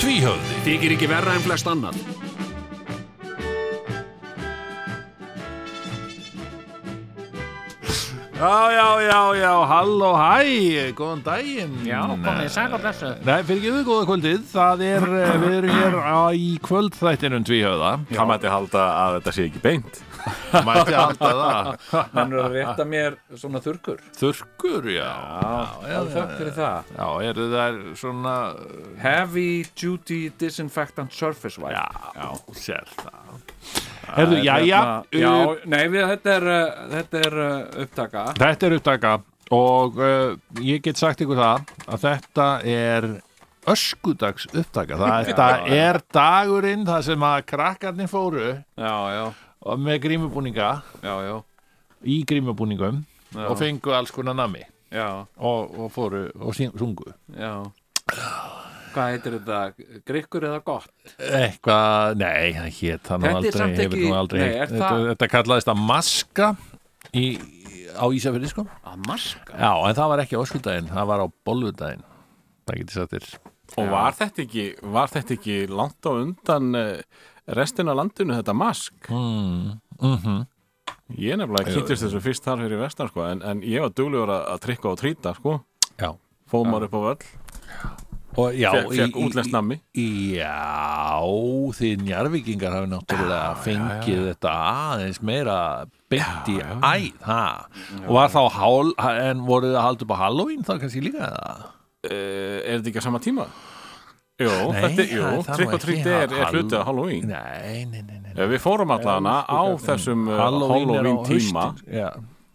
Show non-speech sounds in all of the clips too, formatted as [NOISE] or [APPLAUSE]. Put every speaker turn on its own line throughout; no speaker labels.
Tvíhöfði
Þykir ekki verra en flest annan.
Já, já, já, já, halló, hæ, góðan daginn
Já, komið, sæl og blessu
Nei, fyrir gefið góða kvöldið, það er, eh, við erum hér á, í kvöldþættinum tvíhöfða
Það mætti halda að þetta sé ekki
[LAUGHS]
beint
Mætti halda það
Hann er að rétta mér svona þurkur
Þurkur, já
Já, þökk fyrir það
Já, eru þær svona,
Heavy duty disinfectant surface wipe Já,
já, sér það Herðu, já, já,
hérna-
hérna- já Nei, við, þetta er, uh, þetta er uh, upptaka
þetta er upptaka og uh, ég get sagt ykkur það að þetta er öskudags upptaka það,
[LAUGHS]
Þetta er dagurinn það sem að krakkarnir fóru
Já, já,
og með grímubúninga
já, já,
í grímubúningum og fengu alls konar nami
já,
og, og fóru og syng- sungu
já. Hvað heitir þetta? Grikkur eða gott?
eitthvað, nei, það hét það nú
Þetta er
aldrei,
samt
hefur
ekki-
nú aldrei
nei,
heyrt.
er
þetta,
það-
þetta kallaðist að maska í, á Ísafjörði sko
Að maska?
já, en það var ekki á öskudaginn, það var á bolvudaginn það getur satt þér
Og var þetta ekki, var þetta ekki langt á undan eh, restin af landinu þetta mask? Mm.
Hmm, mhm.
Ég nefnilega kýttist þessu fyrst þar fyrir vestan sko en, en ég var duglegur að, að trykka og trýta sko
já,
Fómar upp á völl,
og já
fekk, fekk
í-
útlenskt nammi
í- já, því njarvíkingar hafi náttúrulega fengið þetta aðeins meira beint í æð ha. og var þá hál, en voruð þið að halda upp á Halloween þá kannski líka það
uh, Er þetta ekki á sama tíma? Jú,
Nei,
þetta, jú,
það- það má
trykk og
ekki
trýtt
ha-
er, er hluti af Halloween
nei, nei, nei, nei.
Eh, Við fórum allana á þessum eh,
Halloween,
Halloween
er á
tíma
haustin já,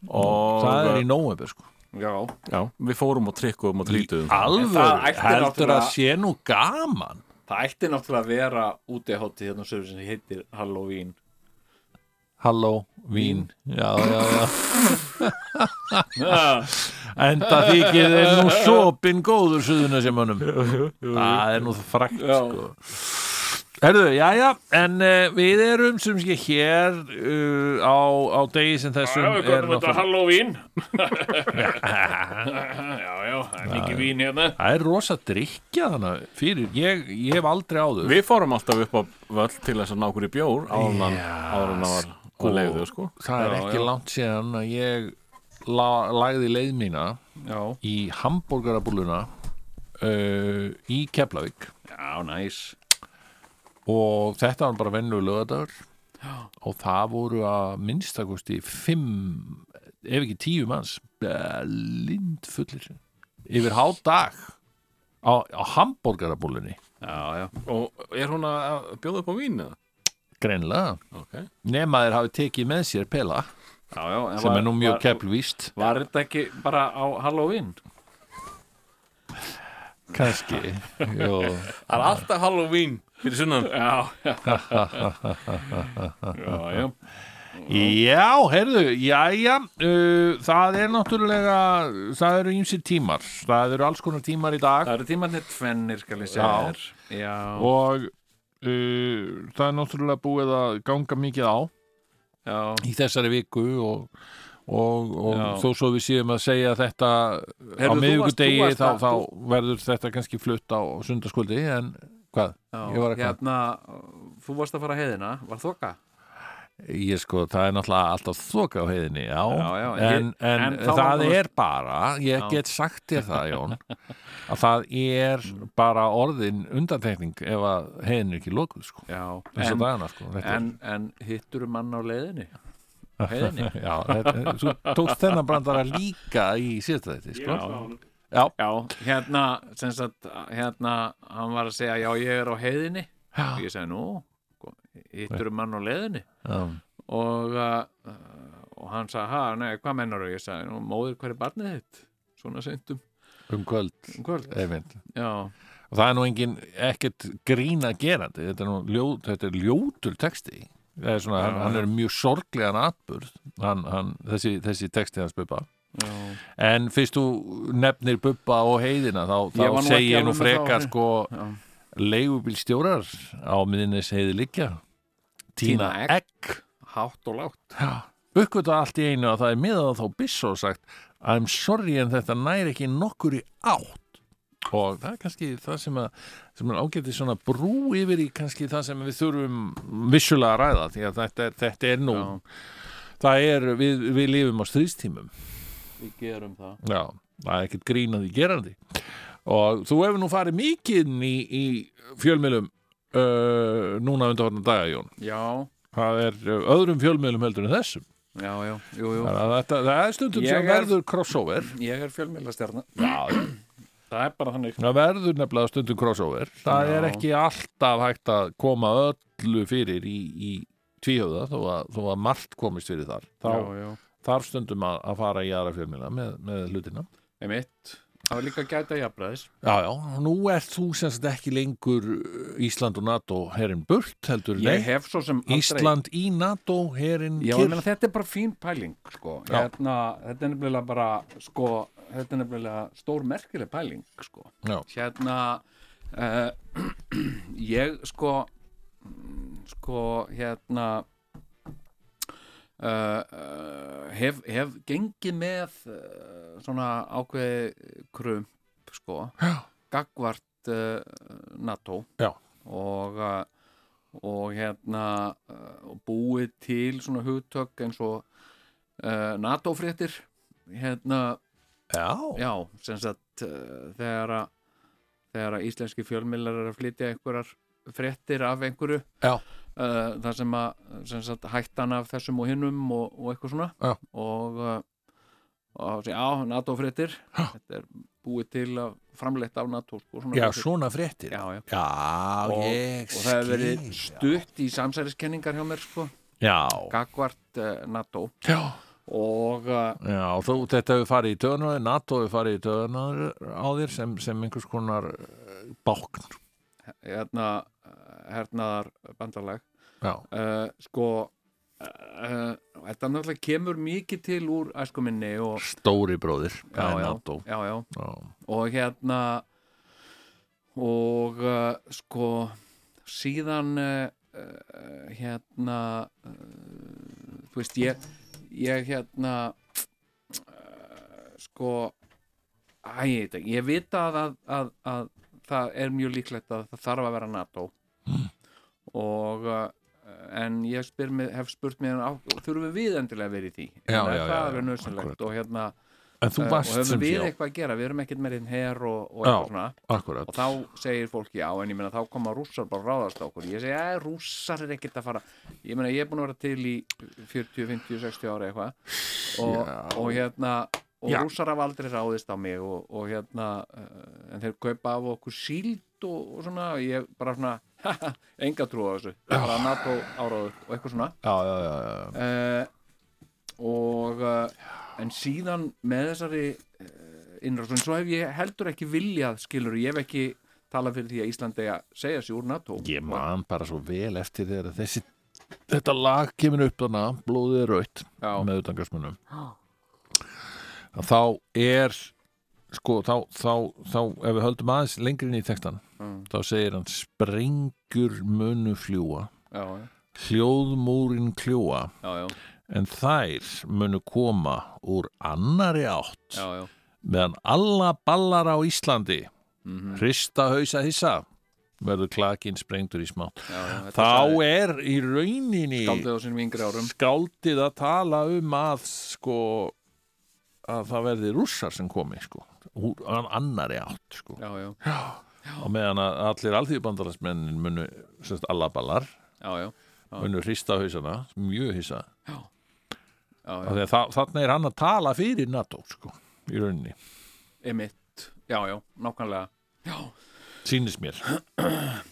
og eh,
það er í nóvember sko
Já,
já, við fórum og trykkuðum og trýtuðum
það
alveg heldur
ætti
að
náttúrulega-
sé nú gaman
það ætti náttúrulega að vera úti á hátíð hérna á sögur sem heitir Halloween
Halló, vín Já, já, já En það þykir þeir nú sopin góður suðuna sem honum Það er nú frækt
Já.
sko Herðu, já, já, en uh, við erum sem sé hér uh, á, á degi sem þessum
Já, við köllum þetta
náttúrulega- [LAUGHS]
Halloween Já, já, það er mikið vín hérna
Það er rosa drikja þannig fyrir, ég, ég hef aldrei áður
Við fórum alltaf upp á völl til þess að ná okkur í bjór árunan, árunan var sko. leiðu sko.
Það er ekki langt síðan að ég la, lagði leið mína
Já,
í hambúrgarabúluna uh, í Keflavík
já, næs
og þetta var bara vennu lögadagur og það voru að minnstakosti fimm, ef ekki tíu manns lind fullir yfir hálf dag á, á hambúrgarabúlunni
Já, já,
Og er hún að bjóða upp á vín eða?
greinlega,
Okay.
nema þeir hafi tekið með sér pela
já, já en
sem
var-
er nú mjög
var-
keflvíst
Var þetta ekki bara á Halloween? [LAUGHS]
kannski Jú.
Það er alltaf Halloween fyrir sunnan
Já, já Já, já
Já, heyrðu, jæja, uh, það er náttúrulega, það eru ýmsir tímar, það eru alls konar tímar í dag
Það eru tímanir tvennir, skal ég segja
Já.
þér Já,
og uh, það er náttúrulega búið að ganga mikið á
já,
í þessari viku og, og, og
Já.
þó svo við séum að segja þetta á
Heyrðu, þú
miðvikudegi
varst-
þá,
þú varst
þá
að-
verður þetta kannski flutt á sundarskvöldi en hvað?
já
Ég var að-
Hérna, þú varst að fara að heiðina, var þoka?
Ég sko, það er náttúrulega alltaf þoka á heiðinni, já,
Já, já, ég-
en, en,
en þá var
það
nú-
er bara, ég get sagt þér það, Jón, að það er bara orðin undantekning ef að heiðin er ekki lokuð, sko,
Já,
eins og
en,
dagana, sko, þetta
en, en hittur mann á leiðinni? Á Heiðinni?
er, [LAUGHS] já, þetta, þú tókst þennan brandara líka í síðasta þetta,
Ég er
sko,
alltaf á honum.
já,
Já, hérna, sem sagt, hérna, hann var að segja, já, ég er á heiðinni. Og ég segi, nú, hittur um mann á leiðinni.
já,
Og, uh, og hann sagði, ha, nei, hvað mennar þú? Ég segi, nú, móðir, hver er barnið þitt? Svona seintum
um kvöld,
um kvöld.
einmitt,
Já,
og það er nú engin, ekkert grína gerandi, þetta er nú ljóð, þetta er ljótur texti, það er svona, hann, hann er mjög sorglegan atburð, hann, hann, þessi, þessi texti hans Bubba
já,
en fyrst þú nefnir Bubba og heiðina þá, þá
Ég var nú ekki
segi ég nú
alveg með
frekar
þá,
sko
já.
leigubílstjórar á miðinnes heiði liggja tína
Tína egg.
egg
hátt og lágt
uppgöta allt í einu að það er miðað þá Bissó sagt I'm sorry en þetta næri ekki nokkur í átt og það er kannski það sem að sem er ágætið svona brú yfir í kannski það sem við þurfum vissulega að ræða því að þetta er, þetta er nú
Já.
það er, við, við lifum á stríðstímum
við gerum það
já, það er ekkert grínandi gerandi og þú hefur nú farið mikið inn í, í fjölmiðlum uh, núna undanfarnar daga Jón
já,
það er uh, öðrum fjölmiðlum heldur en þessum
já, já, jú, jú
Það, þetta, það er stundum
Ég
sem
er-
verður crossover
ég er fjölmiðlastjarna það er bara þannig
það verður nefnilega stundum crossover það
Já.
er ekki alltaf hægt að koma öllu fyrir í, í tvíhjóða þó að, þó að margt komist fyrir þar þá
já, já,
þarf stundum að, að fara í aðra fjölmiðla með, með hlutina
einmitt það var líka að gæta jafnræðis
já, já, nú ert þú sem sagt ekki lengur uh, Ísland og NATO herrin burt heldur
ég
nei,
hef svo sem aldrei
Ísland í NATO herrin
Já, ég meina,
kyrr
þetta er bara fín pæling sko.
Já.
hérna, þetta er nefnilega bara sko, þetta er nefnilega stór merkileg pæling sko.
Já.
hérna uh, [CLEARS THROAT] ég sko mm, sko hérna Uh, uh, hef, hef gengið með uh, svona ákveði krump sko gagvart uh, NATO
Já.
og uh, og hérna uh, og búið til svona hugtök eins og uh, NATO-fréttir hérna,
já,
já, sem sagt uh, þegar að þegar að íslenski fjölmiðlar er að flytja einhverjar fréttir af einhverju
Já.
uh, þar sem að sem sagt, hættan af þessum og hinnum og, og eitthvað svona
Já.
og, uh, og já, NATO-fréttir þetta er búið til að framleitt af NATO sko, svona
já,
fréttir.
svona fréttir
já, já.
já
Og-
ég
og það hefur verið
skil, já.
stutt í samsæriskenningar hjá mér sko
já,
gagvart uh, NATO
já
og uh,
Já, þú, þetta hefur farið í töðunar NATO hefur farið í töðunar á þér sem, sem einhvers konar eh, bákn
hérna hernaðar bandalag
Já,
uh, sko uh, þetta náttúrulega kemur mikið til úr æsku minni og
stóri bróðir það er
já,
NATO
já, já,
Já,
og hérna og uh, sko síðan uh, uh, hérna uh, þú veist ég ég hérna uh, sko æ, ég, veit ekki, ég vita að, að, að, að það er mjög líklegt að það þarf að vera NATO og uh, en ég spyr mig, hef spurt mér á, þurfum við endilega að vera í því
Já,
En
já,
það
já,
er
já,
nöðsynlegt
akkurat.
og hérna
En þú
Eh, og
varst
höfum
sem
við
sé
eitthvað að gera, við erum ekkert með einn her og, og
Já.
eitthvað svona
Akkurat,
og þá segir fólk já, en ég meina þá koma rússar bara að ráðast á okkur ég segi, að rússar er ekkert að fara ég meina, ég er búin að vera til í 40, 50, 60 ára eitthvað og, og hérna og
Já.
rússar hafa aldrei ráðist á mig og, og hérna, eh, en þeir kaupa af okkur síld og, og svona ég bara svona, [LAUGHS] enga trú á þessu bara NATO áráður og eitthvað svona
já, já, já, já.
uh, og uh, en síðan með þessari uh, innrásun, svo hef ég heldur ekki viljað skilur, ég hef ekki talað fyrir því að Ísland eigi að segja sér úr NATO
Ég man bara svo vel eftir þegar þessi þetta lag kemur upp þarna blóðið er raut
Já.
með utangarsmunum þá er sko, þá, þá, þá ef við höldum aðeins lengri inn í textan þá segir hann sprengur munu fljúa
já, já,
hljóðmúrin kljúa
já, já,
en þær munu koma úr annari átt
já, já.
meðan alla ballar á Íslandi
Mhm.
hrista hausa hissa verður klakinn sprengtur í smátt
já, já þetta
þá
sagði
er í rauninni
skáldið á sínum yngri árum
skáldið að tala um að sko að það verði rússar sem komi sko úr an- annari átt sko
já, já,
og meðan að allir alþýðbandarasmennin munu sérst alla ballar
já, já,
munu hrista hausana mjög hissa
já, já.
Af því að þa- þarna er hann að tala fyrir NATO sko, í rauninni,
emitt já, já, nákvæmlega
sýnist mér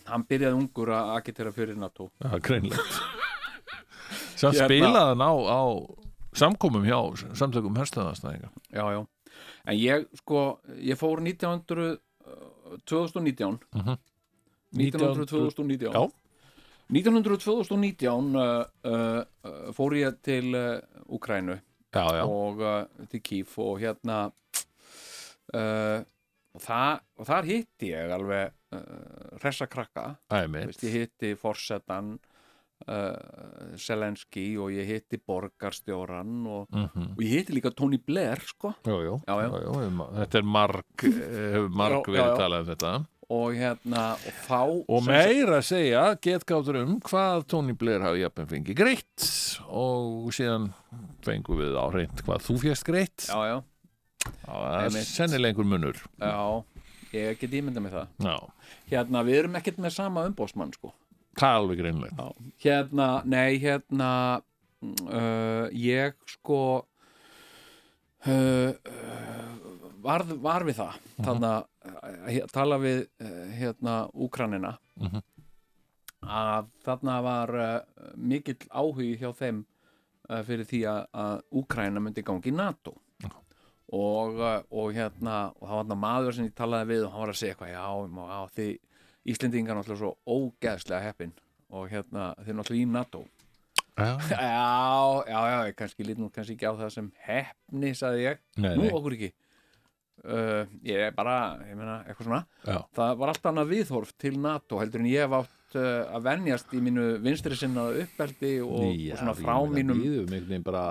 hann byrjaði ungur að agitera fyrir NATO
það er [LAUGHS] greinlegt sem
Hérna.
spilaði hann á, á samkomum hjá samtökum herstöðastæðinga
já, já, en ég sko ég fór 1900 uh, 2019 1900, 2019
Já.
1900, 2019 uh, uh, uh, fór ég til uh, Úkrænu
já, já,
og uh, til Kíf og hérna uh, og, það, og þar hitti ég alveg uh, hressa krakka Þú
æmi
veist, ég hitti forsetan uh, Selenski og ég hitti borgarstjóran og,
Mhm.
og ég hitti líka Tony Blair sko
Jú, jú,
Já, já.
jú, jú, ma- þetta er marg, hefur marg
Já,
verið
já, já.
talað um þetta
og hérna og þá
og
sem sagt-
meira að segja getgátur um hvað Tony Blair hafi jafnum fengið greitt og síðan fengum við á reynd hvað þú fjast greitt
já, já,
Já, það er
einmitt.
sennilega einhver munur
já, ég get ímyndað með það
Já,
hérna, við erum ekkert með sama umbósmann sko
það er alveg greinlega
hérna, nei, hérna uh, ég sko uh, uh, varð, var við það þannig að tala við uh, hérna Úkranina
Mhm.
að þarna var uh, mikill áhugi hjá þeim uh, fyrir því að, að Úkraina myndi gangi í NATO og, uh, og hérna og það var þarna maður sem ég talaði við og hann var að segja eitthvað, já, já, já því Íslendingar náttúrulega svo ógeðslega heppin og hérna, þeir eru náttúrulega í NATO
Já,
Já, já, já, ég kannski lít nú kannski ekki á það sem hefni, sagði ég
nei,
Nú
nei,
okkur ekki uh, Ég er bara, ég meina, eitthvað svona
já,
Það var allt annað viðhorf til NATO heldur en ég hef átt uh, að venjast í mínu vinstri sinna uppeldi og, og svona frá mínum
Við erum einhvern veginn bara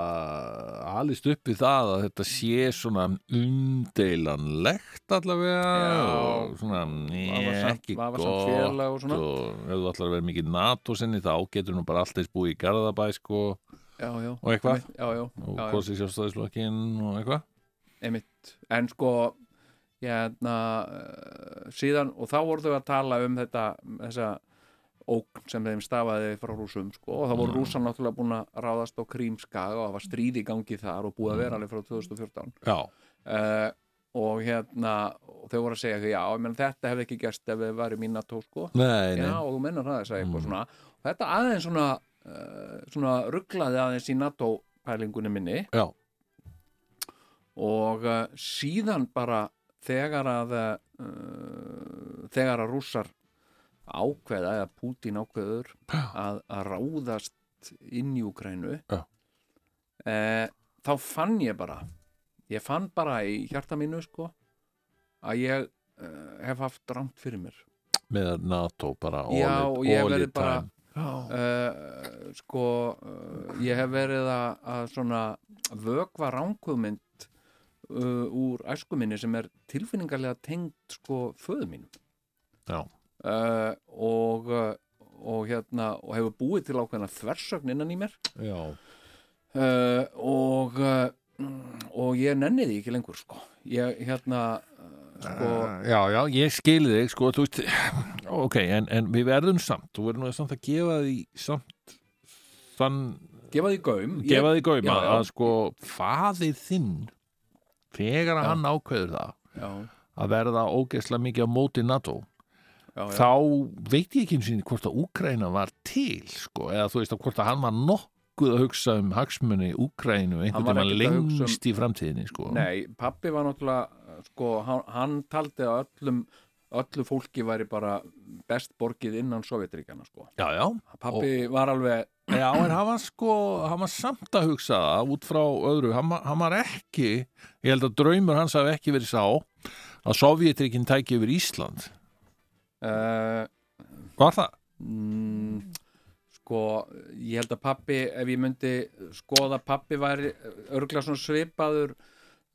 alist upp við það að þetta sé svona umdeilanlegt allavega
Já.
og svona
vafasamt-
ekki
vafasamt
gott
félag og svona.
og ef þú ætlar að vera mikið NATO sinni þá getur nú bara alltaf búið í Garðabæ sko
já, já,
og eitthvað
já, já,
og
já, já.
kosið sjálfstæðislokkinn og eitthvað
einmitt en sko hérna, uh, síðan og þá voru þau að tala um þetta þessa ógn sem þeim stafaði frá rúsum sko og þá voru rúsar náttúrulega búin að ráðast á Krímskaga og það var stríð í gangi þar og búið að vera alveg frá 2014
Já,
uh, og hérna og þau voru að segja þau já, ég menn þetta hefði ekki gerst ef við varum í NATO sko
nei, nei
já og þú mennar það sagði
Mm.
eitthvað svona og þetta aðeins svona uh, svona rugglaði aðeins í NATO pælingunni minni
Já,
og uh, síðan bara þegar að uh, þegar að rússar ákveða eða Pútín ákveður að, að ráðast inn í Ukrænu
Já.
eh, þá fann ég bara ég fann bara í hjarta mínu sko að ég uh, hef haft rámt fyrir mér
með NATO bara all
Já,
it-
og ég
all
verði
it
bara-
time.
uh, sko uh, ég hef verið að, að svona vökva ránkvömynd uh, úr æskuminni sem er tilfinningarlega tengd sko föðu mínum
Já.
uh, og, uh, og hérna og hefur búið til ákveðna þversögn innan í mér
Já,
uh, og uh, mm, og ég nenni því ekki lengur sko ég hérna uh, sko
Ah, já, já, ég skil þig sko, þú veist [SIGHS] ok, en, en við verðum samt, þú verður nú samt að gefa því samt þann,
gefa því gaum Ég-
Ah. gefa því gaum
já,
að,
já.
að sko, faðið þinn þegar að hann ákveður það
já,
að verða ógeðslega mikið á móti NATO
já, já,
þá veit ég ekki einu sinni hvort að Úkraina var til sko, eða þú veist að hvort að hann var nokkuð að hugsa um hagsmunni Úkrainu einhvern
Hann var
veginn
ekkert að hugsa um-
lengst í framtíðinni sko.
Nei, pappi var náttúrulega sko, hann, hann taldi að öllum öllu fólki væri bara best borgið innan Sovjetríkjana sko.
já, já,
pappi var alveg
já, en hann var sko hann var samt að hugsa það út frá öðru hann, var- hann var ekki, ég held að draumur hans hafi ekki verið sá að Sovjetrikin tæki yfir Ísland
uh,
var það?
mm, sko, ég held að pappi ef ég myndi skoða pappi væri örgla svona svipaður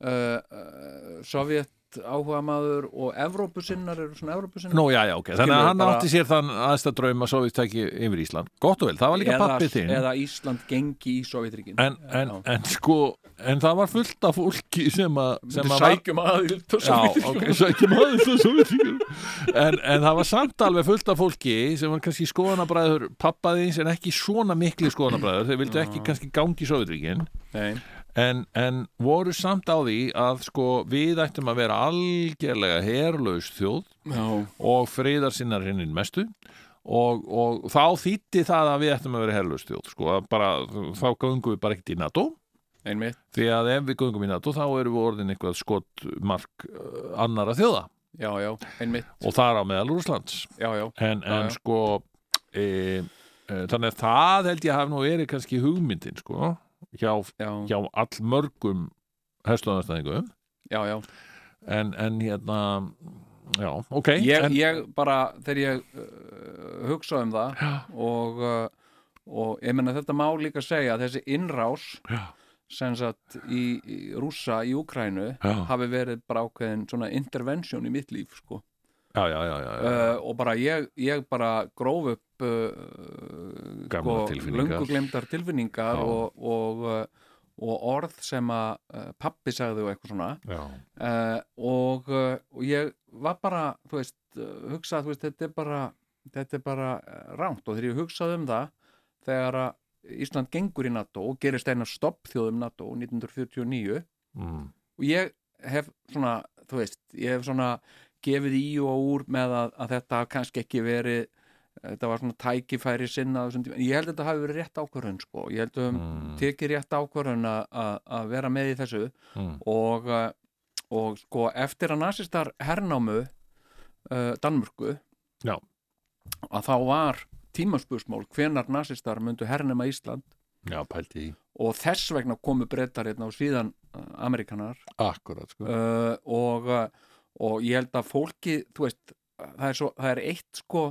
uh, uh, Sovjet áhugamaður og Evrópusinnar eru svona Evrópusinnar
Nú, já, já, ok, þannig að
Skilur,
hann
bara-
átti sér þann aðstæð draum að Sovjet tæki yfir Ísland gott og vel, það var líka
eða,
pappi þinn
eða Ísland gengi í Sovjetríkin
en, en,
Já.
en sko en það var fullt af fólki sem að sem að var
sækjum aðild
Já,
og Sovétríkjunum.
ok, sækjum aðeins að Sovétríkjunum. en, en það var samt alveg fullt af fólki sem var kannski skoðanabræður pappa þins en ekki svona miklu skoðanabræður þeir vildu ekki kannski gangi í Sovjetríkin
Nei.
en, en voru samt á því að sko við ættum að vera algerlega herlaus þjóð
Já.
og friðar sinnar hinninn mestu og, og þá þýtti það að við ættum að vera herlaus þjóð sko, að bara, þá gangum við bara ekkert í NATO
einmitt
Því að ef við göngum í NATO þá erum við orðin eitthvað skotmark uh, annara þjóða
já, já, einmitt,
og þar á meðal Rússlands.
já, já
En,
Já,
en
já.
sko, e, e, þannig að það held ég hafi nú verið kannski hugmyndin, sko. hjá,
já, já,
hjá allmörgum hestlóðanstæðingum
já, já.
en, en hérna já, ok
Ég,
en,
ég bara, þegar ég uh, hugsa um það
Já.
og, uh, og ég meina þetta má líka segja að þessi innrás
Já.
sem sagt í, í rússa í Ukrænu
já,
hafi verið bara ákveðin svona intervention í mitt líf sko
já, já, já, já, já.
uh, og bara ég, ég bara gróf upp uh,
Gamlar tilfinningar.
löngu glemdar tilfinningar
Já.
og, og, uh, og orð sem að uh, pappi sagði og eitthvað svona
já.
uh, og, uh, og ég var bara þú veist, uh, hugsað, þú veist, þetta er bara þetta er bara uh, rangt og þegar ég hugsaði um það þegar að Ísland gengur í NATO og gerist eina stopp þjóðum NATO 1949
Mm.
og ég hef svona, þú veist, ég hef svona gefið í og úr með að, að þetta hafi kannski ekki verið eh, þetta var svona tækifæri sinna á þessum tíma. ég held að þetta hafi verið rétt ákvörðun sko. ég held að um
Mm.
tekið rétt ákvörðun að- að að vera með í þessu
Mm.
og, eh, og sko eftir að nasistar hernámu uh, Danmörku
Já.
að þá var tímaspursmál hvenar nasistar myndu hernema Ísland
já, pælti í
og þess vegna komu brettar hérna og síðan uh, Amerikanar
akkurat sko
uh, og, uh, og ég held að fólki þú veist, það er, svo, það er eitt sko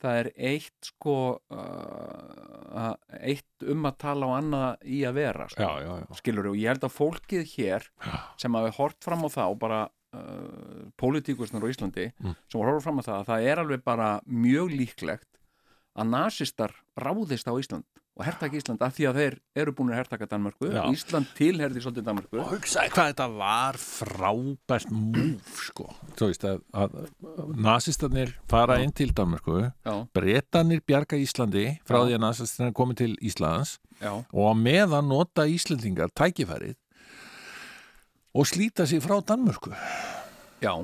það er eitt sko uh, að- eitt um að tala og annað í að vera sko.
já, já, já,
skilur og ég held að fólkið hér
Já.
sem hafi hort fram á það og bara uh, pólitíkusnar á Íslandi
Mm.
sem horfur fram á það að það er alveg bara mjög líklegt að nasistar ráðist á Ísland og hertaka Ísland af því að þeir eru búin að hertaka Danmarku
Já.
Ísland tilherði svolítið Danmarku
og hugsaði hvað þetta var frábært múf sko þú veist að, að nasistarnir fara inn til Danmarku
já,
breytanir bjarga Íslandi frá
Já.
því að nasistarnir komi til Íslands
já,
og að meðan nota Íslendingar tækifærið og slíta sig frá Danmörku
já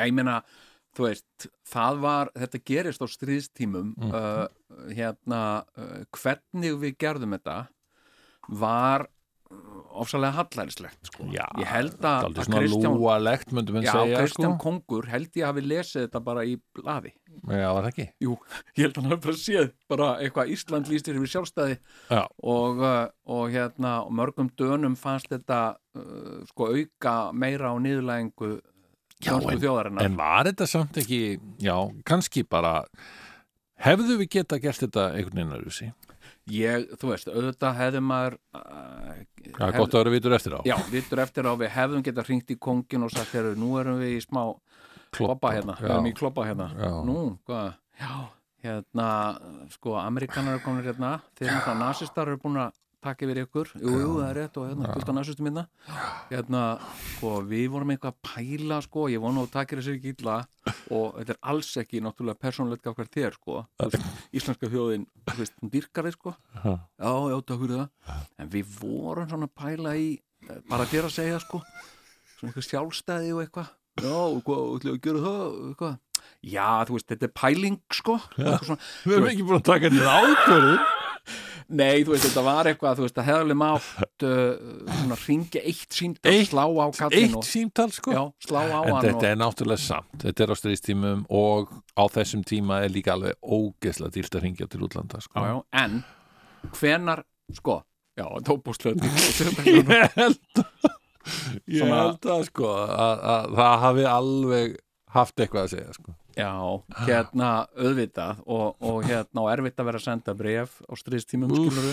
ég meina, þú veist það var, þetta gerist á stríðstímum
Mm.
uh, hérna uh, hvernig við gerðum þetta var ofsalega hallærislegt sko.
Já,
ég held að,
Daldi
að
svona
Kristján
lúalegt myndum við
Já,
segja
Kristján
sko.
Kongur held ég hafi lesið þetta bara í blaði
Já, var það ekki?
Jú, ég held að hann hafi bara séð bara eitthvað Ísland lýstir yfir sjálfstæði
Já.
og, uh, og hérna og mörgum dönum fannst þetta uh, sko auka meira á niðurlægingu
Já,
dönsku
en-
þjóðarinnar
En var þetta samt ekki, já, kannski bara hefðu við geta gert þetta einhvern veginn að rúsi?
ég, þú veist, auðvitað hefði maður uh,
Já, gott að vera vitur eftir á
Já, vittur eftir á við hefðum getað hringt í kongin og sagt þeirra, nú erum við í smá kloppa hérna, við erum í kloppa hérna
Já.
nú, hvað, já hérna, sko, amerikanar eru komin hérna þeir eru það nasistar eru búin að taka yfir ykkur, jú, jú, það er rétt og hérna, fullt af nasistum hérna hérna, sko, við vorum eitthvað að pæla sko, ég vona og takir þessi ekki illa og þetta er alls ekki, náttúrulega persónulegt gaf hver þér, sko Þú veist, íslenska þjóðin, þú veist, hún dýrkar þig, sko
Já.
já, já, takk fyrir það en við vorum svona að pæla í eh, bara þér að segja, sko svona eitthvað sjálfstæði og eitthvað já, og hvað, ætlum við að gera það, og eitthvað já, þú veist, þetta er pæling, sko eitthvað svona,
Við erum ekki búin að taka þetta ákvörðu
Nei, þú veist, þetta var eitthvað, þú veist, að hefðarlega mátt uh, svona ringja eitt sínd og
Eitt-
slá á kallin
Eitt
og
símtal sko
já, slá á
En
hann
þetta
og,
er náttúrulega samt, þetta er á stríðstímum og á þessum tíma er líka alveg ógeðslega dýrt að hringja til útlanda sko.
já, já, en hvenar, sko já, tópúslega
Ég held Ég
Svona-
held að sko að, að það hafi alveg haft eitthvað að segja sko.
[LAUGHS] já, hérna auðvitað og, og hérna og erfitt að vera að senda bref á stríðstímum, skilur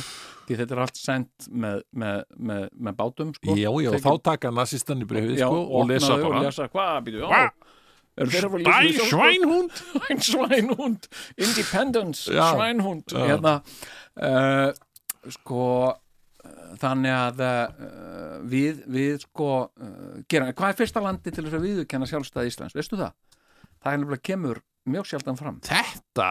því þetta er allt sendt með, með, með, með bátum, sko
Já, já,
Tekið-
þá taka nasistan í brefið
Já,
sko, og lesa
opnaðu
bara
og lesa, hvað, býtu, já Eru þeir að fara að lesa þessu, sko?
svænhund
Ein svænhund, independence,
Já.
svænhund
Já.
hérna uh, sko eh, þannig að uh, við, við sko uh, gera, hvað er fyrsta landi til þess að viðurkenna sjálfstæði Íslands, veistu það? Það er nefnilega kemur mjög sjaldan fram
Þetta,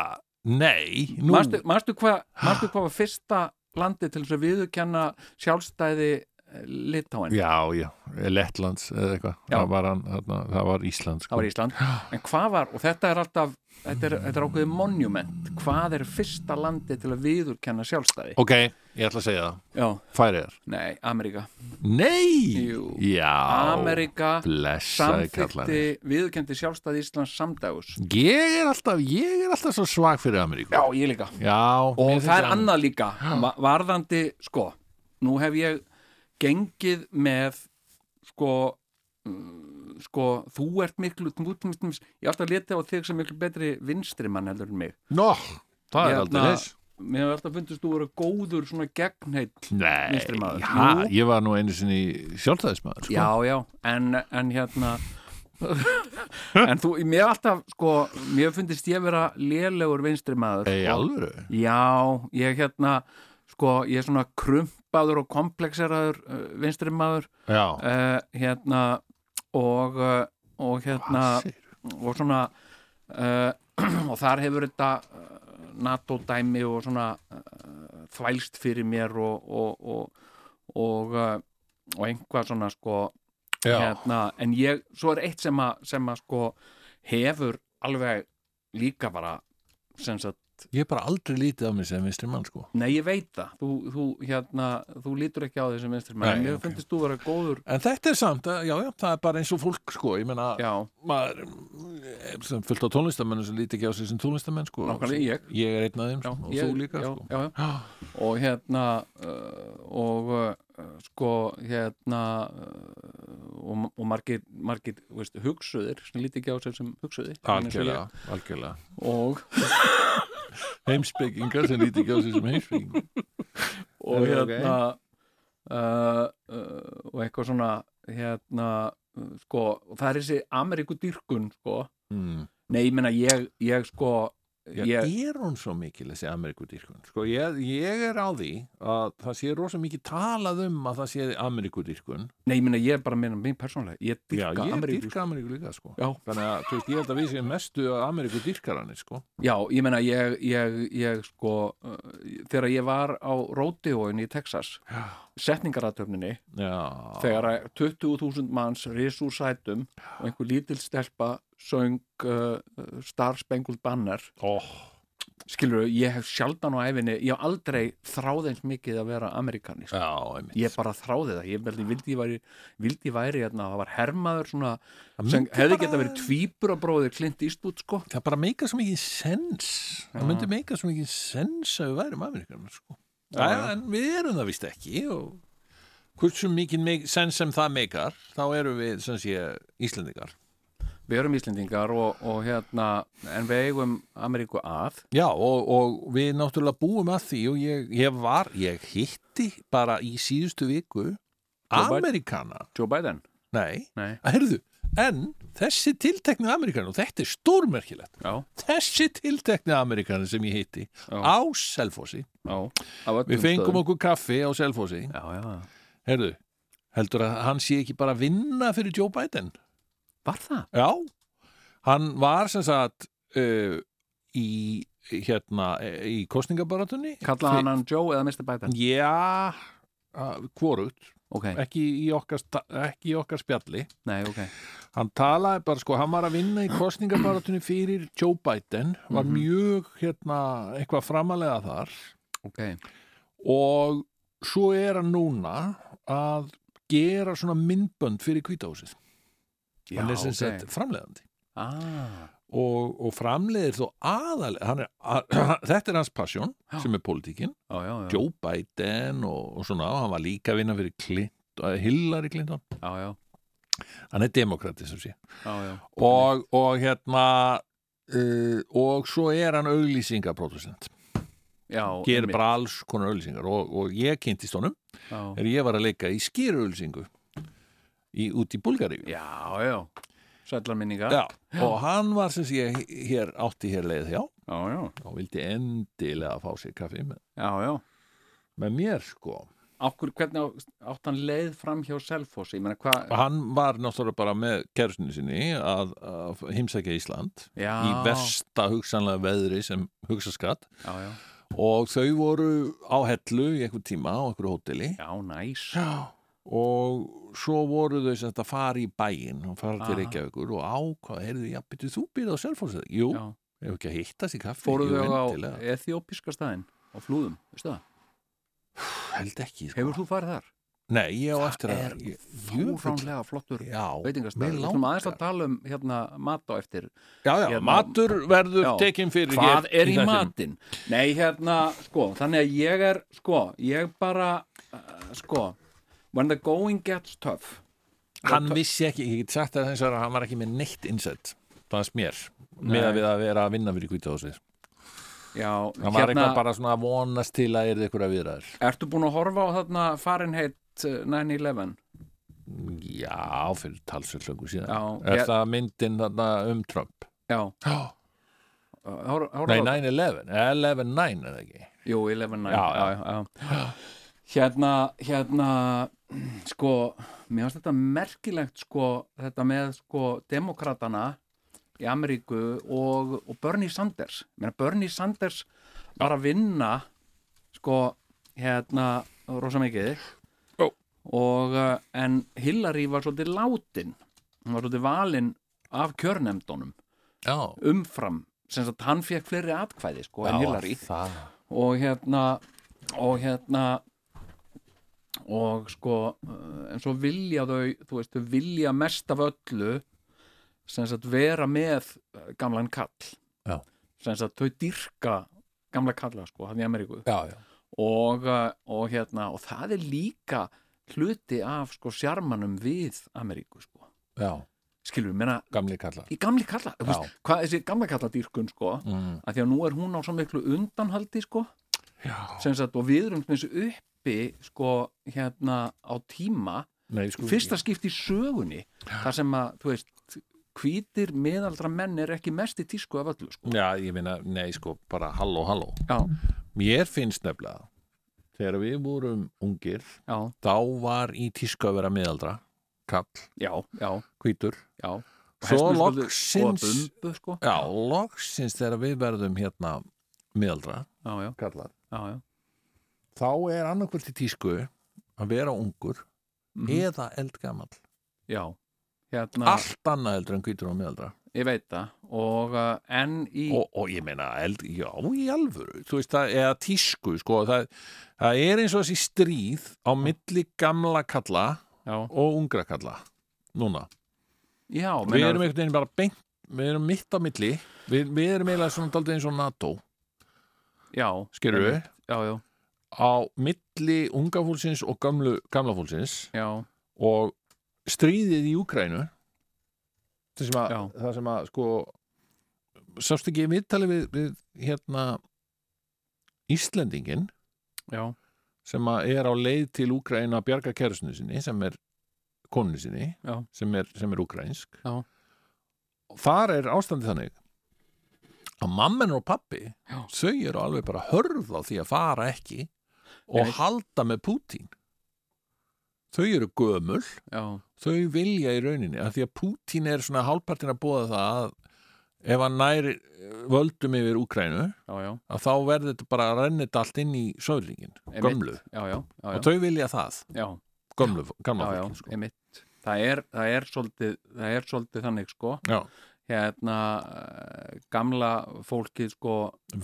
nei nú,
Manstu manstu hvað manstu hvað var fyrsta landi til þess að viðurkenna sjálfstæði eh, Litáin?
Já, já, Lettlands eða eitthvað
Já.
það, var hann, þarna, það var Ísland
Það
sko.
var Ísland, en hvað var, og þetta er alltaf, þetta er, þetta er ákveðið monument, hvað er fyrsta landi til að viðurkenna sjálfstæði?
Ok, ég ætla að segja það,
Já,
færiðar
Nei, Ameríka
Nei,
Jú.
já
Ameríka
blessaði kallarnir
samþykti viðurkendi sjálfstæði Íslands samdægus
Ég er alltaf, ég er alltaf svo svag fyrir Ameríku
ég líka
já
Og
mér
það
finnst
er
það-
annað líka va- varðandi, sko nú hef ég gengið með sko mm, sko, þú ert miklu þú, ert miklu- ég átt að leta á þig sem miklu betri vinstri mann heldur en mig
Nó, það er
Hérna-
aldrei þess
mér hefur alltaf fundist þú vera góður svona gegnheit
Nei,
Vinstri maður.
ha,
Jú.
ég var nú einu sinni sjálfstæðismæður sko.
já, já, en, en hérna [LAUGHS] en þú, mér hefur alltaf sko, mér hefur fundist ég vera lélegur vinstri maður
Í
sko.
alvöru
Já, ég hérna sko, ég er svona krumpaður og komplexeraður uh, vinstri maður
Já,
uh, hérna og, uh, og hérna og svona uh, [CLEARS THROAT] og þar hefur þetta uh, NATO-dæmi og svona uh, þvælst fyrir mér og og, og, og, uh, og einhvað svona sko
já,
hérna, en ég, svo er eitt sem að, sem að sko hefur alveg líka bara sem sagt
ég er bara aldrei lítið af mig sem vinstri mann sko
Nei, ég veit það. Þú, þú, hérna, þú lítur ekki á þessum vinstri maður.
Nei,
Mér
ok.
finnst þú vera góður.
En þetta er samt, að- já, já, það er bara eins og fólk sko, ég meina,
Já,
maður eh, sem fullt á tónlistamennum sem líti ekki á sig sem tónlistamenn sko
Nákvæmlega, ég.
Ég er einn af þeim
já.
sko, og
ég-
þú líka
já,
sko
Já, já. Og hérna, uh, og uh, sko, hérna, uh, og, og margir, margir, þú veist, hugsuðir, sem líti ekki á sig sem hugsuðir. þannig eins og
Algjörlega,
ég.
algjörlega
Og,
Heimspekingar sem líti ekki á sig sem heimspekingar
og hérna, uh, uh, og eitthvað svona, hérna, uh, sko, og það er þessi Ameríku dyrkun, sko.
mm.
Nei, ég meina, ég, ég sko,
Já,
ég,
er hún svo mikil þessi Amerikudýrkun? Sko, ég, ég er á því að það sé rosa mikið talað um að það sé Amerikudýrkun.
Nei, ég meina, ég er bara að meina mig persónlega Ég
Já,
dyrka
ég
Ameríku
dýrka Ameríku líka, sko.
Já.
Þannig að, þú veist, ég held að við séum mestu Amerikudýrkaranir, sko.
Já, ég meina, ég, ég, ég sko uh, Þegar ég var á Rodeo-in í Texas Setningaratöfninni
Já.
Þegar að 20.000 manns risur sætum Og einhver lítil stelpa söng uh, uh, Star Spangled Banner
Ó,
Skilur, ég hef sjaldan á æfinni Ég hef aldrei þráð eins mikið að vera Amerikani
já, einmitt.
Ég bara þráði það, ég veldi vildi ég væri, vildi ég væri hérna, það var hermaður svona,
Það
sem
myndi
hefði
bara-
geta verið tvíburabróðir Clint Eastwood sko,
Það bara meika svo mikið sens. Það myndi meika svo mikið sens að við værum Amerikanar, sko. Já,
já.
en við erum það vist ekki og hversu mikið meik- sens sem það meikar, þá erum við, sem sé, Íslendingar.
við erum Íslendingar og, og hérna, en við eigum Ameríku að,
Já og, og við náttúrulega búum að því og ég, ég var, ég hitti bara í síðustu viku
Robert?
Amerikana,
Joe Biden
nei,
Nei,
að heyrðu en þessi tiltekni Amerikana og þetta er stórmerkilegt,
já,
þessi tiltekni Amerikana sem ég hitti
Já.
á Selfossi,
já af öllum
við fengum
stöðum.
okkur kaffi á Selfossi,
Já, já,
heyrðu heldur að hann sé ekki bara að vinna fyrir Joe Biden
var það?
Já, hann var sem sagt uh, í hérna, í kostningabaratunni
Kallaði hann hann Joe eða Mr. Biden?
Já, að- hvorugt,
Ok,
ekki í, okkar, sta- ekki í okkar spjalli.
nei, ok,
Hann talaði bara, sko, hann var að vinna í kostningabaratunni fyrir Joe Biden, var
Mhm.
mjög, hérna, eitthvað framalega þar
ok,
og svo er hann núna að gera svona myndbönd fyrir kvítahúsið.
já,
Hann er sem
ok,
sagt framlegandi
ah,
og, og framleiðir þó aðalega, hann er, að, [CLEARS THROAT] þetta er hans pasjón
Já.
sem er pólitíkin
já, já, já,
Joe Biden og, og svona og hann var líka að vinna fyrir Clinton, Hillary Clinton
já, já,
hann er demokrati sem sé
já, já,
og, og hérna uh, og svo er hann auglýsingaproducent
já,
gerir
einmitt,
bara alls konar auglýsingar og, og ég kynntist honum
já,
er ég var að leika í skýrauglýsingu í, út í Bulgaríu
já, já, sællar minninga,
Já, og hann var sem sé hér átti hér leið hjá
já, já,
og vildi endilega fá sér kaffi með,
já, já.
með mér sko
Okkur, hvernig á- átti hann leið fram hjá Selfossi? Ég meina, hvað?
hann var náttúrulega bara með kærusinu sinni að, að heimsækja Ísland
Já,
í versta hugsanlega veðri sem hugsa skatt
Já, já,
og þau voru á hellu í einhver tíma á einhverju hóteli
já, næs.
og svo voru þau sem þetta fara í bæinn og fara til
Aha.
Reykjavíkur og ákvað, heyrðu, já, byrju þú býrð á Selfossi jú,
Já.
hefur ekki að hittast í kaffi
Fóruðu
Jú,
þau á
endilega.
ethiópiska staðinn á flúðum, veistu það?
held ekki, sko.
Hefur þú farið þar?
nei, ég á eftir
er
að ég- Jöfull.
fáránlega flottur
já,
veitingastæður.
mig
Við ætlum aðeins að
langar.
tala um hérna mat á eftir.
já, já,
Hérna-
matur verður
Já.
tekinn fyrir
Hvað
hér
er í
þættinum.
matinn? Nei, hérna, sko, þannig að ég er, sko, ég bara, uh, sko when the going gets tough
hann vissi ekki, ég get sagt að þess að hann var ekki með neitt innsett fannst mér, með að við að vera að vinna fyrir kvítahúsið
já, hérna,
hann var eitthvað bara svona að vonast til að er ykkur að viðraður
ertu búin að horfa á þarna Fahrenheit eh, 9-11
já, fyrir talsvöld löngu síðan
Já,
er
ég-
það myndin þarna um Trump
já,
oh,
horfa á
nei, 9-11 11-9 er það ekki
Jú, 11.9
Já, já.
Hérna, hérna sko, mér finnst þetta merkilegt sko, þetta með sko demokratana í Ameríku og, og Bernie Sanders Ég meina, Bernie Sanders var að vinna sko, hérna rosa mikið
Jó.
og, eh, en Hillary var svolítið látin hún var svolítið valin af kjörnefndunum
já,
umfram sem sagt hann fekk fleiri atkvæði sko, en
já,
Hillary
það
og hérna og hérna og sko eh, en svo vilja þau, þú veist, þau vilja mest af öllu sem sagt vera með eh, gamlan kall
Já.
sem sagt þau dyrka gamla kalla sko, hann í Ameríku
já, já,
og, eh, og hérna, og það er líka hluti af sko sjarmanum við Ameríku sko,
já,
skilur við, menna
gamli kalla
í gamli kalla, þú
já,
veist, hvað þessi gamla kalla dýrkun sko,
mm,
að því að nú er hún á svo miklu undanhaldi sko
já.
sem sagt, og við erum til dæmis uppi sko, hérna á tíma
Nei, sko,
fyrsta skipti í sögunni þar sem að, þú veist, hvítir miðaldra menn er ekki mest í tísku af öllu sko.
já, ég meina, nei, sko, bara halló, halló
já,
mér finnst nefnilega þegar við vorum ungir
já,
þá var í tísku að vera miðaldra kall,
já, já,
hvítur
já Og
Svo
hesthúsbólu-
loksins-
og bumbu, sko.
já, loksins þegar við verðum hérna miðaldra
já, já,
kallar
já, já.
þá er annarkvöld í tísku að vera ungur
Mhm.
eða eldgamall
já. Hérna,
allt annað heldur en hvítur og miðaldra
ég veit það og uh, enn í
og, og ég meina, eld, já, í alvöru þú veist, það, eða tísku, sko það, það er eins og þessi stríð á milli gamla kalla
já,
og ungra kalla núna
já,
við erum einhvern veginn bara beint við erum mitt á milli við, við erum eiginlega svona daldið eins og NATO
já,
skerur við
já, já,
á milli unga fólksins og gamlu, gamla fólksins
já,
og stríðið í Úkrænu það sem að,
Já.
það sem að sko sást ekki viðtali við, við hérna Íslendingin
já,
sem að er á leið til Úkrænu að bjarga kærusinu sinni sem er koninu sinni
Já.
sem er, sem er úkrænsk
Já.
Og þar er ástandið þannig að mammen og pappi
Já.
þau eru alveg bara hörð á því að fara ekki og
Nei.
halda með Pútín þau eru gömul
já,
þau vilja í rauninni að því að Pútín er svona hálfpartin að búa það að ef hann nær eh, völdum yfir Úkrænu
já, já,
að þá verður þetta bara að renna þetta allt inn í söðlingin,
Einmitt.
gömlu
já, já, já,
og
já,
þau vilja það,
já.
gömlu, gamla
já, já,
fólki sko.
einmitt það er, það, er svolítið, það er svolítið þannig sko
já,
hérna uh, gamla fólkið sko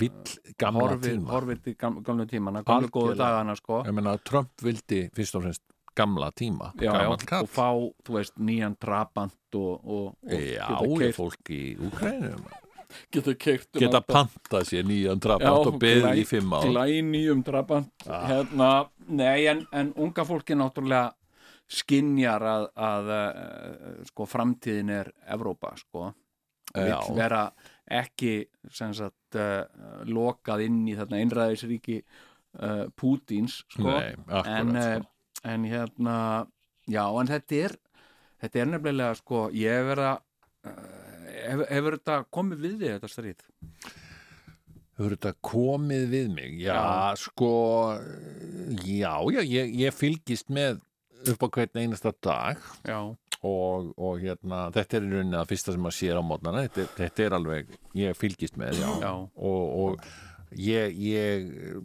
vill gamla
horfið
tíma
horfi til gam, gamlu tímana gamlu góðu
Algjörlega.
dagana sko
ég meina að Trump vildi fyrst og fremst gamla tíma,
já, já,
gamla
og fá, þú veist, nýjan trabant og, og, og
Já,
geta
er
keyrt-
fólk í Úkrænu
geta um keirt
geta pantað sér nýjan drafant og beðið í fimm ár
glænýjum drabant
Ah.
hérna, nei en, en unga fólki náttúrulega skinjar að, að uh, sko framtíðin er Evrópa sko vill
já,
vera ekki sem sagt uh, lokað inn í þarna einræðisríki uh, Pútins sko
nei,
en,
akkurat sko.
uh, en hérna já en þetta er þetta er nefnilega sko ég hef verið að uh, hefur hef hefur þetta komið við þig þetta stríð
Hefur þetta komið við mig? Já,
Já.
sko, já, já, ég, ég fylgist með upp á hvern einasta dag
já,
og, og hérna, þetta er í rauninni að fyrsta sem maður sér á mótnana, þetta, er- þetta er alveg, ég fylgist með, já,
já,
og, og ég, ég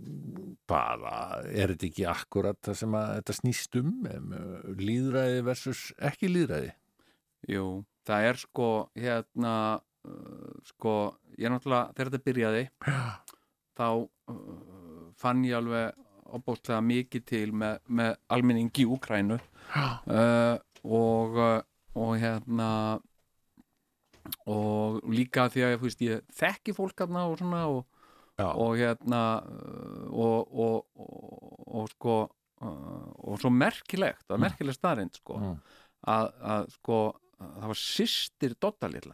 bara, er þetta ekki akkurat það sem að þetta snýst um, em, líðræði versus ekki líðræði?
jú það er sko hérna uh, sko ég náttúrulega þegar þetta byrjaði þá uh, fann ég alveg opbóstlega mikið til með, með almenningi í Úkrænu
Já.
uh, og uh, og hérna og líka því að þú veist, ég þekki fólk hérna og svona og, eh,
Já,
og hérna uh, og, og, og, og, sko uh, og svo merkilegt, það var merkileg staðrind sko,
Mm.
að, að sko að það var sýstir Dodda litla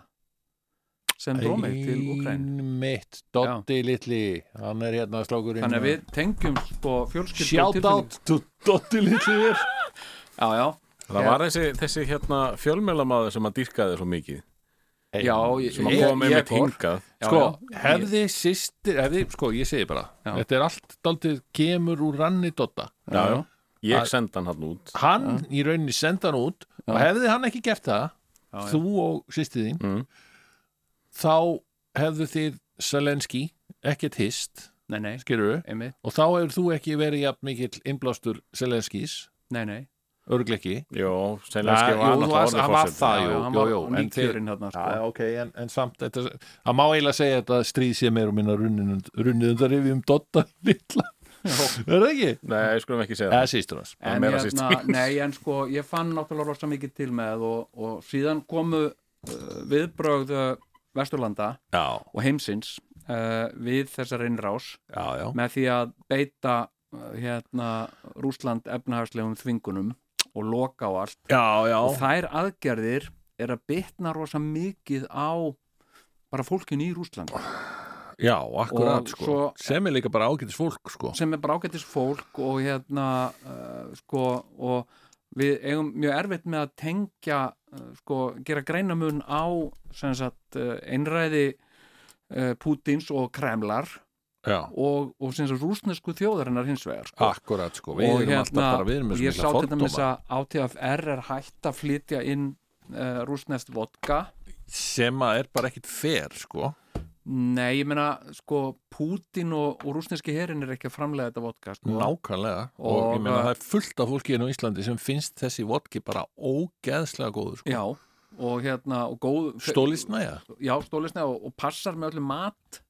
sem drómið um til Ukræn
Einmitt, Doddi litli hann er hérna slókurinn
þannig að við tengjum sko fjölskyldu og
Shout
tilfinningar.
out to Doddi litli þér
já, já,
Það var þessi, þessi hérna fjölmjölamaður sem að dýrkaði svo mikið
já, ég,
sem að
ég,
koma með
ég
mitt
fór
hingað
Já,
sko,
já,
hefði sýstir hefði, sko, ég segi bara,
Já.
þetta er allt daldið kemur úr ranni Dodda
já, já,
Ég sendi hann hann út
hann í rauninni senda hann út og hefði hann ekki gert það
já.
þú og sýstið þín
Mm.
þá hefðu þið Selenski ekkert hist
nei, nei,
skilur
einmitt,
og þá hefur þú ekki verið jafn mikill innblástur Selenskis,
nei, nei
örgleiki
Jó,
Ja,
Selenski var
jú, þú varst-
náttúrulega
hann var
orðið
það,
fórseti
jú.
hann var
jú, en
nýkjörinn þarna sko
Já, já, ok, en, en samt þetta, það má eiginlega segja þetta stríð sé meir og minna runnið und- runnið undan yfir um Dotta [LAUGHS] litla er það ekki?
Nei, ég skulum ekki segja
Eða
það
sýstur hans
Það er
en
meira
hérna,
sýstir.
nei, en sko ég fann náttúrulega rosa mikið til með og, og síðan komu uh, viðbrögð uh, Vesturlanda
Já,
og heimsins uh, við þessar innrás
já, já
með því að beita uh, hérna Rúsland efnahagslegum þvingunum og loka á allt
Já, já
og þær aðgerðir er að bitna rosa mikið á bara fólkinu í Rúsland
Já, akkurat,
Og
sko
svo-
sem er líka bara ágætis fólk, sko
sem er bara ágættis fólk og hérna uh, sko og við eigum mjög erfitt með að tengja uh, sko gera greinamun á sem sagt uh, einræði uh, Pútins og Kremlar
Já,
og, og sem sagt rúsnesku þjóðarinnar hins vegar sko.
akkurat, sko Við erum alltaf bara, við erum
og
með
ég sá
svo
til
mikla
dæmis
fordóma
að ATFR er hægt að flytja inn uh, rúsnest vodka
sem að er bara ekkit fer, sko
nei, ég meina sko Pútin og, og rúsneski herin er ekki að framlega þetta vodka sko.
Nákvæmlega Mm. og,
Og,
ég meina
uh,
það er fullt af fólki hérna á Íslandi sem finnst þessi vodki bara ógeðslega góður sko.
já, og hérna og góð,
Stólisnæja
já, stólisnæja og, og passar með öllu mat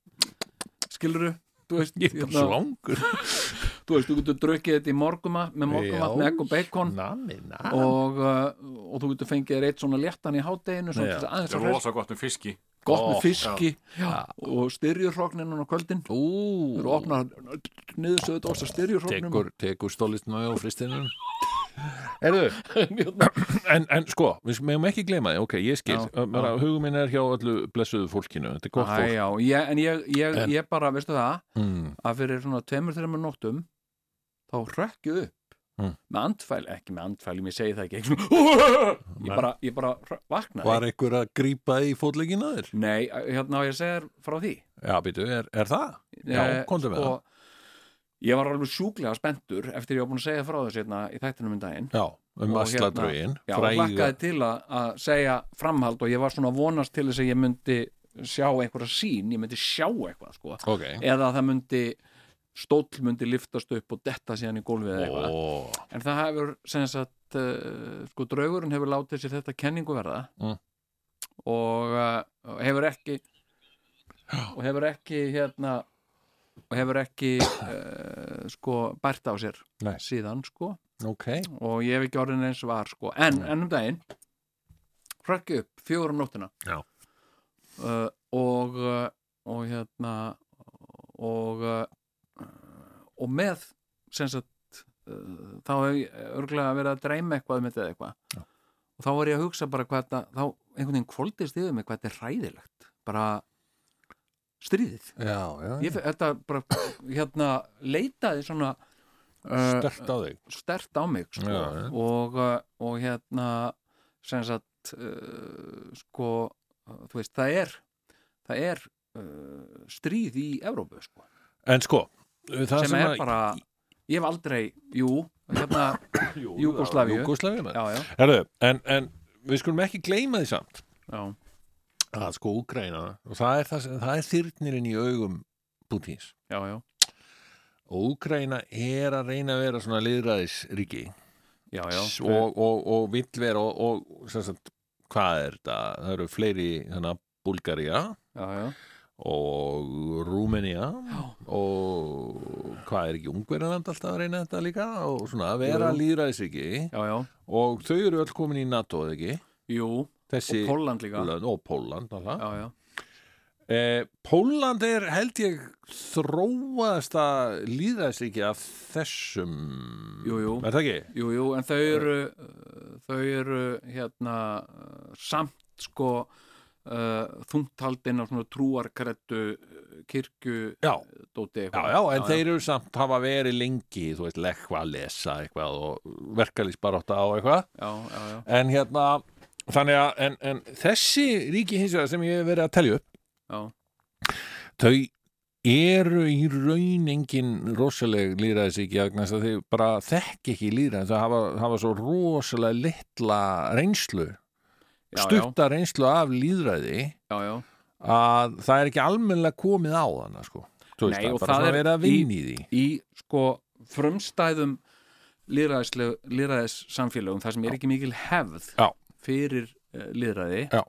skiluru þú veist, hérna,
Ég er bara svangur
þú veist, þú getur drukkið þetta í morguma með morgumat
Já.
með egg og bacon
Nami, nami
og, uh, og þú getur fengið þér eitt svona léttan í hádeginu svona
Já.
til þess að aðeins að hreist,
rosa gott um fiski
gott
Ó,
með fiski já. og styrjurhrogninu á kvöldin
Ú,
þú eru að opna niður söðu dósta styrjurhrognum
tekur, tekur stólisnæja og fristinum Erðu [COUGHS] en, en sko, við meðum ekki gleyma því Ok, ég skil,
Já,
já, bara, hugum minn er hjá öllu blessuðu fólkinu, þetta er gott
Æ,
fólk
já, ég, en ég, ég,
En-
ég bara, veistu það
mm.
að fyrir svona tveimur, þreimur nóttum þá rökkju upp
Mm.
með andfæl, ekki með andfæl, ég segi það ekki
[LAUGHS]
ekki svona, ég
Nei.
bara, ég bara hrö- vaknaði
Var einhver að grípa í fótleikina þér?
Nei, hérna á ég að segja þér frá því
Já, býtu, er, er það? Já,
Eh,
komdu með
sko, Ég var alveg sjúklega spenntur eftir ég var búin að segja frá þessu hérna í þættinum um daginn
Já, hérna, um
Og
Asladrögin
Já, og vakkaði til að, að segja framhald og ég var svona að vonast til þess að ég myndi sjá einhverja sín, ég myndi sjá eitthvað sko,
Ok,
eða að það myndi stóll myndi liftast upp og detta síðan í gólfið eða eitthvað
ó
En það hefur, sem sagt, uh, sko, draugurinn hefur látið sér þetta kenningu verða
Mm.
og uh, hefur ekki og hefur ekki, hérna, og hefur ekki, uh, sko, bært á sér
Nei.
síðan, sko,
Ok,
og ég hef ekki orðin eins var, sko, en,
Nei.
en um daginn, hrakki upp, fjögur um nóttina
Já.
uh, og, uh, og, hérna, og, uh, og með, sem sagt, uh, þá hef ég örgulega verið að dreyma eitthvað um þetta eða eitthvað og þá var ég að hugsa bara hvað þetta þá einhvern veginn kvöldist yfir mig hvað þetta er hræðilegt bara stríðið
já, já,
ég, fe- þetta bara hérna leitaði svona uh,
stert á þig
stert á mig sko.
Já, já.
og, uh, og hérna sem sagt uh, sko, uh, þú veist, það er það er uh, stríð í Evrópu sko
En sko, það
sem er bara ég hef aldrei, jú hérna,
[COUGHS]
Júgóslavíu
Júkoslavíu með
já, já,
Herðu, en, en við skulum ekki gleyma því samt
já,
að sko Úkraina og það er, það, sem- það er þyrnirinn í augum Pútins
já, já,
og Úkraina er að reyna að vera svona liðræðisríki
já, já.
S- og, og, og vill vera og, og sem sagt, hvað er þetta? Það eru fleiri þannig Búlgaría
já, já.
og Rúmenía
Já.
og hvað er ekki Ungverjaland alltaf að reyna þetta líka og svona að vera líðræðisríki
já, já.
og þau eru öll komin í NATO eða ekki
Jú,
þessi
og Pólland líka
lönd og Póland alltaf
já, já,
Eh, Eh, Pólland er held ég þróaðast að líðast ekki af þessum
Jú, jú.
Er það ekki?
Jú, jú, en þau eru uh, þau eru hérna uh, samt sko uh, þungtaldin á svona eh, trúarkrettu kirkju
Já,
dóti
já, já, en þeir eru samt hafa verið lengi, þú veist, lekva að lesa eitthvað og verkalýsbaróta á eitthvað
já, já, já.
en hérna, þannig að en, en þessi ríki hins vegar sem ég hef verið að telja upp
Já.
þau eru í raun engin rosaleg lýræðisíki vegna þess að þau bara þekki ekki lýræðis þau hafa, hafa svo rosalega litla reynslu,
Já, já,
stutta reynslu af lýðræði
já, já.
að það er ekki almennilega komið á þannig sko. Þú veist,
Nei,
það
og
er bara
það
svona
er
verið að
í-
vinna í því
í sko frumstæðum lýræðis samfélögum þar sem er ekki mikil hefð
Já.
fyrir uh, lýræði
Já.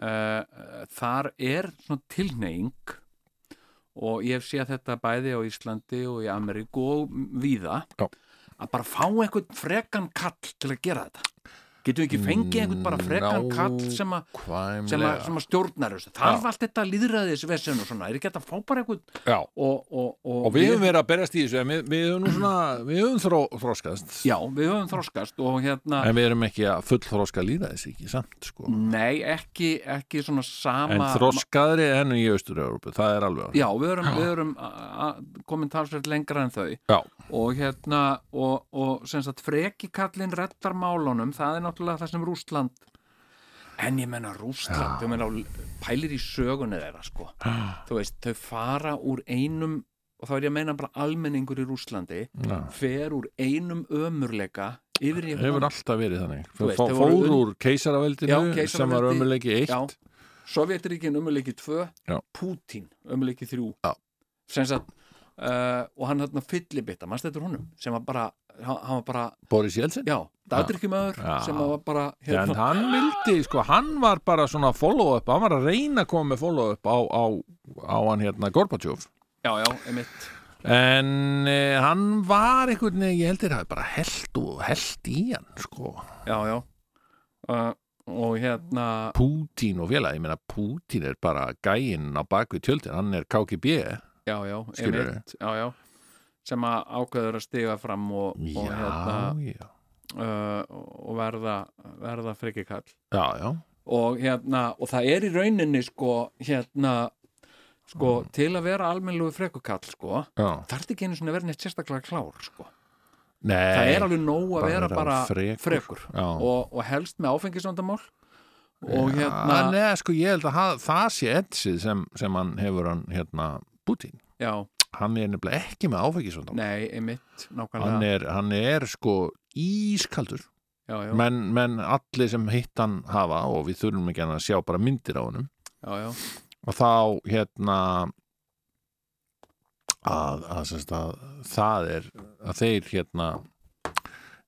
Uh, þar er svona tilneying og ég hef séð þetta bæði á Íslandi og í Ameríku og víða
Já.
að bara fá einhvern frekan kall til að gera þetta getum við ekki fengið einhvern bara frekan
Mm, Ná-
kall sem að sem að, sem
Kvæmlega
að stjórnar þessu. þarf allt þetta lýðræðisvesen og svona, er ekki hægt að fá bara einhvern
Já,
og, og, og,
og við höfum verið að berjast í þessu en við, við höfum nú svona, við höfum þró, þróskast
Já, við höfum þroskast og hérna
En við erum ekki að fullþroska lýðræðisíki samt sko
Nei, ekki, ekki svona sama
En þroskaðri enn í Austur-Európu, það er alveg á hreinu.
Já, við erum, við erum a- a- komin talsveit lengra en þau
Já.
og hérna og, og sem sagt frekikallin rettar málunum, það er náttúrulega það sem Rússland en ég menna Rússland, ég menna pælir í sögunni þeirra sko þú veist, þau fara úr einum og þá er ég að meina bara almenningur í Rússlandi
Já.
fer úr einum ömurleika yfir í
Það hefur alltaf verið þannig.
Þú
Þú veist,
veist, þau voru
fór
un-
úr keisaraveldinu
Já,
sem var
keisaraveldi.
ömulegi eitt.
Já, Sovjeturíkin ömuleiki 2
Já.
Putin ömuleiki 3
Já.
sem sagt Uh, og hann hérna fyllibitta, mannst þetta er honum sem var bara, hann hann var bara
Boris Jeltsin.
já, dagdrykkjumöður
Já.
sem að var bara hérna.
En hann vildi, sko, hann var bara svona follow-up, hann var að reyna að koma með follow-up á, á, á hann hérna Gorbachev.
já, já, emitt
En eh, hann var einhvern veginn, ég heldur, hafi bara held og held í hann, sko.
já, já uh, og hérna
Pútín og félag, ég meina Pútín er bara gæinn á bakvið tjöldin, hann er KGB.
já, já,
Skilurðu?
emitt já, já, sem að ákveður að stiga fram og, og,
já,
hérna,
já,
uh, og verða verða frikikall
já, já.
og hérna, og það er í rauninni sko, hérna sko,
Mm.
til að vera almennlegu frekukall sko,
já.
þarf ekki einu svona að vera neitt sérstaklega klár sko,
Nei.
það er alveg nóg að
bara
vera
vera
bara
frekur.
frekur,
Já.
Og, og helst með áfengisvandamál og
hérna...
hérna
Nei, sko, ég held að ha- það sé etsið sem, sem hann hefur hann, hérna, Putin.
já,
Hann er nefnilega ekki með áfengisvandamál.
nei, einmitt
Hann
nákvæmlega,
er, hann er sko ískaldur.
já, já,
Menn, menn allir sem hitt hann hafa og við þurfum ekki annað að sjá bara myndir á honum.
já, já,
Og þá, hérna, að, að, semst, að það er, að þeir, hérna,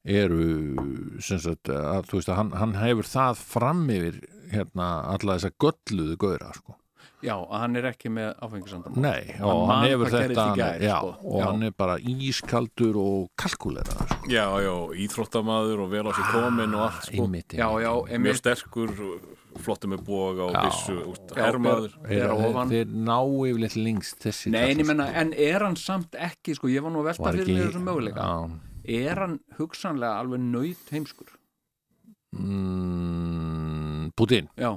eru, sem sagt, að, þú veist að hann, hann hefur það fram yfir, hérna, alla þessa gölluðu gauðra, sko.
já, að hann er ekki með áfengisvandamál
Nei,
Hann
og
man
hann hefur
hvað gerðist
þetta
í gær,
já,
sko.
og
Já.
hann er bara ískaldur og kalkulera sko.
Já, já, íþróttamaður og vel á sér komin og allt sko.
einmitt,
já, já,
Mjög
einmitt,
sterkur, flottur með boga og
Já.
vissu, út, hermaður
Þeir,
er að
þeir,
ofan
þeir ná yfirleitt lengst þessi
Nei, en ég
kallar,
menna,
sko.
en er hann samt ekki, sko, ég var nú að velta
Var
fyrir
ekki-
mér þessum möguleika
já,
er hann hugsanlega alveg nöyt heimskur
mm, Putin
já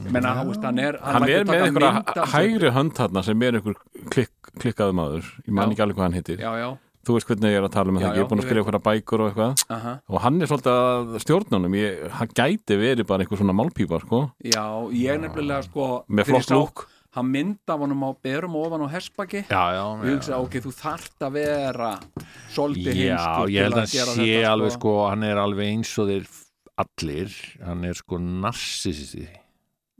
ég meina hann, veist, hann er
Hann er
lætur
með
taka mynd
einhverja
af sér.
hægri hönd þarna sem er einhver klikk, klikkaðu maður Ég man
Já.
ekki alveg hvað hann hittir
já já
Þú veist hvernig ég er að tala um
Já,
það Ég
já,
er búin
ég
að skrifa einhverja bækur og eitthvað
aha.
Og hann er svolítið að stjórnunum ég, Hann gæti verið bara einhver svona málpípa sko.
já ég nefnilega sko
Með
þegar ég
flott lúk.
sá hann mynd af honum á berum ofan á hespaki
Já, já,
og ég hugsa ok þú þart að vera
já,
svolítið heimskur
ég held
til
að hann
gera
sé
þetta,
alveg sko, hann er alveg eins og þeir allir, hann er sko narsisti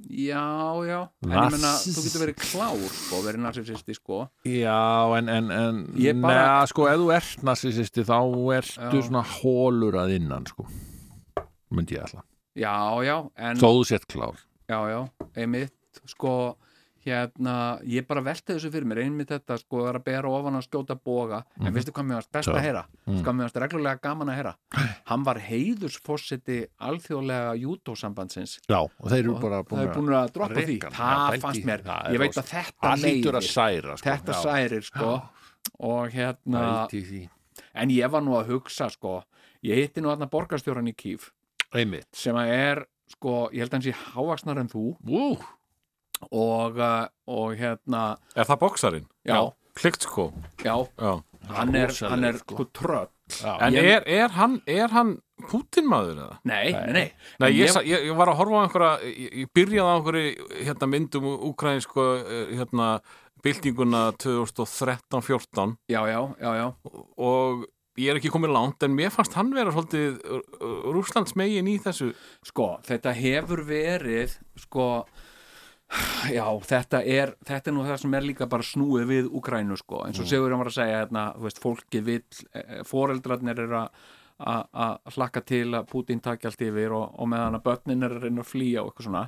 já já en ég meina
Narsiss-
þú getur verið klár sko verið narcissisti sko
Já, en, en, en
Ég bara-
neða, sko, ef þú ert narcissisti þá ertu
Já.
svona hólur að innan, sko myndi ég ætla,
já já en
þó þú sett klár
já já einmitt sko hérna, ég bara velti þessu fyrir mér einmitt þetta, sko, það er að bera ofan að skjóta boga,
Mhm.
en veistu hvað mér varst best að heyra
Mm.
hvað mér varst reglulega gaman að heyra hann var heiðusfossiti alþjóðlega jútósambandsins
Já, og þeir eru
Og
bara
það er
búin
búin að droppa því
Rikkan, það
það
er
fannst
ekki-
mér,
það er
ég veit
rosa-
að þetta
Það lítur að
leiðir,
særa sko.
þetta
Já,
særir sko, og hérna
pældi í því.
en ég var nú að hugsa sko, ég hitti nú aðna borgarstjóran í Kíf
Einmitt
sem að er, sko, ég held að hans í hávaksnar en þú
Ú,
og, uh, og hérna
Er það bóksarinn?
já,
Kliktskó
já,
sko. Já.
hann er,
rosalegur,
hann er
sko.
sko tröll
já,
En
Ég-
er, er hann, er hann Putin-maður eða?
nei, nei, nei,
Nei,
En
ég,
ég-
sa- ég, ég var að horfa á einhverja, ég, ég byrjaði á einhverju hérna, myndum ukrainsku hérna, byltinguna 2013-14
já, já, já, já
og ég er ekki komið langt en mér fannst hann vera svolítið Rúslands megin í þessu
sko, þetta hefur verið sko já, þetta er, þetta er nú það sem er líka bara snúið við Ukrænu sko, eins og mm. Sigurjón var að segja hérna, þú veist, fólki vill, eh, foreldrarnir eru að að- að hlakka til að Putin taki allt yfir og, og meðan að börnin er að reyna að flýja og eitthvað svona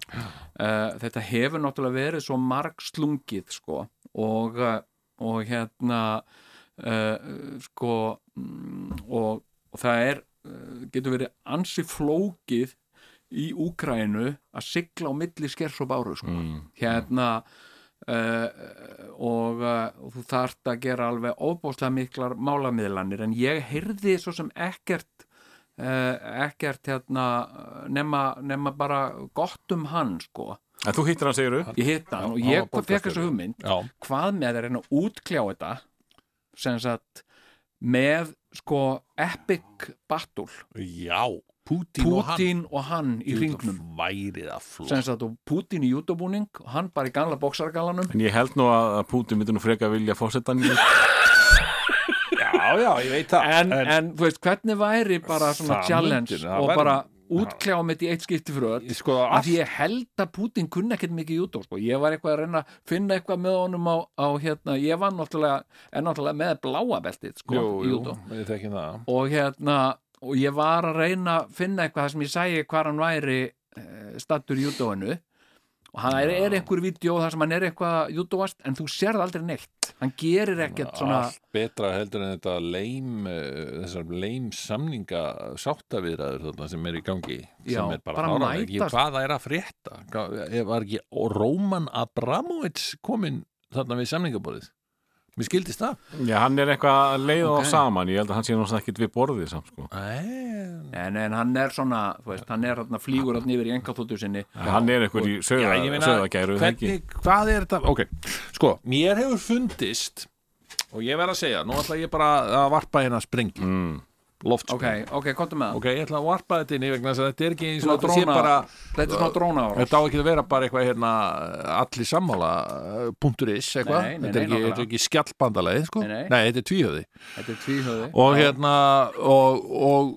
uh, þetta hefur náttúrulega verið svo marg slungið sko og, eh, og hérna uh, sko mm, og, og það er eh, getur verið ansi flókið í Úkrænu að sigla á milli skers og báru
Mm,
sko. hérna uh, og uh, þú þarft að gera alveg óbóðslega miklar málamiðlanir en ég heyrði svo sem ekkert uh, ekkert hérna eh, nema, nema bara gott um hann sko,
En þú hittir hann, segir
ég hitt hann og
Hann
ég
var
fekk þessu hugmynd
já.
hvað með að reyna að útkljá þetta sem sagt með sko epic battle
já. Putin, og hann
Putin og hann í ringnum
væri það flott
sem sagt og Putin í jútobúning og hann bara í gamla bóksargalanum
En ég held nú að að Putin myndi nú freka vilja fórsetan í
Já, já, ég veit það
en, en þú veist hvernig væri bara svona
Það
challenge
myndi- það
og
væri-
bara útkljá mitt í eitt skipti fyrir öll
Ég sko,
af því ég held að Putin kunna ekkert mikið jútó sko. ég var eitthvað að reyna að finna eitthvað með honum á, á hérna, ég var náttúrulega en náttúrulega með bláa beltið sko,
jú,
í
jú,
júdó.
ég þekki það
og hérna og ég var að reyna að finna eitthvað þar sem ég sægi hvar hann væri uh, stattur í júdóinu og hann er, er einhver vídeo þar sem hann er eitthvað að júdóast en þú sérð aldrei neitt hann gerir ekkert svona
allt betra heldur en þetta leim eh, þessar leim samninga sáttaviðræður þarna sem er í gangi
Já,
sem er bara,
bara
bara ekki
mætast.
hvað það er að frétta Hvað- eh, var ekki Róman Abramovits kominn þarna við samningaborðið mér skildist það
Já, hann er eitthvað að leiða
Ok.
okay. á saman Ég held að hann sé nú svona ekkit við borðið samt sko.
en,
en, en hann er svona, þú veist, hann er hann flýgur hann yfir í engaþóttu sinni
Hann er eitthvað í sögða,
ég meina,
sögðagæru ekki.
hvernig, hvað er þetta ok, sko, mér hefur fundist og ég verð að segja, nú ætla ég bara að varpa hérna sprengi
Mm.
loftsprengi
ok, ok, komdu með það
Ok, ég ætla að varpa þetta inn í vegna þess að þetta er ekki eins
Svona
og þetta sé
dróna-
bara
þetta er svona dróna ára
Þetta á ekki að vera bara eitthvað hérna allir sammála uh, punktur is eitthvað,
Nei, nei, nei,
þetta er ekki,
nákvæmlega.
þetta er ekki skjallbandalegi sko,
Nei, nei.
þetta er tvíhöði
þetta er tvíhöði
og hérna og, og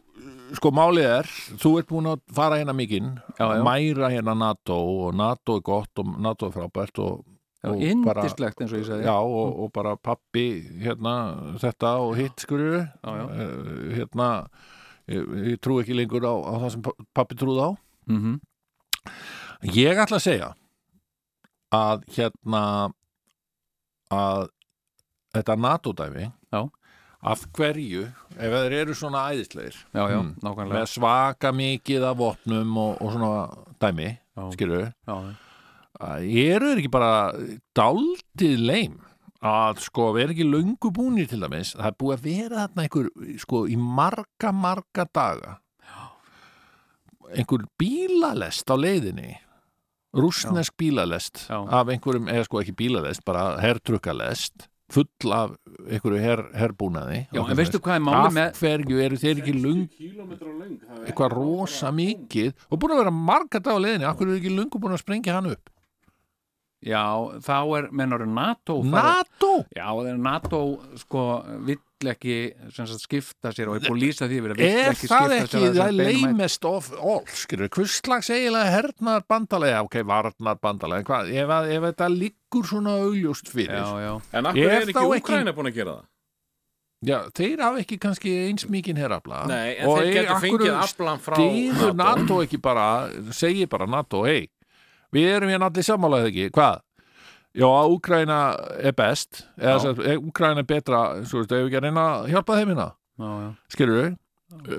sko málið er þú ert búin að fara hérna mikinn
Já, já.
mæra hérna NATO og NATO er gott og NATO er frábært og, og bara,
indislegt eins og ég segi
já, og, og bara pappi hérna þetta og hitt skurur
já, já.
hérna ég, ég trú ekki lengur á, á það sem pa- pappi trúði á
Mm -hmm.
Ég ætla að segja að hérna að þetta NATO-dæmi
Já.
af hverju, ef þeir eru svona æðislegir
já, já,
Mm.
nákvæmlega
með svaka mikið af vopnum og, og svona dæmi,
Já.
skilur
já,
eru þeir ekki bara daldið leim að sko vera ekki löngu búnir til dæmis, það er búið að vera þarna einhver sko í marga, marga daga einhver bílalest á leiðinni rússnesk bílalest
Já.
af einhverjum, eða sko ekki bílalest bara hertrukkalest full af einhverju her, herbúnaði
já
Og
en veistu hvað er
af
málið með
hverju eru þeir ekki lung eitthvað rosa mikið og búin að vera marga dag á leiðinni af hverju eru ekki lungu búin að sprengja hann upp
já, þá er, mennar NATO farið-
NATO
Já, það er NATO sko vill ekki sem sagt, skipta sér og ég er búin að lýsa því yfir að vill
er
ekki
það ekki
skipta sér að
það
þessum beinum hætti.
leimest of all skilur, hvers slags eiginlega hernar bandalega, ok, varnar bandalega hvað, ef, að- ef þetta liggur svona augljóst fyrir,
Já, já,
En af
Ég
hverju
þá
er ekki
ekki-
Úkraina búin að gera það?
Já, þeir hafa ekki kannski eins mikinn herafla
Nei, en þeir getur fengið aflan frá
stýður NATO ekki bara segir bara NATO, hei við erum hérna allir sammálaðið ekki, hvað? Já, að Úkraina er best eða sem, sagt, er Úkraina er betra svo veistu, ef við ekki að reyna að hjálpa þeim hérna
já, já,
skilur við,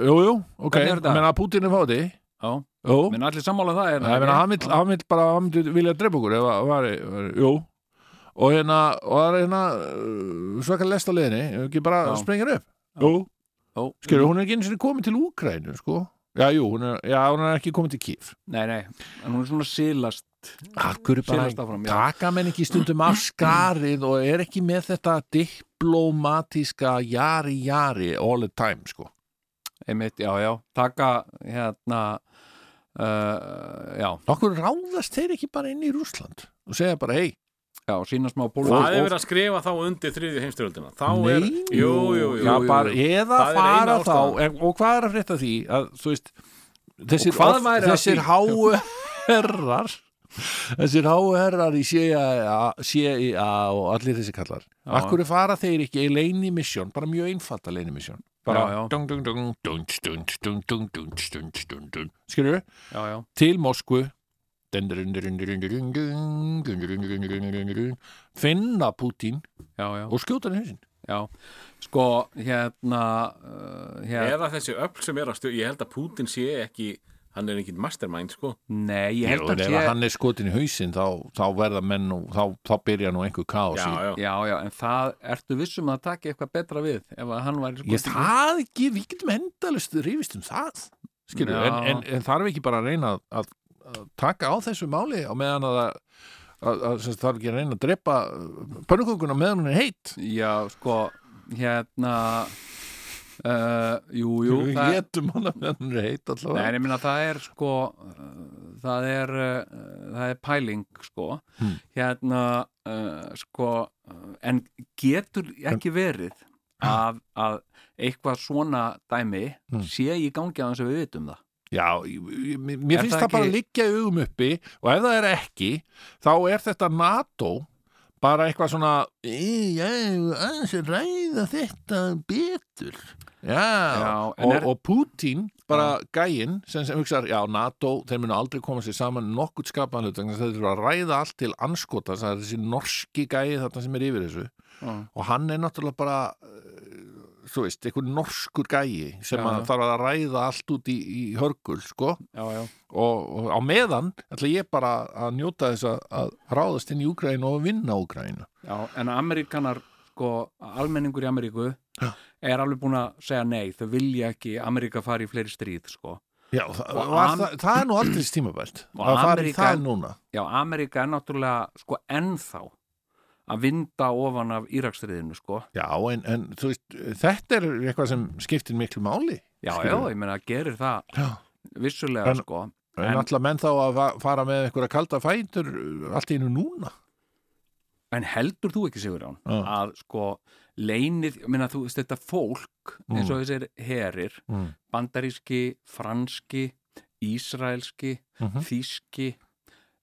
jú, jú, ok
Hvernig er þetta?
menna að Putin er fáti,
já
jú
menn allir sammála um það er það
Nei,
ekki?
menna, hann, vill, hann vill bara, hann vill vilja drepa okkur ef að var, var, jú og hérna, og það er hérna uh, svaka lest á leiðinni, ef ekki bara
Já.
sprengir upp,
Já.
jú,
Ó,
skilur hún er ekki eins og komin til Úkrainu, sko já, jú, hún er, já, hún er ekki komin til Kýf
nei, nei, en hún er svona silast
Akkur
silast áfram, já,
taka menn ekki stundum af skarið og er ekki með þetta diplomatíska jari jari all the time sko
einmitt, já, já taka, hérna uh, já,
okkur ráðast þeir ekki bara inn í Rússland og segja bara hei
já, sína smá bólum
Það er verið að skrifa þá undir þriðju heimstyrjöldina Þá er,
Nei.
jú, jú, jú,
Já,
jú,
bara,
jú.
eða
Það er
fara
eina
þá
ástæðan.
en, og hvað er að frétta af því að þú veist þessir,
Og hvað væri að
þessir
því?
háu [LAUGHS] herrar þessir háu herrar í CIA, CIA og allir þessi kallar
Já.
akkur fara þeir ekki í leini misjón bara mjög einfalda leini misjón bara
Já, já.
dung dung dung dung dung dung dung dung dung dung dung skilur
já, já,
til Moskvu Dun, dun, dun, dun, dun, dun, dun, dun, dun, dun, dun, dun, dun, dun. finna Putin
já, já,
og skjóta hann í hausinn
já sko, hérna uh, hérna,
Eða þessi öll sem er að stjórn Ég held að Putin sé ekki Hann er ekkit mastermind, sko
nei,
Jú,
ég held
en
að
ef
sé
hann er skotin í hausinn þá, þá verða menn og þá, þá byrja nú einhver kaos
Já,
í
já,
já, já, en það, ertu vissum að það taki eitthvað betra við ef að hann væri sko
ég, það ekki, við getum endalust rýfist um það skilur,
Já.
en, en, en þarf ekki bara að reyna að, að taka á þessu máli á meðan að, að, að, að sem sagt, þarf ekki að reyna að drepa pönnukokuna meðan hún er heitt
Já, sko, hérna uh, Jú, jú
við
það,
getum hana meðan hún er heitt
Nei, en
allavega
ég minna það er sko uh, það er uh, það er pæling, sko
Hmm.
hérna, uh, sko uh, en getur ekki verið að, að eitthvað svona dæmi
Ah. Hmm.
sé í gangi á þess að við vitum það
já, ég- ég- mér
Er
finnst
það
það bara
ekki-
að liggja í augum uppi og ef það er ekki, þá er þetta NATO bara eitthvað svona "Í, já, aðeins að ræða þetta betur já,
Já, en
og,
er-
og Putin bara gæinn sem, sem hugsar, já NATO þeir munu aldrei koma sér saman nokkurt skapanlut þeir þurfa að ræða allt til anskota það er þessi norski gæi þarna sem er yfir þessu
Já.
og hann er náttúrulega bara eh, þú veist, einhver norskur gæi sem
Já,
að
já.
þarf að ræða allt út í, í hörgul, sko
Já, já,
og, og á meðan ætla ég bara að njóta þess að, að ráðast inn í Úgræn og vinna Úgræn
já, en Amerikanar sko, almenningur í Ameríku er alveg búin að segja nei þau vilja ekki Ameríka fari í fleiri stríð, sko
Já, það,
Og
var,
Am-
það, það er nú aldrei tímabælt
Og
að fara í
Ameríkan-
það núna
Já, Amerika er náttúrulega sko ennþá að vinda ofan af Íraksriðinu sko.
Já, en, en þú veist, þetta er eitthvað sem skiptir miklu máli
Já, já,
Skilur.
ég meina, gerir það
Já.
vissulega
En-
sko.
En,
En-
alltaf menn þá að va- fara með einhverja kalda fætur uh, allt í einu núna
En heldur þú ekki, Sigurjón,
Já.
að sko leinið, ég meina, þú veist þetta fólk eins og þessir herir,
Mm.
bandaríski, franski, ísraelski,
Mhm.
þíski,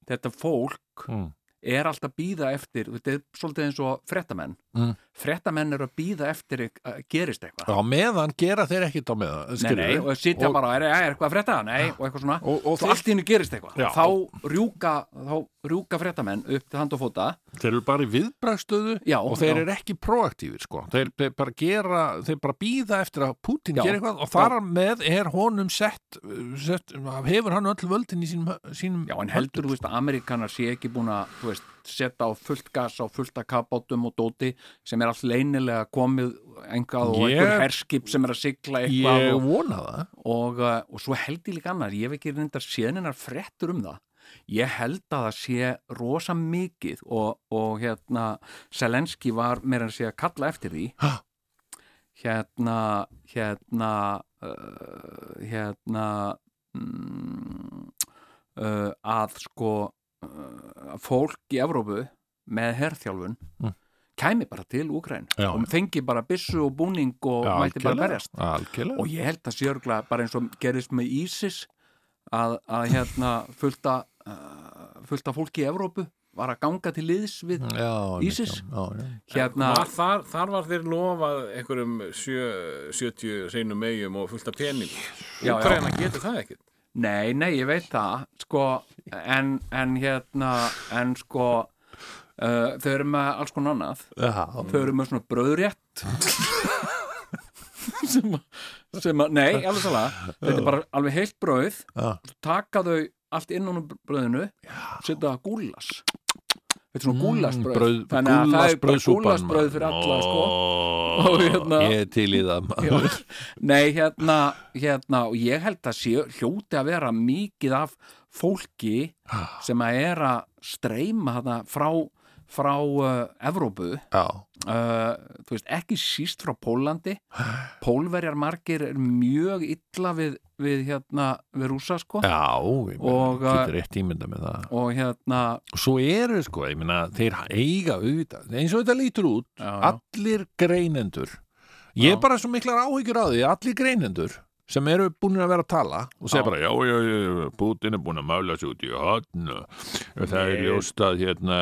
þetta fólk
Mm.
er alltaf að býða eftir, þetta er svolítið eins og frettamenn.
Mm.
Frettamenn eru að býða eftir e, að gerist eitthvað.
Á meðan gera þeir ekkit á meðan
nei, nei,
skilurðu?
og sitja
Og-
bara, Sko, er, er eitthvað að frétta? Nei, og eitthvað svona
og, og
og
þeir,
allt í hennu gerist eitthvað
Já.
þá rjúka, þá rjúka fréttamenn upp til hand og fóta
þeir eru bara í viðbræðstöðu
já,
og þeir
já,
eru ekki proaktífir sko. þeir, þeir bara gera, þeir bara býða eftir að Putin
Já.
gera eitthvað og þar með er honum sett, sett hefur hann öll völdin í sínum, sínum
já, en heldur, þú veist, að Amerikanar sé ekki búin að þú veist, setja á fullt gas á fullt að kapátum og dóti sem er allt leynilega komið engað og
Ég-
einhver herskip sem er að sigla eitthvað
ég
og,
vona það
og, uh, og svo held ég líka annars ég hef ekki reyndar séninar fréttur um það ég held að það sé rosa mikið og, og hérna Selenski var meira að sé að kalla eftir því
Ha?
hérna hérna uh, hérna mm, uh, að sko uh, fólk í Evrópu með herþjálfun
Mm.
kæmi bara til Úgræn
Já,
og fengi bara byssu og búning og
Já,
mætti bara
algjörlega.
berjast
algjörlega
og ég held að sjörgla bara eins og gerist með ISIS að, að hérna fullta uh, fullta fólki í Evrópu var að ganga til liðs við
já,
ISIS?
já, já, já.
hérna
Var þar, þar var þeir lofað einhverjum sjö, 70 seinum megjum og fullt af pening
Já, já.
Úkraina getur það ekkert
nei, nei, ég veit það sko, en, en hérna en sko uh, þau eru með alls konar annað
Já,
þau eru með svona bröðrétt sem, að- sem að, nei, alveg svolga þetta er bara alveg heilt bröð
Já.
taka þau allt innan úr bröðinu setja það gúlas þetta er svona
Mm,
gúlasbröð
brauð-
þannig að það er bara
gúllasbrauðsúpan,
gúlasbröð
maður.
fyrir alla sko.
Ó,
Og hérna-
Ég er til í það
Já.
maður.
nei, hérna, hérna og ég held að sé hljóti að vera mikið af fólki sem að er að streyma þarna frá, frá uh, Evrópu
Já,
uh, þú veist, ekki síst frá
[SIGHS]
Pólandi Pólverjar margir er mjög illa við, við hérna, við rúsa sko
já, ég
Og, uh,
meina, getur rétt ímynda með það
og hérna
og svo eru sko, ég meina, þeir eiga auðvitað, eins og þetta lítur út
já, já,
allir greinendur ég
Já.
er bara svo miklar áhyggjur á því að allir greinendur sem eru búin að vera að tala og segja
Já.
bara, já, já, já, já, Putin er búin að mála sig út í hotn og það er
Nei.
ljóst að hérna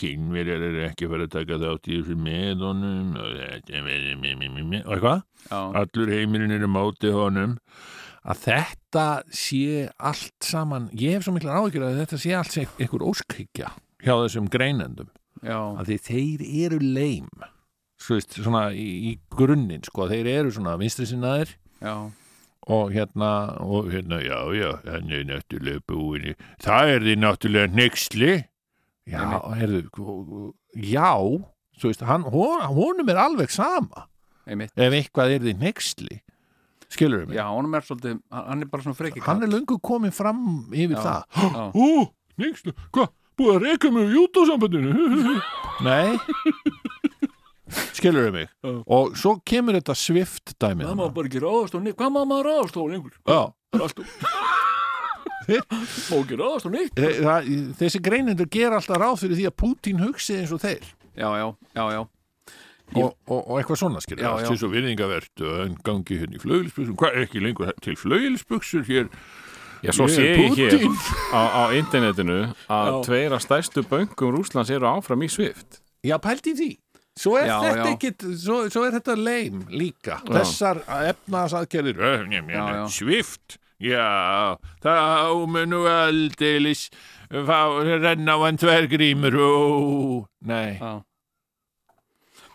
kynverjar er ekki fyrir að taka þátt í þessu með honum og þetta verður mi- mi- mi- mi- og eitthvað,
já,
allur heimurinn er á móti honum að þetta sé allt saman ég hef svo miklar áhyggjur að þetta sé allt sem einhver óskhyggja hjá þessum greinendum
já,
að því þeir eru leim svo veist, svona í, í grunninn sko, þeir eru svona vinstri sinnaðir
já,
og hérna, og hérna, já, já hann er náttúrulega búin í það er því náttúrulega nexli já, herðu já, svo veist, hann hon- honum er alveg sama
einmitt
ef eitthvað er því nexli skilur við mig,
já, honum er svolítið, hann- hann er bara svona freki
hann er löngu komin fram yfir
Já,
það [GASPS]
já.
Ú, nexli, hvað, búið að reyka mig í jútósambandinu [LAUGHS] Nei Skilur þau mig Og svo kemur þetta svift dæmið
það má bara ekki ráðast og neitt hvað má maður ráðast og neitt
Já,
[LAUGHS] má ekki ráðast og neitt
þe- það, þessi greinendur gera alltaf ráð fyrir því að Pútín hugsi eins og þeir
já, já, já, já,
og, og, og eitthvað svona skilur
Já,
allt
já.
þessu virðingavert og en gangi hérna í flögilsbuxum hvað ekki lengur til flögilsbuxur hér
Já, svo
Ég
sé
er
ég hér
Putin.
á, á internetinu að
Já.
tveir af stærstu bönkum Rúslands eru áfram í Svift.
Já, pældi í því Svo er
Já,
þetta
já.
ekkit, svo, svo er þetta leim líka Þessar efnaðsaðgerðir eh, njá, njá,
Já,
njá,
já.
Svift Já, þá munu aldeilis fá, renna á hann tvergrímur Ó, nei
já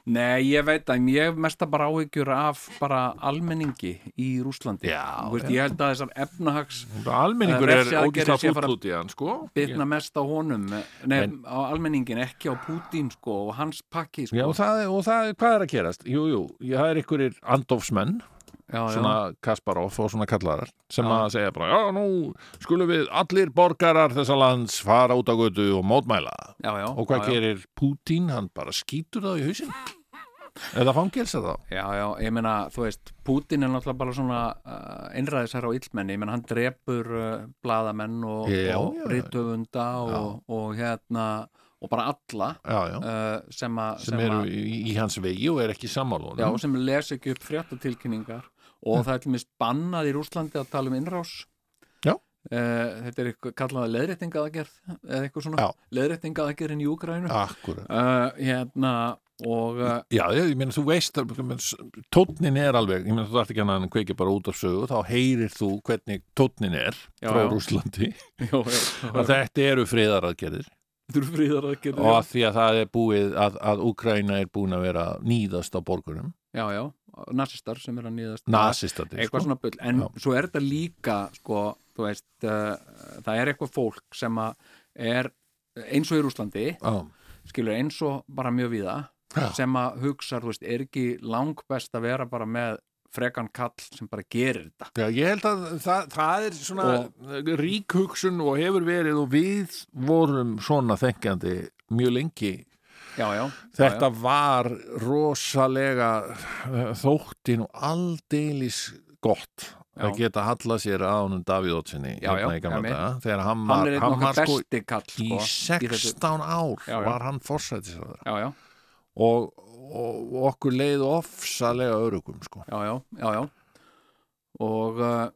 Nei, ég veit að ég hef mesta bara áhyggjur af bara almenningi í Rúslandi
Já,
Þú veist, ég held að þessar efnahags
Almenningur er
Refsiaðgerðir
ógislega
sé að fara-
fúll út í hann, sko
bitna mest á honum nei,
En-
á almenningin, ekki á Pútín sko, og hans pakki sko.
Já, og það, er- og það, er- hvað er að gerast? Jú, jú, það er einhverjir andofsmenn
já,
svona Kasparov og svona kallarar sem
Já.
að segja bara, já, nú skulum við allir borgarar þessa lands fara út á götu og mótmæla
já, já,
Og hvað
já, já.
gerir Pútín? Hann bara skýtur það í hausinn eða fangelsa það
Já, já, ég meina, þú veist, Pútín er náttúrulega bara svona uh, einræðisar á illmenni ég meina, hann drepur uh, bladamenn og,
Já,
og
já.
rithöfunda og, og hérna og bara alla
já, já.
uh, sem, a,
sem eru í, í hans vegi og er ekki sammálunum
já, sem les ekki upp fréttatilkynningar
Mm.
og það er til mist bannað í Rúslandi að tala um innrás
Já.
Eh, þetta er eitthvað kallaða leðréttingaðagerð eða eitthvað svona
Já.
leðréttingaðagerðin í Úgrænu
Akkurat.
uh, hérna og uh,
Já, ég ég meina þú veist að tónnin er alveg, ég meina þú þarft ekki hann að kveikja bara út af sögu, þá heyrir þú hvernig tónnin er
Já,
frá
já. [LAUGHS]
Rúslandi
já, já,
og þetta eru friðaraðgerðir
þetta eru fríðar að
og að því að það er búið að, að Úkraina er búin að vera nýðast á borgunum,
já, já, nasistar sem er að nýðast
nasistandi
eitthvað svona bull, en
sko. Já.
svo er þetta líka sko, þú veist, uh, það er eitthvað fólk sem að er eins og í Rúslandi
Já,
skilur eins og bara mjög víða
Já.
sem að hugsa, þú veist, er ekki langbest að vera bara með frekan kall sem bara gerir þetta
Já, ég held að það, það er svona rík hugsun og hefur verið og við vorum svona þenkjandi mjög lengi.
já, já,
Þetta var rosalega eh, þóttin og aldeilis gott
Já.
að geta halla sér að honum Davíð Ótsinni
Já, já,
í gamla
já,
daga þegar hann
hann
var,
er einn
hann
okkar
var sko
besti kall sko,
í
þessu.
16 ár
Já, já.
var hann forsætis
já, já,
og, og okkur leið ofsalega örugum sko.
já, já, já, já. og uh,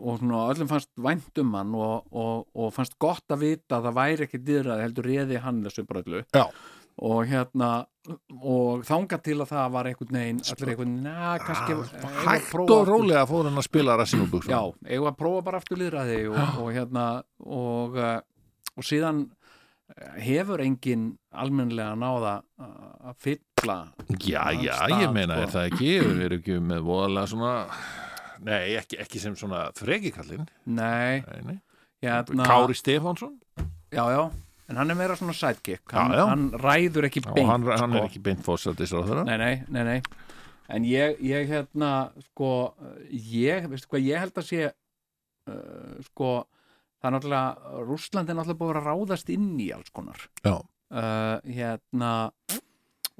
og svona öllum fannst væntum hann og, og, og fannst gott að vita að það væri ekki dýrað heldur réði hann þessu bröllu
Já.
og hérna og þanga til að það var einhvern veginn allir einhvern veginn, na, kannski eh, eigum við að prófa
Hægt Sko, ah, og sko.
aftur?"
rólega fór hann að spila rassinubúksum
Já, eigum við að prófa bara aftur líðræði uh, og, og hérna og, eh, og síðan hefur engin almennilega náða að fylla
Já,
Þann
já,
stað,
ég meina
sko.
er það ekki, við erum ekki með voðalega svona Nei, ekki, ekki sem svona frekikallinn
nei,
Nei, nei.
hérna
Kári Stefánsson
já, já, en hann er meira svona sidekick hann,
Já, já.
hann ræður ekki
og
beint
hann, hann
sko.
er ekki beint fórsættis á þeirra
nei, nei, nei, nei en ég, ég hérna sko, ég, veistu hvað, ég held að sé uh, sko það er náttúrulega, Rússland er náttúrulega búið að ráðast inn í alls konar
Já.
uh, hérna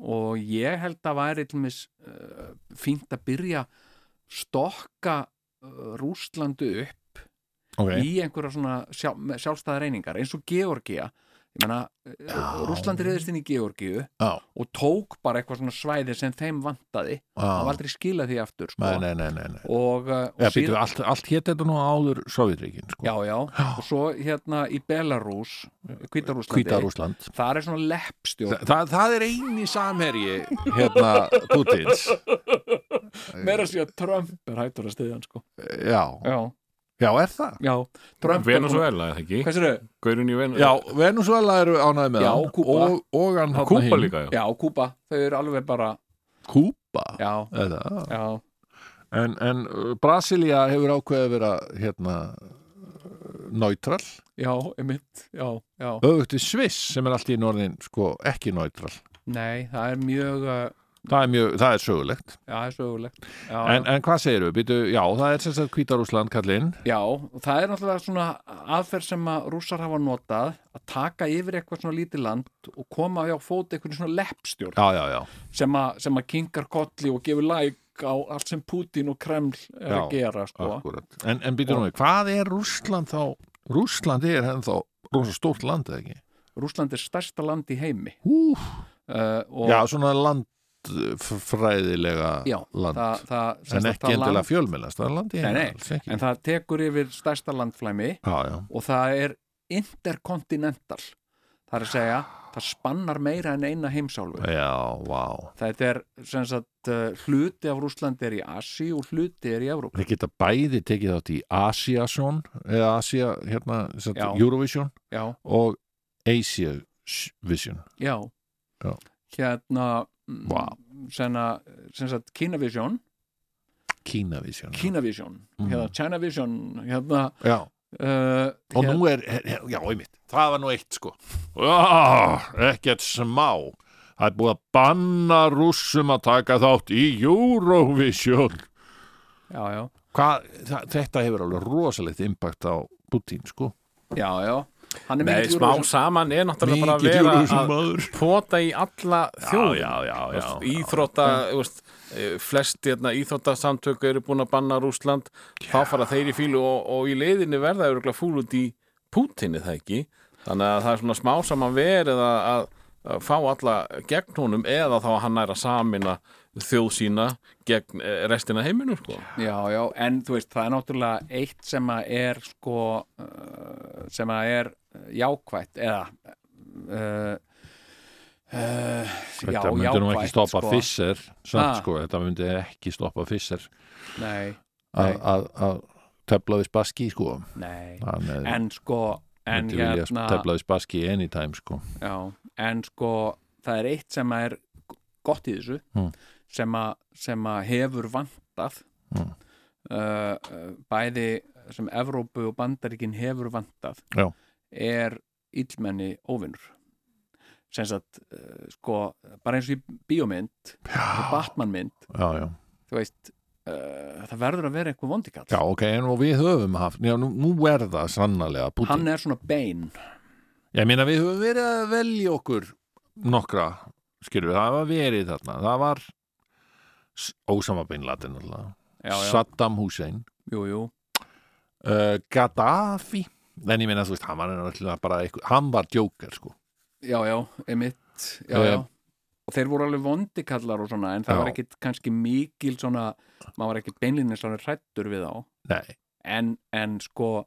og ég held að væri til mis uh, fínt að byrja stokka uh, Rússlandi upp
okay.
í einhverja svona sjálf, sjálfstæða reyningar eins og Georgia ég meina, eh,
Já.
Rússlandi reyðist inn í Georgiu
Já.
og tók bara eitthvað svona svæði sem þeim vantaði það var
Já.
aldrei skilað því aftur sko.
Nei, nei, nei, nei, nei.
og, uh, og
Já, býtu, allt, allt hétt þetta nú áður Sovjetríkin,
já,
sko,
já, og svo hérna í Belarus
hvíta
Hvítarúslandi
Rúsland
það er svona leppstjórn
Þa, það, það er eini samherji hérna Putins
meira að segja Trump er hættur að stiðja hann sko
Já,
já,
já, er það?
já, Trump er búinn-
Venezuela, eða ekki?
hvað sérðu?
Gaurinn í Venezuela
Já, Venezuela eru ánægð með
Já,
hann
Kúba.
og, og hann þarna
Kúpa
hinn.
líka, já
já, Kúba, þau eru alveg bara
Kúba
já,
Eða,
já,
En, en Brasilia hefur ákveðið að vera hérna neutral,
já, emitt já, já,
auðvitað við Sviss sem er allt í norðin sko ekki neutral
nei, það er mjög uh,
það er mjög, það er sögulegt
já, það er sögulegt já,
en, en hvað segir við, býtu, já það er sem sagt Hvítarúsland kallinn,
Já, og það er náttúrulega svona aðferð sem að rússar hafa notað að taka yfir eitthvað svona lítið land og koma á fót eitthvað svona leppstjórn
já já já
sem, að- sem að kinkar kolli og gefur læk á allt sem Putin og Kreml er
Já,
að gera sko.
akkurat, en, en býtu nú við, hvað er Rúsland þá, Rúsland er henn þá rosa stórt land eða ekki
Rússland er stærsta land í heimi
Úf,
uh, og
já svona landfræðilega
Já,
land,
það, það, sem
en
sagt,
ekki
það
endilega
land,
fjölmennast það er land í
Nei, nei,
alls ekki.
en það tekur yfir stærsta landflæmi
já já,
og það er interkontinental það er að segja, það spannar meira en eina heimsálfu
já, vá
Þetta er sem sagt uh, hluti af Rússlandi er í Asi og hluti er í Evrópu.
Þeir geta bæði tekið þátt í Asiason eða Asia, hérna, sem sagt,
Já.
Eurovision
Já,
og Asia Vision.
já.
Já.
Hérna, mm,
Vá.
senna, sem sagt Kínavision,
Kína Vision.
Kínavision,
Mhm.
hérna Chinavision, hérna,
Já,
uh,
og
hérna
nú er, er- já, einmitt, það var nú eitt sko. Já, ekkert smá. Það er búið að banna rússum að taka þátt í Eurovision.
já, já,
Hvað, það, þetta hefur alveg rosalegt impact á Putin sko.
já, já, hann er
Nei,
mikill
smá
Eurovision-
saman er náttúrulega bara að
Mikill
vera
Eurovision
að
maður.
pota í alla
Já,
þjóð
já, já, já.
Íþrótta, þú veist, eh, flest hérna, íþróttasamtök eru búin að banna Rúsland, þá fara þeir í fílu og, og í leiðinni verða öruglega fúl út í Pútinni það ekki þannig að það er svona smá saman verið að, að, að fá alla gegn honum eða þá að hann er að samina þjóð sína gegn eh, restina af heiminum sko.
Já, já, en þú veist, það er náttúrulega eitt sem að er sko uh, sem að er uh, jákvætt eða uh, uh, já,
Þetta myndi nú
jákvætt,
ekki stoppa
sko.
Fisser samt
Ha?
sko, þetta myndi ekki stoppa Fisser
Nei,
að-
Nei.
að að tefla við spaski sko
nei
hann er,
en sko en,
myndi vilja
hérna,
tefla við spaski anytime sko
já, en sko það er eitt sem er gott í þessu
Mm.
sem, að, sem að hefur vantað
Mm.
uh, uh, bæði sem Evrópu og Bandaríkin hefur vantað
Já.
er illmenni óvinnur sem sagt uh, sko bara eins og í bíómynd og Batmanmynd
já, já.
þú veist uh, það verður að vera eitthvað vondikall
já ok, en og við höfum haft já, nú, nú er það sannarlega Putin
hann er svona bein
ég meina við höfum verið að velja okkur nokkra, skilur við, það var verið þarna, það var Ósama Bin Laden alltaf,
já, já,
Saddam Hussein
jú, jú,
uh, Gaddafi en ég meina þú veist, hann var náttúrulega bara eitthvað, hann var djóker sko
já, já, emitt já,
Eh,
já. og þeir voru alveg vondikallar og svona en það
Já.
var ekkit kannski mikil svona, maður var ekkit beinlinni svona hrættur við þá
nei,
en, en sko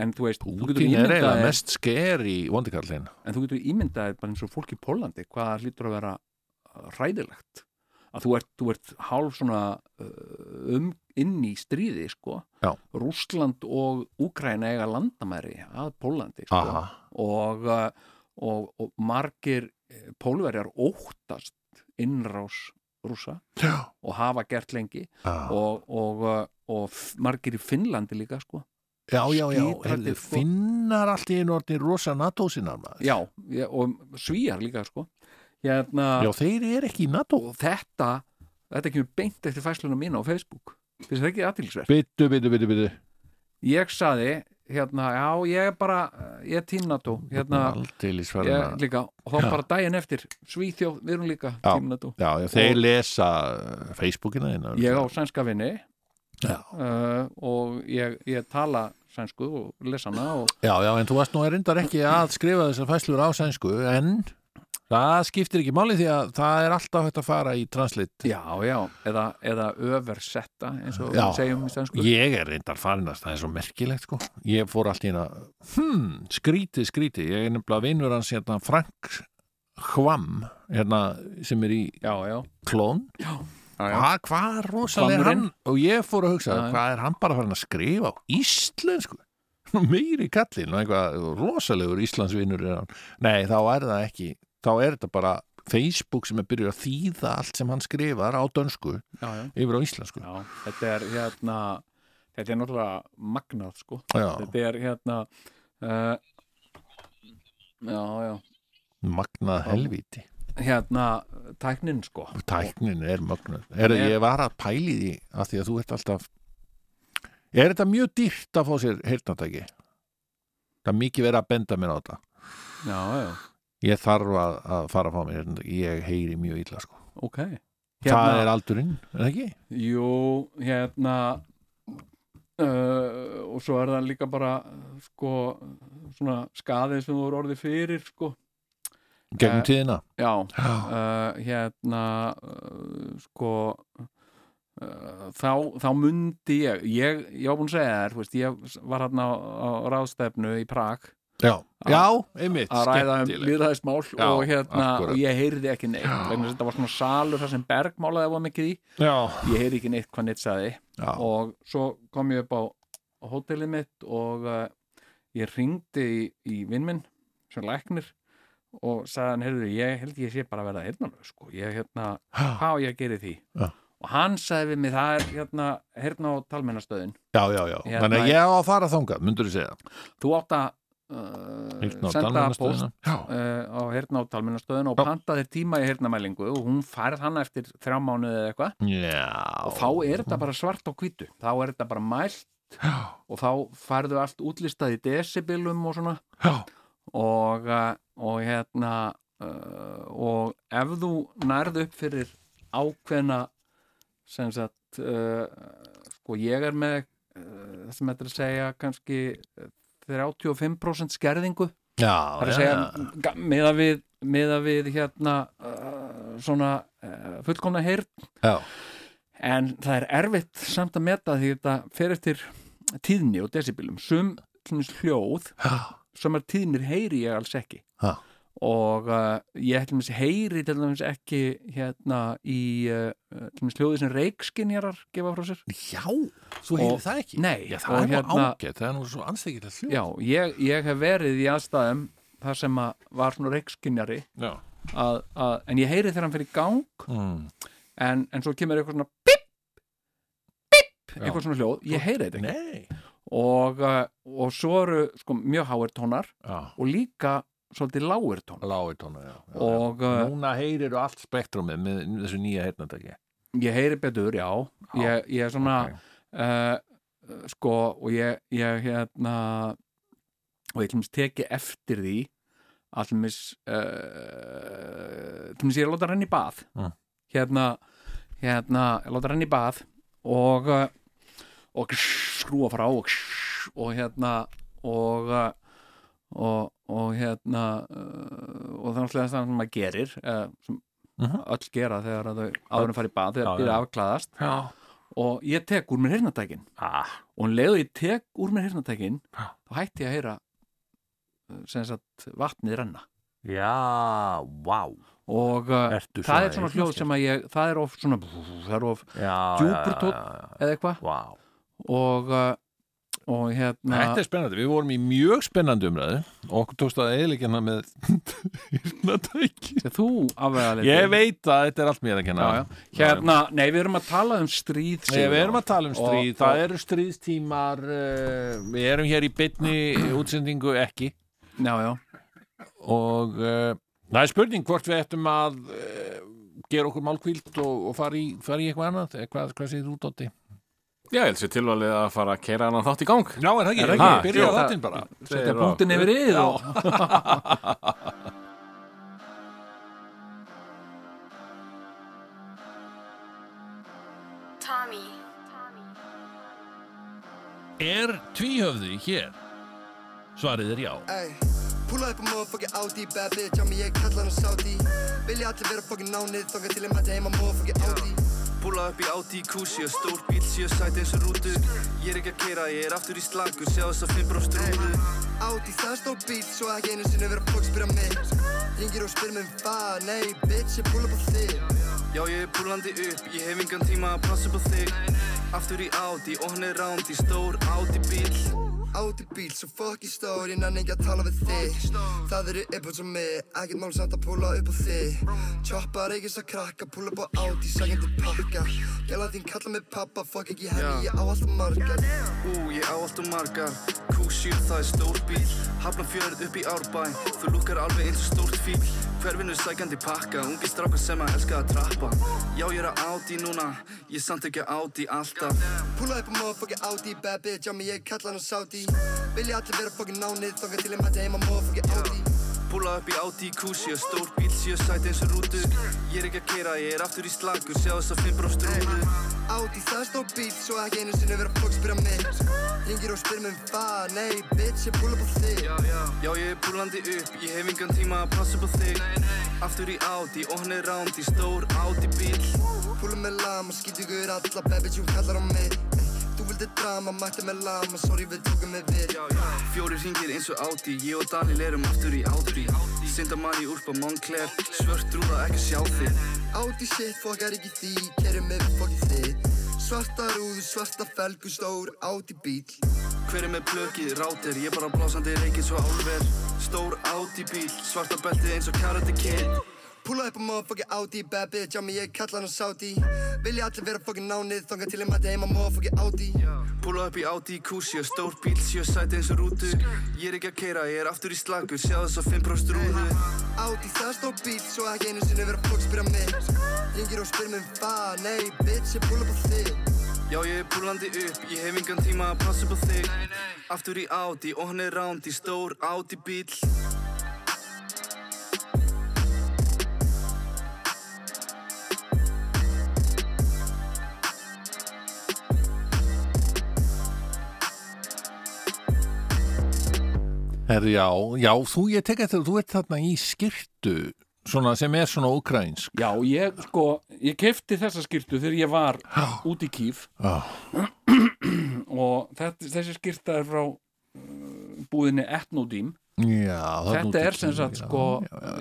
en þú veist, þú getur
Putin er
ímyndað
eiginlega
þér-
mest sker í vondikallin
en þú getur ímyndað þér bara eins og fólk í Pólandi hvað hlýtur að vera uh, hræðilegt að þú ert, þú ert hálf svona uh, um, inn í stríði sko
Já.
Rússland og Úkraina eiga landamæri að Pólandi sko
aha,
og, uh, og, og margir eh, pólverjar óttast innrás rúsa
Já.
og hafa gert lengi
Já,
og, og, uh, og f- margir í Finnlandi líka sko
já, já, já.
skítræddir,
heyrðu,
sko.
finnar allt í einu orðin rosa NATO sinnar maður.
já, ég- og svíjar líka sko hérna,
Já, þeir eru ekki í NATO.
og þetta þetta kemur beint eftir fæsluna mína á Facebook finnst það ekki aðtilsverð
Byttu, byttu, byttu, byttu
ég saði, hérna, já, ég er bara eh, ég er tínnató, hérna
Aldeilis
ég,
verðan að
líka, og þá
Já.
bara daginn eftir Svíþjóð, við erum líka
Já.
tínnató
Já, já, þeir lesa uh, Facebookina þína.
ég á sænska vinni
Já.
uh, og ég, ég tala sænsku og lesa hana og
Já, já, en þú varst nú reyndar ekki að skrifa þessar fæslur á sænsku, en það skiptir ekki máli því að það er alltaf hægt að fara í translate.
já, já, eða, eða översetta eins og
Já.
við segjum í sænsku
Ég er reyndar farinast, það er svo merkilegt sko Ég fór allt í hérna hmm, Skríti, skríti, ég er nefnilega vinur hans hérna Frank Hvam hérna, sem er í
já, já,
klón
já, já.
Hva, Hvað er rosalega hann
Hvammurinn.
og ég fór að hugsa,
Já, já.
hvað er hann bara farin að skrifa á íslensku meiri kallinn og einhvað rosalegur íslensvinur er hann nei, þá er það ekki, þá er þetta bara Facebook sem er byrjuð að þýða allt sem hann skrifar á dönsku
já, já.
yfir á íslensku
Já, þetta er hérna þetta er náttúrulega magnað sko
Já,
þetta er hérna uh, já, já
magnað helvíti
hérna tæknin sko
tæknin er mögnuð er,
Ég-
ég var að pæli því að því að þú ert alltaf er þetta mjög dýrt að fá sér heyrnatæki það er mikið verið að benda mér á þetta
já, já,
ég þarf að, að fara að fá mér heyrnatæki ég heyri mjög illa sko
ok
það
hérna,
er aldurinn, er það ekki?
jú, hérna uh, og svo er það líka bara uh, sko, svona skaðið sem þú voru orðið fyrir sko,
gegnum
Eh,
tíðina
já
Já,
uh, hérna uh, sko uh, þá, þá mundi ég ég, ég var búin að segja þér þú veist, ég var hérna á, á ráðstefnu í Prag
já,
að-
já einmitt,
að ræða um
skemmtileg
líðræðismál
Já,
og hérna
akkúrat.
og ég heyrði ekki neitt vegna þess að þetta var svona salur þar sem bergmálaði var mikið í,
já,
ég heyrði ekki neitt hvað neitt sagði
já,
og svo kom ég upp á, á hótelið mitt og uh, ég ringdi í, í vinn minn sem læknir og sagði hann, heyrðu, ég held ég sé bara að verða heyrnalög, sko, ég hérna
já,
hvað á ég að gera í því
Já.
og hann sagði við mig, það er hérna hérna á talmennastöðin,
já, já
Hérna,
þannig að ég á að fara þangað, myndur þú segja
þú átt að
Heyrna á
uh, senda post
talmeinastöðina.
uh, á hérna á talmennastöðin og
Já.
panta þér tíma í hernamælingu og hún færð hann eftir þrjá mánuði eða eitthvað
já
og þá er þetta bara svart á hvítu þá er þetta bara mælt
Já.
og þá færðu allt útlistað í decibelum og svona
já,
og, uh, og hérna uh, og ef þú nærðu upp fyrir ákveðna sem sagt uh, sko ég er með uh, það sem þetta er að segja kannski uh, 35% skerðingu það
já,
er
já,
að segja meða við, meða við hérna uh, svona uh, fullkomna heyrn
Já.
en það er erfitt samt að meta því þetta fer eftir tíðni og decibelum sum til dæmis hljóð
já,
sem er tíðnir heyri ég alls ekki
Ha.
og uh, ég til dæmis heyri til dæmis ekki hérna í uh, til dæmis hljóði sem reikskinjarar gefa frá sér
já, þú heyrði
Og-
það ekki.
nei,
já,
og
það er nú
hérna-
ágætt, það er nú svo anstekilegt hljóð.
já, ég, ég hef verið í aðstæðum þar sem að var svona reikskinjari
já.
að, að, en ég heyri þegar hann fyrir gang
Mm.
en, en svo kemur eitthvað svona bip, bip, eitthvað svona hljóð ég heyri þetta ekki
Nei.
og, uh, og svo eru sko, mjög háir tónar
já,
og líka svolítið lágir tónar
lágur tónu já, já, já.
og uh,
Núna heyrir allt spektrumið með þessu nýja heyrnatæki
ég heyri betur, já ég, ég er svona uh, sko og ég, ég hérna og ég hljumst teki eftir því að hljumst uh, hljumst ég er að láta renna í bað
Mm.
hérna hérna, ég láta renna í bað og uh, og skrúa frá og, og hérna og uh, og, og hérna uh, og það er náttúrulega það sem maður gerir uh, sem
Mhm.
öll gera þegar að þau áður en fara í bað
Já,
þegar byrja
já.
afklaðast
Já,
og ég tek úr mér hirnatækin
ah,
og um leiðu ég tek úr mér hirnatækin
Já.
þá hætti ég að heyra uh, sem sagt vatnið renna
já, vá
og uh,
Ertu
það er svona hljóð sem að ég það er of svona það er of
já,
djúpur
já,
tónn.
já,
eða eitthvað
já. Vá
og, uh, og hérna
Þetta er spennandi, við vorum í mjög spennandi umræðu og okkur tókst að eðilegja hana með [LAUGHS] hirnatæki
sem þú afvegaðlega
Ég veit að þetta er allt mér að kenna
já, já. hérna, nei við erum að tala um stríð
Nei, við erum að tala um stríð,
Og-
það eru stríðstímar uh, við erum hér í bytni útsendingu ekki
já, já,
og uh, það er spurning hvort við ættum að uh, gera okkur málkvíld og, og fara, í, fara í eitthvað annað Eh, hvað, hvað segir þú, Dótti?
Já, ég held sér tilvalið að fara að keira hann þátt í gang
Já, er það ekki?
ekki?
Byrja
Jú,
á þáttinn bara
þetta er punktin yfir yfir og
Tommy.
Er tvíhöfði hér? Svarið er já
Ey, púla upp á motherfucking Audi Bad bitch á mig, ég kalla hann Saudi Vilja allir vera fucking nánið Þangað til ég mæta heima motherfucking Audi
Púla upp í Audi Q7, stór bíl, sjö sæti eins og rútu Ég er ekki að keira, ég er aftur í slangur, sjá þess að fimm brófst rúðu
Audi, það er stór bíl Svo ekki einu sinni vera fólk spyrja mig Ringir og spyr mig hvað Nei, bitch, ég púla upp á þig
Já, ég er púlandi upp, ég hef engan tíma að passa upp á þig Aftur í Audi og hann er rándi, stór Audi bíl
Audi bíl, svo fucking stór Ég nenni ekki að tala við þig Það eru yppur sem mig Ekkert mál samt að púla upp á þig Choppar ekki að krakka Púla upp á Audi, sækjandi pakka Gæla þín kalla mig pappa Fuck ekki henni,
Já.
ég á alltaf margar
Ú, ég á allt og margar Q7, það er stór bíl Hafnarfjörð upp í Árbæ Þú lukkar alveg eins og stórt fíl Hverfinu sækandi pakka Ungi strákar sem að elska að trappa Já, ég er að Audi núna Ég er samt ekki að Audi alltaf
Púla upp á motherfucking Audi, bad bitch, já mig ég kalla hann Saudi Vilja allir vera fucking nánið, þangað til ég mæta heima motherfucking Audi
Púla upp í Audi Q7 Stór bíl, sjö sæti eins og rútu Ég er ekki að keira, ég er aftur í slangur Sjá þess að fimm brófst rúðu
Audi, það er stór bíl, svo ekki einu sinni vera fólk spyrja mig Ringir og spyr mig hvað, nei bitch, ég púla upp á þig
Já, ég er púlandi upp Ég hef engan tíma að passa upp á þig Aftur í Audi og hann er rándi Stór Audi bíl
Púla með lama, skýtu ykkur alla, bad bitch, hún kallar á mig Þú vildi drama, mætti með lama, sorry við tókum með við
Fjóri ringir eins og Audi, ég og Daniel erum aftur í Audi Senda mann í úrpa Moncler, svört rúða ekki að sjá þig
Audi shit, fokkar ekki því, kerum með við fokkin þig Svarta rúðu, svarta felgu, stór Audi bíl
Hver er með blökið, rátir, ég bara blásandi reikins og álver Stór Audi bíl, svarta beltið eins og Karate Kid
Púla upp á motherfucking Audi, bad bitch, já mig ég kalla hann Saudi Vilja allir vera fucking nánið, þangað til ég mæta heima motherfucking Audi
Púla upp í Audi Q7, stór bíl, sjö sæti eins og rútu Ég er ekki að keira, ég er aftur í slagur, sjá þess að fimm bróst rúðu
Audi, það er stór bíl, svo ekki einu sinni vera fólk spyrja mig Ringir og spyr mig hvað, nei bitch, ég púla upp á þig
Já, ég er púlandi upp, ég hef engan tíma að passa upp á þig Aftur í Audi og hann er rándi, stór Audi bíl
Herri, já, já, þú, ég tek eftir að þú ert þarna í skirtu svona sem er svona ukrainsk
já, ég sko ég kefti þessa skýrtu þegar ég var
Já.
út í kýf
Já.
[CLEARS THROAT] og þetta, þessi skýrta er frá uh, búðinni Etnodím
Já,
þetta er sem sagt sko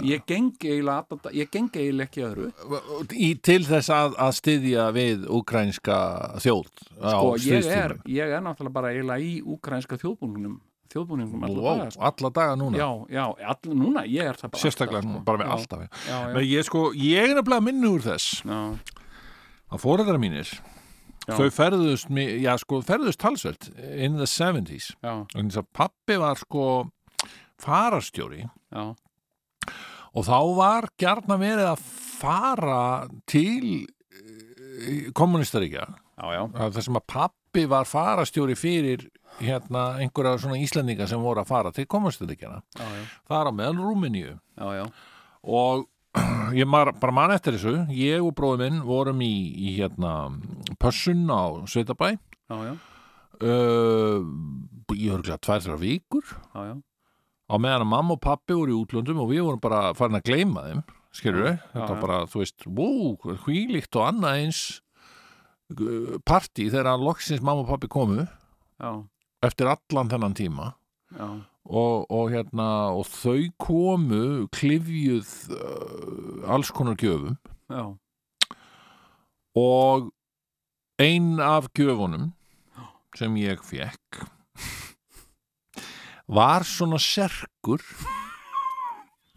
ég gengi eiginlega alla da- ég gengi eiginlega ekki öðru
í, til þess að, að styðja við ukrainska þjóð
sko ég er, ég er náttúrulega bara eiginlega í ukrainska þjóðbúningnum þjóðbúningnum
alla,
alltaf
wow,
wow.
alla daga núna
já, já, all, núna ég er það bara
sérstaklega
alltaf, sko.
núna, bara með
já,
alltaf já.
já, já,
Nei, ég, sko, ég er nefnilega minni úr þess
sko. já,
að foreldrar mínir
Já.
þau ferðust, mi- já sko, ferðust talsvöld in the 70s
já,
og þess að pappi var sko fararstjóri
já,
og þá var gjarnan verið að fara til eh, kommunistaríkja
já, já.
það sem að pappi var farastjóri fyrir hérna einhverja svona íslendinga sem voru að fara til kommunistaríkjana
Já, já,
hérna. þar á meðan Rúmeníu
já, já.
og [CLEARS THROAT] ég mar, bara man eftir þessu ég og bróði minn vorum í, í hérna pössun á Sveitabæ
Já, já,
uh, í örgulega tvær þrjá vikur
já, já,
á meðan að mamma og pappi voru í útlöndum og við vorum bara farin að gleyma þeim skilur við, þetta
já.
var bara, þú veist wow, hvílíkt og annað eins uh, partí þegar loksins mamma og pappi komu
já,
eftir allan þennan tíma
já,
og, og hérna og þau komu klifjuð uh, alls konar gjöfum
já,
og ein af gjöfunum sem ég fekk var svona serkur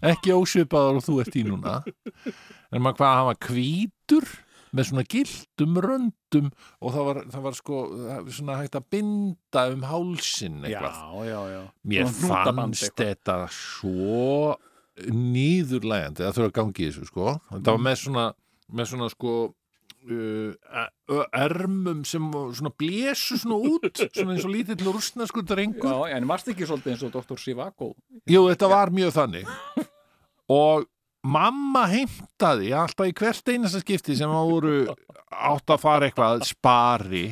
ekki ósvipaður og þú ert í núna en maður hvað hann var hvítur með svona gildum röndum og það var, það var sko það var svona hægt að binda um hálsin eitthvað
já, já
mér
Svona hnútaband
fannst
eitthvað.
þetta svo nýðurlægandi að þurfa að gangi í þessu sko þetta
Mm.
var með svona, með svona sko uh, e- ö- ermum sem svona blésu svona út svona eins og lítill rústna sko drengur
Já, en varst ekki svolítið eins og Dr. Sivako
Jú, þetta var mjög þannig og mamma heimtaði alltaf í hvert einasta skipti sem að voru átt að fara eitthvað spari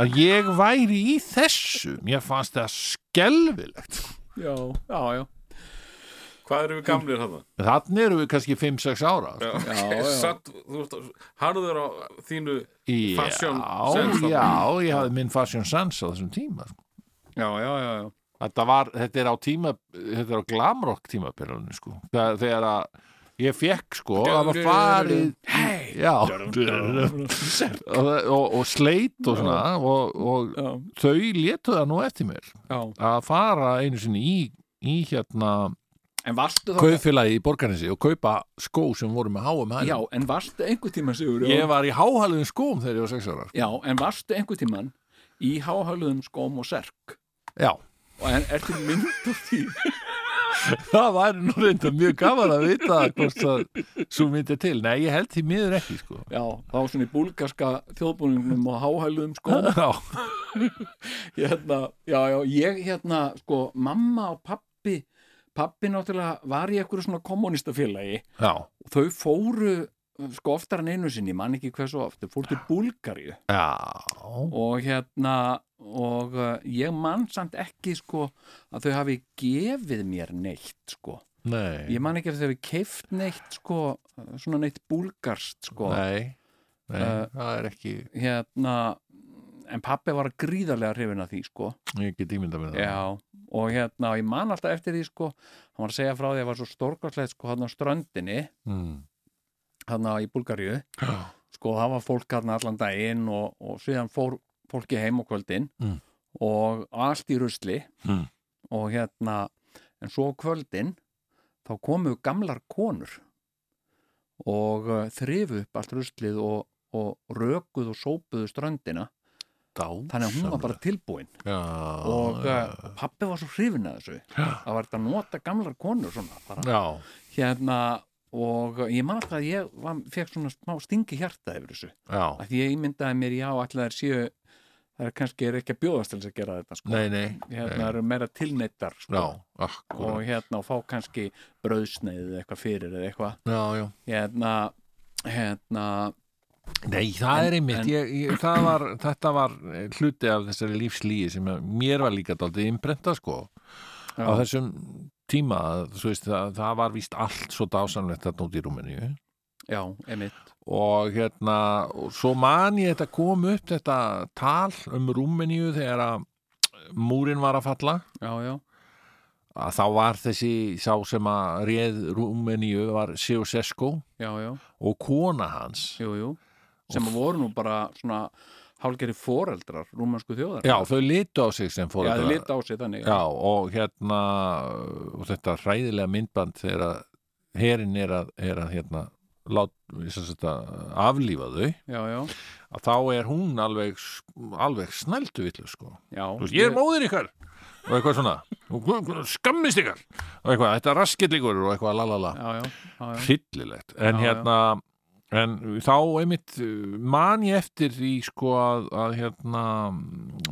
að ég væri í þessu mér fannst það skelfilegt
Já, já, já,
Hvað eru við gamlir hann?
þannig eru við kannski 5-6 ára
Já,
já.
[LAUGHS] Satt, þú veist, harður á þínu
já,
Fashion sense, þarna.
já, ég hafði minn fashion sense á þessum tíma sko.
já, já, já, já.
þetta, var, þetta er á tíma þetta er á glamrock tímapilunni sko. þegar, þegar að ég fekk sko það var farið já, [LAUGHS] og, og, og sleit og svona og, og
já,
þau létu það nú eftir mér
já.
að fara einu sinni í, í hérna
En varstu þá
kaufélagi í borgarnesi og kaupa skó sem voru með háum hæl
Já, en varstu einhver tíma sigur
ég var í háhælum skóm þegar ég var sex ára sko.
Já, en varstu einhver tíman í háhöluðum skóm og serk
já,
og en ertu mynd úr því
það væri nú reynda mjög gaman að vita hvort það svo myndi til, nei ég held því miður ekki sko
[LAUGHS] Já, þá svona í búlgarska þjóðbúningnum og háhæluðum skóm [LAUGHS]
já,
hérna, Já, já, ég hérna sko, mamma og pappi pappi náttúrulega var í einhverju svona kommunistafélagi
já,
og þau fóru sko oftar en einu sinni, ég man ekki hversu oft þau fóru til Búlgaríu
já
og hérna og uh, ég man samt ekki sko að þau hafi gefið mér neitt sko,
nei,
ég man ekki að þau hafi keift neitt sko, uh, svona neitt búlgarst sko,
nei, nei
Eh,
það er ekki,
hérna en pappi var gríðarlega hrifin að því sko
ég get ímynda með það
já, og hérna, og ég man alltaf eftir því sko, hann var að segja frá því að það var svo stórkarslegt sko hann á ströndinni
mm.
hann í Búlgaríu sko það var fólk hann allan daginn og, og síðan fór fólki heim á kvöldin
Mm.
og allt í rusli
Mm.
og hérna en svo á kvöldin þá komu gamlar konur og uh, þrifu upp allt ruslið og, og rökuð og sópuðu ströndina þannig að hún var bara tilbúin
já,
og uh, pappi var svo hrifin að þessu að var þetta að nota gamlar konur svona bara
já,
hérna og ég man alltaf að ég var, fekk svona smá stingi hjarta yfir þessu
já
af því ég ímyndaði mér já allir þær séu það er kannski er ekki að bjóðast til þess að gera þetta sko.
nei, nei,
hérna eru meira tilneittar sko.
já, akkurat
og hérna og fá kannski brauðsneið eða eitthvað fyrir eða eitthvað
Já, já.
hérna, hérna
Nei, það
En-
er einmitt,
en-
ég, ég, það var, þetta var eh, hluti af þessari lífslíi sem að mér var líka daldið innbrenda sko
já,
á þessum tíma, þú veist, það, það var víst allt svo dásamlegt þarna út í Rúmeníu
já, emitt
og hérna, og svo man ég þetta kom upp þetta tal um Rúmeníu þegar að múrin var að falla
já, já,
að þá var þessi sá sem að réð Rúmeníu var Seusesko
já, já,
og kona hans
jú, jú sem voru nú bara svona hálgeri foreldrar rúmansku þjóðar
Já, þau litu á sig sem
já,
fóreldrar
þið lita á sig þannig
Já, og hérna og þetta hræðilega myndband þegar að herin er að, er að hérna lát, sem sagt að aflífa þau
já, já,
að þá er hún alveg alveg snældu villu sko
já
Þú veist, ég er móðir ykkar og eitthvað svona, og gu- gu- skammist ykkar og eitthvað, þetta er raskill ykkur og eitthvað lalala,
já, já, já, já.
hryllilegt en
Já, já.
hérna En þá einmitt uh, man ég eftir í sko að, að hérna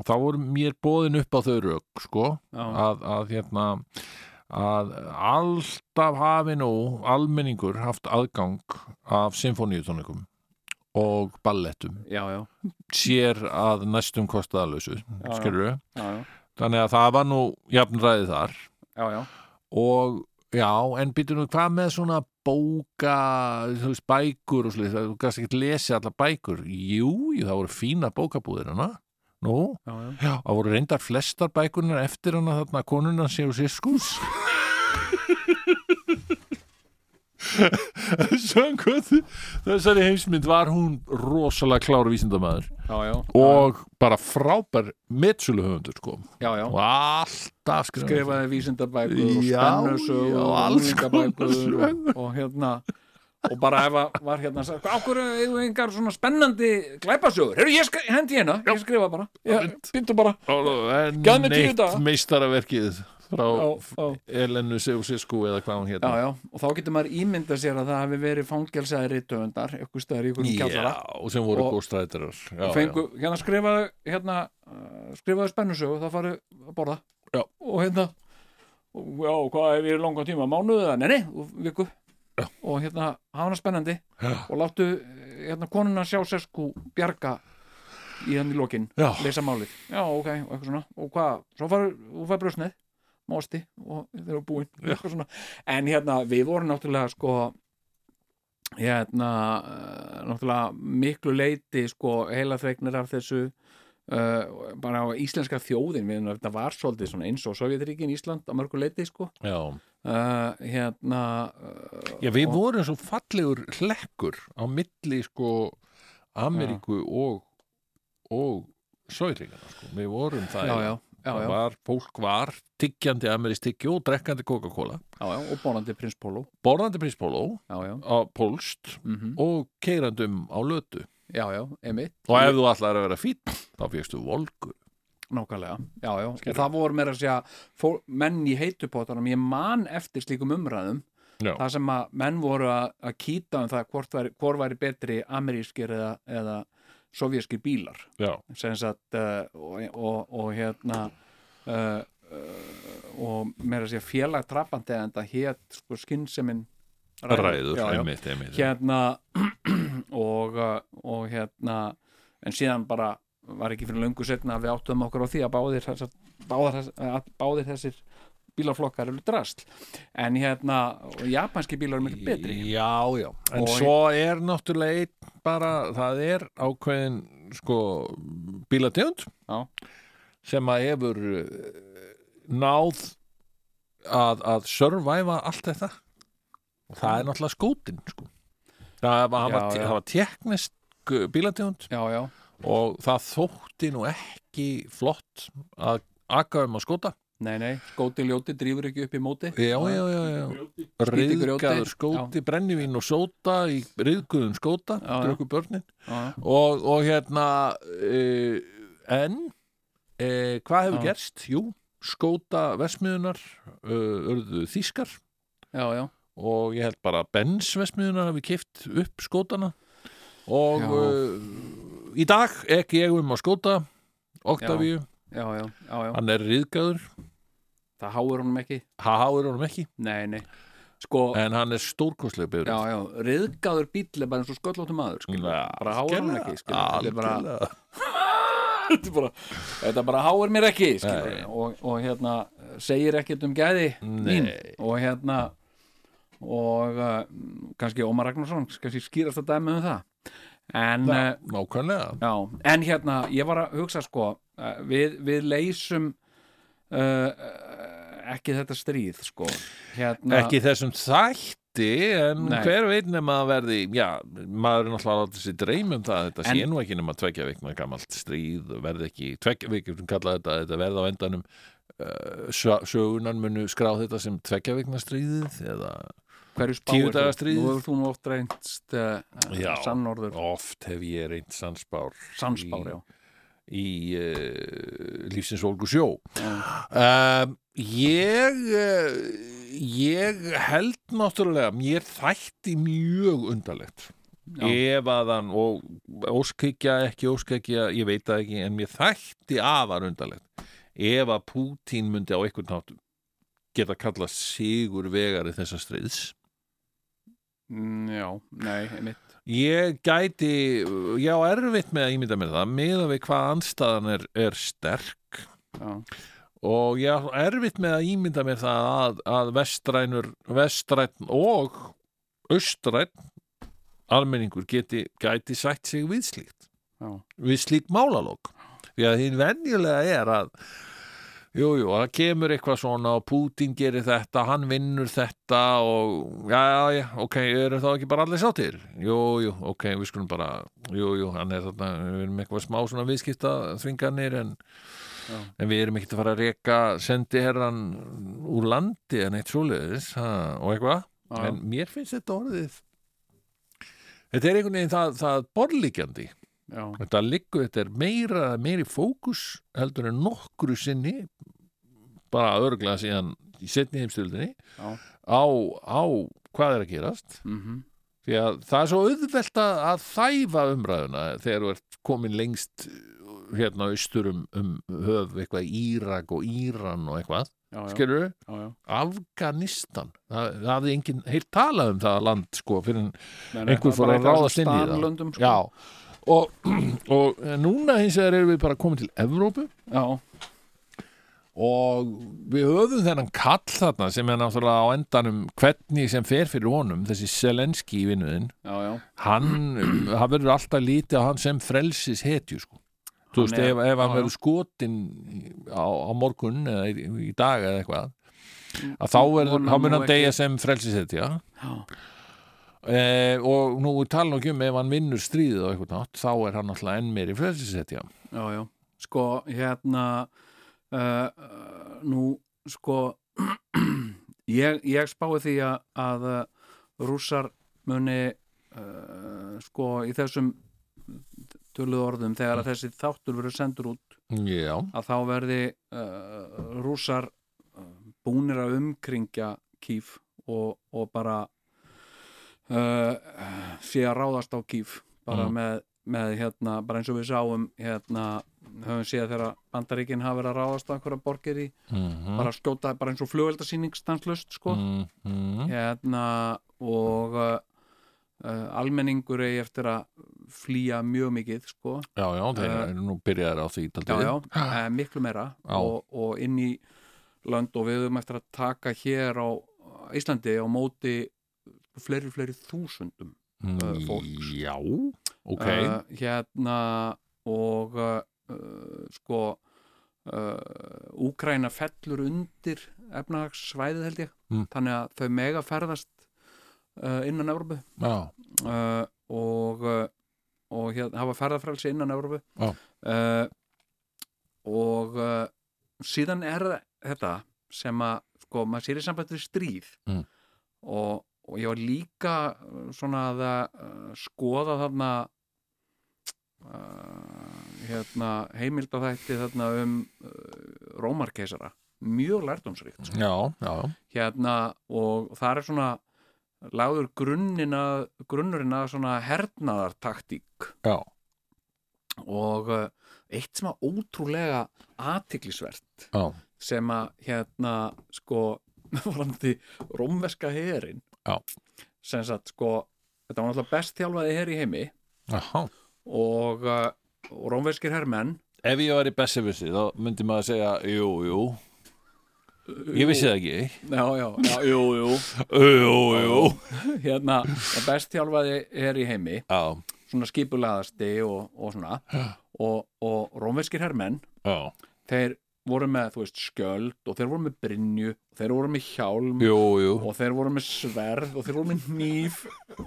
þá voru mér bóðin upp á þau rauk sko
Já.
að, að hérna að alltaf hafi nú almenningur haft aðgang af symfóníutónikum og ballettum
já, já,
sér að næstum kostaðalösu
já.
skilur
já,
þannig að það var nú jafnræði þar
já, já,
og já, en býtur nú hvað með svona bóka, þú veist, bækur og slið, þú gæst ekki lesi allar bækur jú, jú, það voru fína bókabúðir hana, nú
já, já.
Já, það voru reyndar flestar bækunar eftir hana þarna konuna séu sískús Sjöngvöld þessari heimsmynd var hún rosalega klára vísindamæður
já, já,
og bara frábær metsölu höfundur sko
já, já.
og alltaf skrifa
skrifaði vísindabækur og
Já,
spennusög
já,
og
alls konar
unglingabækur
sögur.
og, og hérna og bara ef að var hérna sagt, á hverju eigum við engar svona spennandi glæpasögur, heyrðu ég skri, hendi hérna ég skrifa bara, ég, býttu bara Gaf mér tíu
neitt
daga.
meistaraverkið frá
á, á.
Elenu Seusesku eða hvað hún
Já,
hérna
já, og þá getur maður ímynda sér að það hafi verið fangelsaði rithöfundar, ykkur stöðar í ykkur kjallara
og sem voru
Og-
góðstræðarar
og fengu, hérna skrifaðu hérna, uh, skrifaðu spennusögu og það farið að borða
Já.
og hérna og já, hvað hefur verið langan tíma, mánuðu eða neini, og viku já. og hérna, hafa hana spennandi
Já.
og láttu eh, hérna konuna sjá sér sko bjarga í hann í lokin,
Já.
leysa málið já, ok, og eitthvað svona, og hvað svo farið, þú fær brjósnið, másti og þeir eru búin, eitthvað svona en hérna, við vorum náttúrulega sko hérna eh, náttúrulega miklu leiti sko heila þreiknir af þessu uh, bara á íslenska þjóðin við erum þetta var svolítið svona eins og Sovjetríkin Ísland á mörgu leiti sko
já.
uh, hérna uh,
já, við vorum svo fallegur hlekkur á milli sko Ameríku og og Sovjetríkana sko. við vorum það
já, já, já,
Það
já,
var, fólk var tiggjandi amerísk tyggju og drekkandi Coca-Cola
já, já, og bónandi prins Pólo
borðandi príspóló
já, já,
á pólst
mm
og keirandum á lötu
já, já, emitt
og ef þú allar að vera fýtt þá fyrstu volgu
Nákvæmlega, já, já, og það voru meira að segja fól, menn í heitupotanum, ég man eftir slíkum umræðum
Já.
það sem að menn voru að, að kýta um það hvort væri, hvort væri betri amerískir eða, eða sovjaskir bílar
Já.
sem sagt uh, og, og, og hérna uh, uh, og meira að segja félag trappandi en það hétt sko skinnsemin
ræður,
já, já,
einmitt, einmitt
hérna [CLEARS THROAT] og, uh, og hérna en síðan bara var ekki fyrir löngu setna að við áttum okkur á því að báðir þessar, báðar, þess- að báðir þessir bílaflokkar eru drasl en hérna, og japanski bílar eru miklu betri
Já, já, en
Og-
svo er náttúrulega einn bara, það er ákveðin sko bílategund
Já.
sem að hefur eh, náð að, að survive allt þetta og það er náttúrulega skútin sko. það var, já,
Mm. Já, já.
það var teknisk eh, bílategund
já, já,
og það þótti nú ekki flott að aka um að skóta
nei, nei, skóti ljóti drýfur ekki upp í móti
já, já, já, já.
Skíti grjóti.
riðgaður skóti, brennivín og sóta í riðguðum skóta
Já, já.
drukku börnin
Já,
og, og hérna uh, en uh, hvað hefur
Já.
gerst? Jú, skóta vesmiðunar uh, urðu þýskar
já, já,
og ég held bara Benz vesmiðunar hafi kift upp skótana og
Já.
uh, í dag ekki ég um að skóta Octavíu,
já, já, já, já.
hann er riðgaður
það háir honum ekki
haha er honum ekki,
nei, nei, sko
en hann er stórkostlega
Já,
byrður
já, riðgáður bíll er bara eins og sköllóttum maður, sko. skilur, bara háir hann ekki, skilur, þetta er bara, þetta er bara, þetta bara háir mér ekki skilur,
Nei.
og, og hérna segir ekkert um gæði mín
Nei.
og hérna og uh, kannski Ómar Ragnarsson kannski skýrast að dæmi um það en, uh,
nákvæmlega
já, en hérna ég var að hugsa sko uh, við, við leysum uh, uh, ekki þetta stríð sko hérna,
ekki í þessum þætti en
Nei.
hver veit nema að verði já, maður er náttúrulega látið sér dreym um það þetta sé
En-
nú ekki nema tveggja vikna gamalt stríð verði ekki, tveggja vikna kalla þetta þetta verði á endanum uh, sögunar munu skrá þetta sem tveggja vikna stríðið eða
hverju
tíu
spáir
daga
þú
stríð.
nú hefur þú nú oft reynst uh,
Já.
sannorður,
oft hef ég reynd sannspár
sannspár já.
í uh, lífsins volgu sjó um, ég uh, ég held náttúrulega, mér þætti mjög undarlegt
Já.
ef að hann og óskikja ekki óskikja, ég veit það ekki en mér þætti afar undarlegt ef að Pútín myndi á einhvern nátt geta kallað sigur vegari þessa stríðs
Mm, já, nei, einmitt
Ég gæti, já erfitt með að ímynda mér það, miða við hvað anstæðan er, er sterk
já.
og ég á erfitt með að ímynda mér það að, að vestrænur, vestræn og austræn almenningur geti, gæti sætt sig við slíkt,
Já.
við slíkt málalók. Því að hinn venjulega er að Jú, jú, það kemur eitthvað svona og Putin gerir þetta, hann vinnur þetta og já, já, já, ok, eru þá ekki bara allir sáttir? Jú, jú, ok, við skulum bara, jú, jú, hann er þarna, við erum eitthvað smá svona viðskipta þvinganir en, en við erum ekkert að fara að reka sendiherran úr landi en eitt svoleiðis ha, og eitthvað,
Já.
en mér finnst þetta orðið, þetta er einhvern veginn það, það borlíkjandi
já,
þetta liggur, þetta er meira meiri fókus heldur en nokkru sinni bara örglega síðan í setni heimstöldinni
Já.
á, á hvað er að gerast
mhm,
því að það er svo auðvelt að að þæfa umræðuna þegar þú ert komin lengst hérna austur um, um höf eitthvað Írak og Íran og eitthvað
já, já,
skilur við?
já, já.
Afganistan það, það hafði enginn heilt talað um það land sko fyrir en
Nei, nei,
Einhver
það er
fór
bara
að
eitthvað
ráðast inn í það.
stanlöndum, sko.
Já, og, [CLEARS THROAT] og núna hins vegar erum við bara komin til Evrópu
já,
og við höfum þennan kall þarna sem er náttúrulega á endanum hvernig sem fer fyrir honum, þessi Selenski í vinnuðinn,
já, já,
hann það verður alltaf lítið á hann sem frelsis hetju sko. Þú veist,
Hann er-
ef, ef hann
já, já.
verður skotin á, á morgun eða í, í dag eða eitthvað að þá, verður, þá
Vonar Mm, nú
mun hann
ekki.
deyja sem frelsis hetja
já,
Eh, og nú tala nú ekki um ef hann vinnur stríðið á eitthvað nátt þá er hann alltaf enn meiri frelsisetja
já, já. sko, hérna uh, nú, sko [CLEARS THROAT] ég, ég spái því að, að eh, rússar muni uh, sko, í þessum töluðu orðum
Mm.
þegar að þessi þáttur verður sendur út
Já,
að þá verði uh, rússar uh, búnir að umkringja kýf og, og bara uh, sé að ráðast á kýf bara
Mm.
með, með hérna, bara eins og við sáum hérna, höfum séð þegar bandaríkin hafa verið að ráðast á einhverja borgir í
mhm,
bara skjóta, bara eins og flugveldasýning stanslust sko
mhm,
hérna og uh, uh, almenningur eigi eftir að flýja mjög mikið sko
já, já, þeir
Eh,
eru nú byrjaðir á því
já,
daldið.
já,
Ah.
eh, miklu meira
Já.
og, og inn í lönd og við höfum eftir að taka hér á Íslandi á móti fleiri, fleiri þúsundum
Mm,
eh, fólks.
Já, ok
Eh, hérna og uh, sko uh, Úkraina fellur undir efnahagssvæðið held ég
Mm.
þannig að þau mega ferðast uh, innan Evrópu
Já,
uh, og, uh, og hér, hafa ferðarfrelsi innan Evrópu
Já.
uh, og uh, síðan er þetta sem að sko, maður sér í sambandi við stríð
Mm.
og, og ég var líka uh, svona að uh, skoða þarna uh, hérna, heimild á þætti þarna um uh, rómarkeisara mjög lærdómsríkt sko
já, já
hérna og það er svona lagður grunninn að grunnurinn að svona hernaðartaktík
Já.
og eh, eitt sem að ótrúlega athyglisvert
Já.
sem að hérna sko [LAUGHS] varandi rómverska herin
Já.
sem sagt sko þetta var náttúrulega best þjálfaði her í heimi
Aha.
og, eh, og rómverskir hermenn
Ef ég væri bessevissi þá myndi maður að segja Jú, jú, ég vissi það ekki
já, já, já, jú, jú
Eh, Jú, jú
[LAUGHS] hérna, það best þjálfaði her í heimi
Já,
svona skipulaðasti og, og svona og, og rómverskir hermenn
já,
þeir voru með, þú veist, skjöld og þeir voru með brinju, og þeir voru með hjálm
jú, jú
og þeir voru með sverð og þeir voru með nýf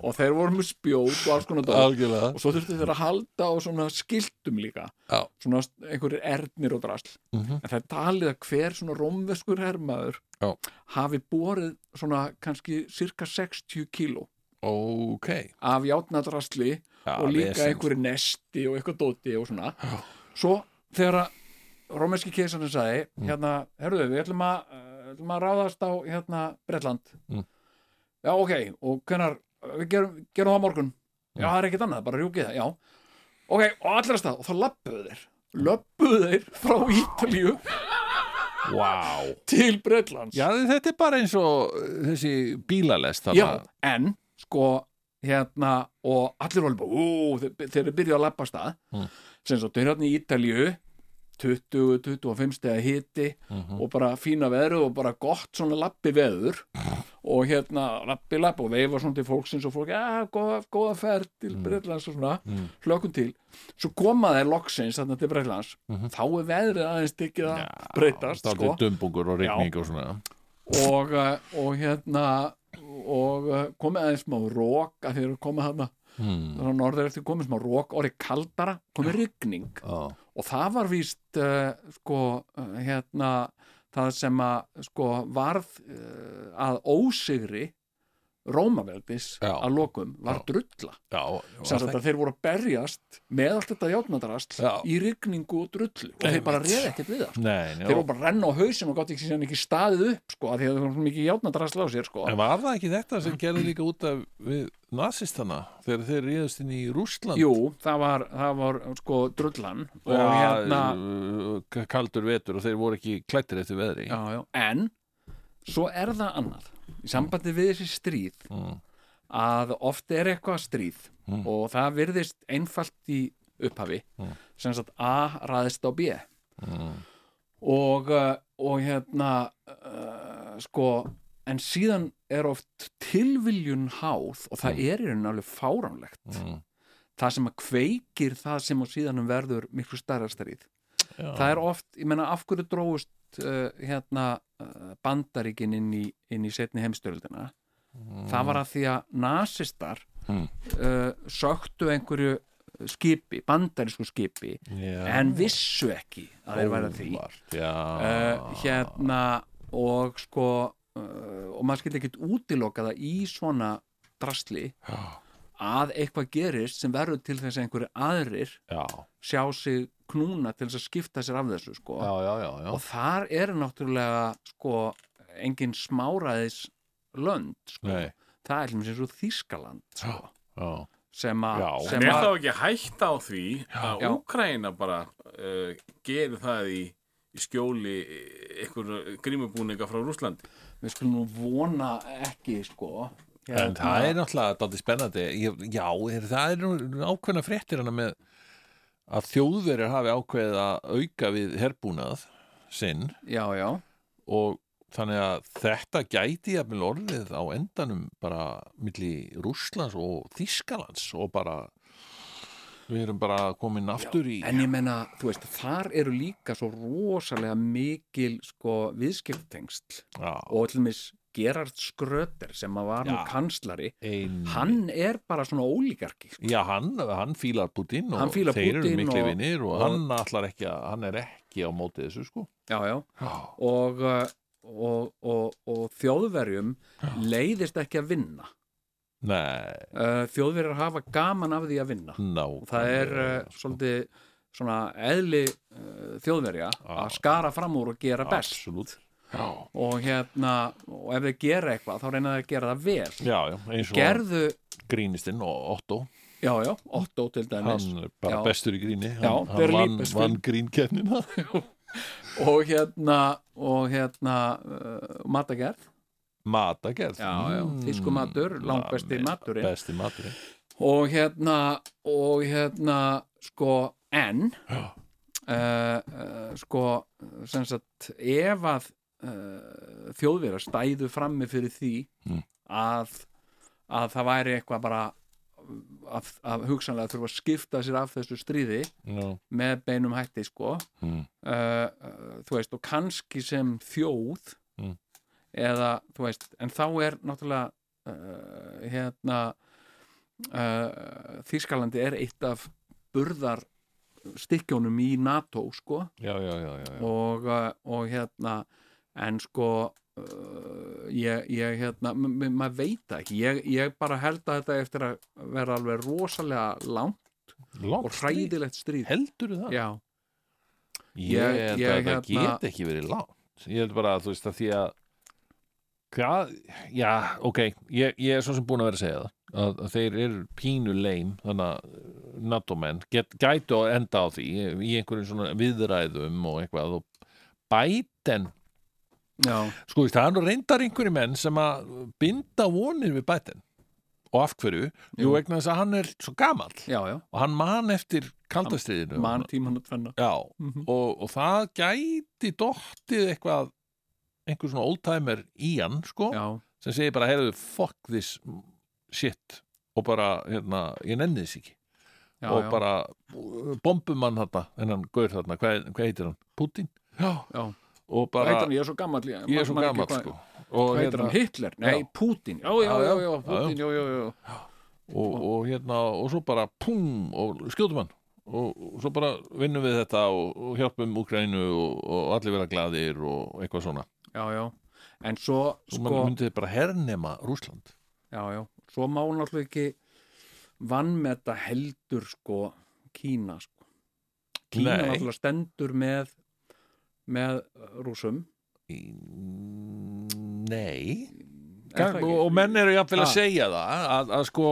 og þeir voru með spjót og alls konar dót
Algjörlega
og svo þurftu þeir að halda á svona skiltum líka
Já.
svona einhverjir ernir og drasl
Mhm.
en það er talið að hver svona rómverskur hermaður
Já.
hafi borið svona kannski cirka 60 kíló
Ok
af játnadrasli
já,
og líka
vesen.
einhverju nesti og eitthvað dóti og svona svo þegar að rómerski keisarinn sagði
Mm.
hérna, herruðu, við ætlum að, eh, ætlum að ráðast á hérna Bretland
Mm.
já, ok, og hvenar við gerum, gerum það á morgun
Mm.
já, það er ekkert annað, bara rjúkið það, já ok, og allra stað, og þá löppuðu þeir löppuðu þeir frá Ítalíu
Vá
til Bretlands
Já, þetta er bara eins og uh, þessi bílalest þarna.
Já, en sko hérna og allir voru bara, ú, þeir, þeir eru byrjuð að lappa stað
Mm.
sem svo, þau eru hérna í Ítalju
Mhm. Mm.
20-25 stega hiti og bara fína veðru og bara gott svona lappi veður og hérna lappi lapp og veifa svona til fólksins og fólk, að góða, góða ferð til Breitlands og svona, mm. hlökkum til svo koma þeir loksins þarna til Breitlands
Mhm.
þá er veðrið aðeins diggið að breytast
Það
sko
er dumbungur og rigning og svona
og, eh, og hérna og eh, komið aðeins smá rók að þeir eru komið þarna
Hmm.
þannig að norður eftir komið smá rók orðið kaldara, komið rigning
Já.
og það var víst uh, sko, uh, hérna það sem að sko varð uh, að ósigri Rómaveldis
Já.
að lokum var drulla
Já,
sem sagt að þeir voru að berjast með allt þetta játnadrast
Já.
í rigningu og drullu og þeir bara reði ekkert við það
Nei, já.
þeir voru bara að renna á hausinn og gátt ekki síðan ekki staðið upp sko, af því að þeir voru svo mikið játnadrasl á sér sko.
En var það ekki þetta sem gerði líka út af við nazistana þegar þeir ríðast inn í Rússland
Jú, það var, það var sko drullan og
og
hérna
hérna kaldur vetur og þeir voru ekki klættir eftir veðri
já, já. en svo er það annað í sambandi við þessi stríð
Mm.
að oft er eitthvað stríð
Mm.
og það virðist einfalt í upphafi sem sagt A ræðist á B
Mm.
og, uh, og hérna uh, sko en síðan er oft tilviljun háð og það er í raun alveg fáránlegt
Mm.
það sem að kveikir það sem á síðanum verður miklu stærra stríð
Já.
það er oft, ég meina af hverju dróðust uh, hérna uh, bandaríkin inn í, inn í setni heimstöröldina það var að því að nasistar
Mm.
uh, söktu einhverju skipi, bandarísku skipi
Já.
en vissu ekki að þeir væri að því uh,
Já.
hérna og sko uh, og maður skildi ekkit útiloka það í svona drasli
Já.
að eitthvað gerist sem verður til þess að einhverju aðrir
Já.
sjá sig knúna til þess að skipta sér af þessu sko
Já, já, já, já.
og þar eru náttúrulega sko engin smáraðis lönd sko.
Nei.
það er hljóms eins og Þískaland sko,
Já.
sem að
Já.
En
sem
er
að
þá ekki hægt á því að
Já.
Úkraina bara uh, gerir það í, í skjóli einhver grímubúninga frá Rúslandi?
við skulum nú vona ekki sko
En það er náttúrulega dálítið spennandi Ég, Já, er, það er nú ákveðna fréttir hana með að þjóðverið hafi ákveðið að auka við herbúnað sinn
já, já,
og þannig að þetta gæti jafnvel orðið á endanum bara milli Rússlands og Þískalands og bara við erum bara komin aftur í
en ég menna þú veist, þar eru líka svo rosalega mikil sko viðskiptengst
já,
og til mis Gerard Skröter sem að var nú
Já. Mm.
kanslari
ein,
hann er bara svona ólíkarki sko.
já, hann, hann fílar Putin og
Hann fílar
þeir eru
Putin
mikli
og-
vinnir og,
og-
hann ætlar ekki að hann er ekki á móti þessu sko
já, já
já,
og, uh, og, og, og þjóðverjum leiðist ekki að vinna
nei,
uh, þjóðverjar hafa gaman af því að vinna
ná
og það er
sko.
uh, svolítið svona eðli uh, þjóðverja að skara fram úr og gera best
absolutt já,
og hérna, og ef þau gera eitthvað þá reyna þau að gera það vel
já, já, eins og
gerðu,
grínistinn og Otto
já já, Otto til dæmis
hann er bara
Já.
bestur í gríni
Já,
hann,
Berlín
hann vann,
best
vann
film.
grínkernina
og hérna og hérna uh, matagerð,
matagerð
Já, já, þýsku matur, langbesti
Ma-
maturinn.
besti maturinn
og hérna og hérna, sko en uh, uh, sko, sem sagt ef að uh, þjóðverja stæðu frammi fyrir því
Mm.
að, að það væri eitthvað bara að, að hugsanlega þurfa að skipta sér af þessu stríði
já,
með beinum hætti sko
Mm.
uh, uh, þú veist og kannski sem þjóð
Mm.
eða þú veist en þá er náttúrulega uh, hérna uh, Þískalandi er eitt af burðar stikkjónum í NATO sko
já, já, já, já, já.
og, uh, og hérna en sko uh, ég, ég hérna, m- m- maður veit það ekki ég, ég bara held að þetta eftir að vera alveg rosalega langt
Langt
og hræðilegt stríð
heldur það?
já,
ég, ég,
ég-
þetta
hérna-
get ekki verið langt ég held bara að þú veist að því að hvað, já, ok ég, ég er svo sem búin að vera að segja það að, að þeir eru pínu leim þannig að NATO-menn get- gætu að enda á því í einhverjum svona viðræðum og eitthvað og Biden
já,
sko, veist, það er nú reyndar einhverju menn sem að binda vonir við Biden og af hverju, jú,
Jú.
vegna þess að hann er svo gamall
já, já.
og hann man eftir kaldastriðinu
mann tíman að tvenna
Já,
Mhm.
og, og það gæti dottið eitthvað einhver svona oldtimer í hann, sko
já,
sem segir bara, heyrðu, fuck this shit og bara, hérna, ég nenni þess ekki
já,
og
já,
bara uh, bombum hann þarna, hennan gaur þarna hvað, hvað heitir hann? Putin? Já,
já.
og
Hvað
bara,
heitir hann, ég er svo gammal
ég er svo gammal sko og
Hvað heitir
hérna,
hann, Hitler? Nei,
Já.
Putin Já, já, já, já, Putin, já, já, já
og, og hérna og svo bara pum og skjótum hann og, og svo bara vinnum við þetta og, og hjálpum Ukraínu og, og allir vera glaðir og eitthvað svona
Já, já, en svo
svo
sko,
mann myndið bara hernema Rúsland
já, já, svo má hann alltaf ekki vannmeta heldur sko Kína sko. Kína
Nei.
náttúrulega stendur með með rúsum
Í- Nei
Er það
Gang,
ekki? Ah.
og, og menn eru jafnvel að
Ha.
segja það að, að sko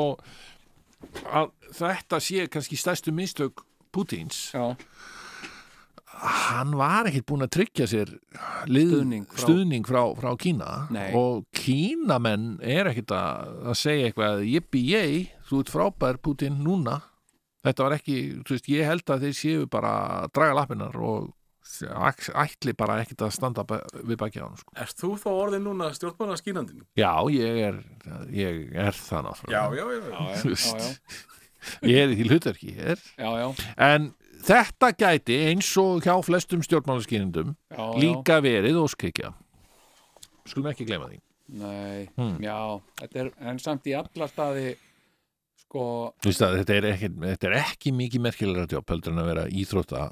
að þetta sé kannski stærstu mistök Pútins
Já,
hann var ekkert búin að tryggja sér lið,
Stuðning frá-
stuðning frá, frá Kína
Nei.
og Kínamenn er ekkert að, að segja eitthvað jippi ég, þú ert frábær Putin núna þetta var ekki, þú veist, ég held að þeir séu bara að draga lappinar og ax- ætli bara ekkert að standa ba- við baki á hann sko.
Erst þú þá orðin núna stjórnmála skínandin?
já, ég er, ég er það náttúrulega
já, já, já.
Þú veist,
já, já,
[LAUGHS] ég er í því hlutverki hér
já, já,
en þetta gæti eins og hjá flestum stjórnmálaskýrindum
já, já.
líka verið óskikja skulum ekki gleyma því
Nei,
Hmm.
já, þetta er en samt í alla staði sko,
Þú veist að þetta er ekki, þetta er ekki mikið merkilega jobb heldur en að vera íþrótta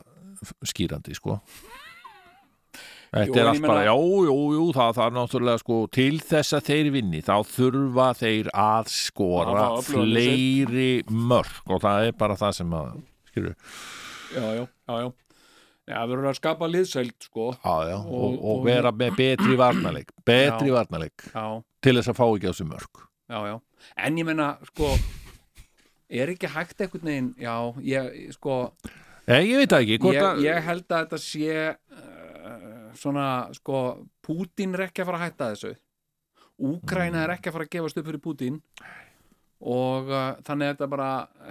skýrandi sko
Jú,
Þetta er
en ég
allt bara,
meina-
já, jú, jú, það þarf náttúrulega sko til þess að þeir vinni þá þurfa þeir að skora
Hafa öflugan í
fleiri mörg og það er bara það sem að skilur,
já, já, já, já Já, við erum að skapa liðsæld sko,
á, já, og, og,
Og- og-
vera með betri varnarleik betri
Já.
varnarleik
já
til þess að fá ekki á þessu mörg
já, já. En ég meina, sko er ekki hægt einhvern veginn já, ég, sko
Nei, Eh, ég veit það ekki, hvort
ég,
að
ég held að þetta sé uh, svona, sko Pútín er ekki að fara að hætta þessu Úkraina er ekki að fara að gefast upp fyrir Pútín og uh, þannig að þetta bara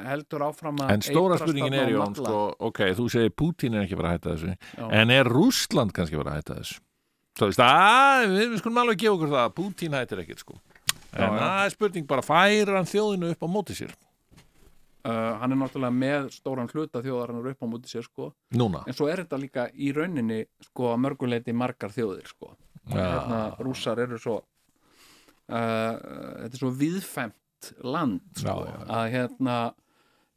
heldur áfram að
En stóra
eitrast
spurningin er
þarna og
Jón,
malla.
sko, ok, þú segir Putin er ekki bara að hætta þessu,
Já.
en er Rússland kannski bara að hætta þessu? Þú veist, að, við, við skulum alveg gefa okkur það, Putin hættir ekkert, sko. En
já.
það er spurning bara, færir hann þjóðinu upp á móti sér?
uh, hann er náttúrulega með stóran hluta þjóðarinnar upp á múti sér sko
Núna.
en svo er þetta líka í rauninni sko að mörguleiti margar þjóðir sko hérna, rússar eru svo uh, þetta er svo viðfemt land sko,
Já, já,
að hérna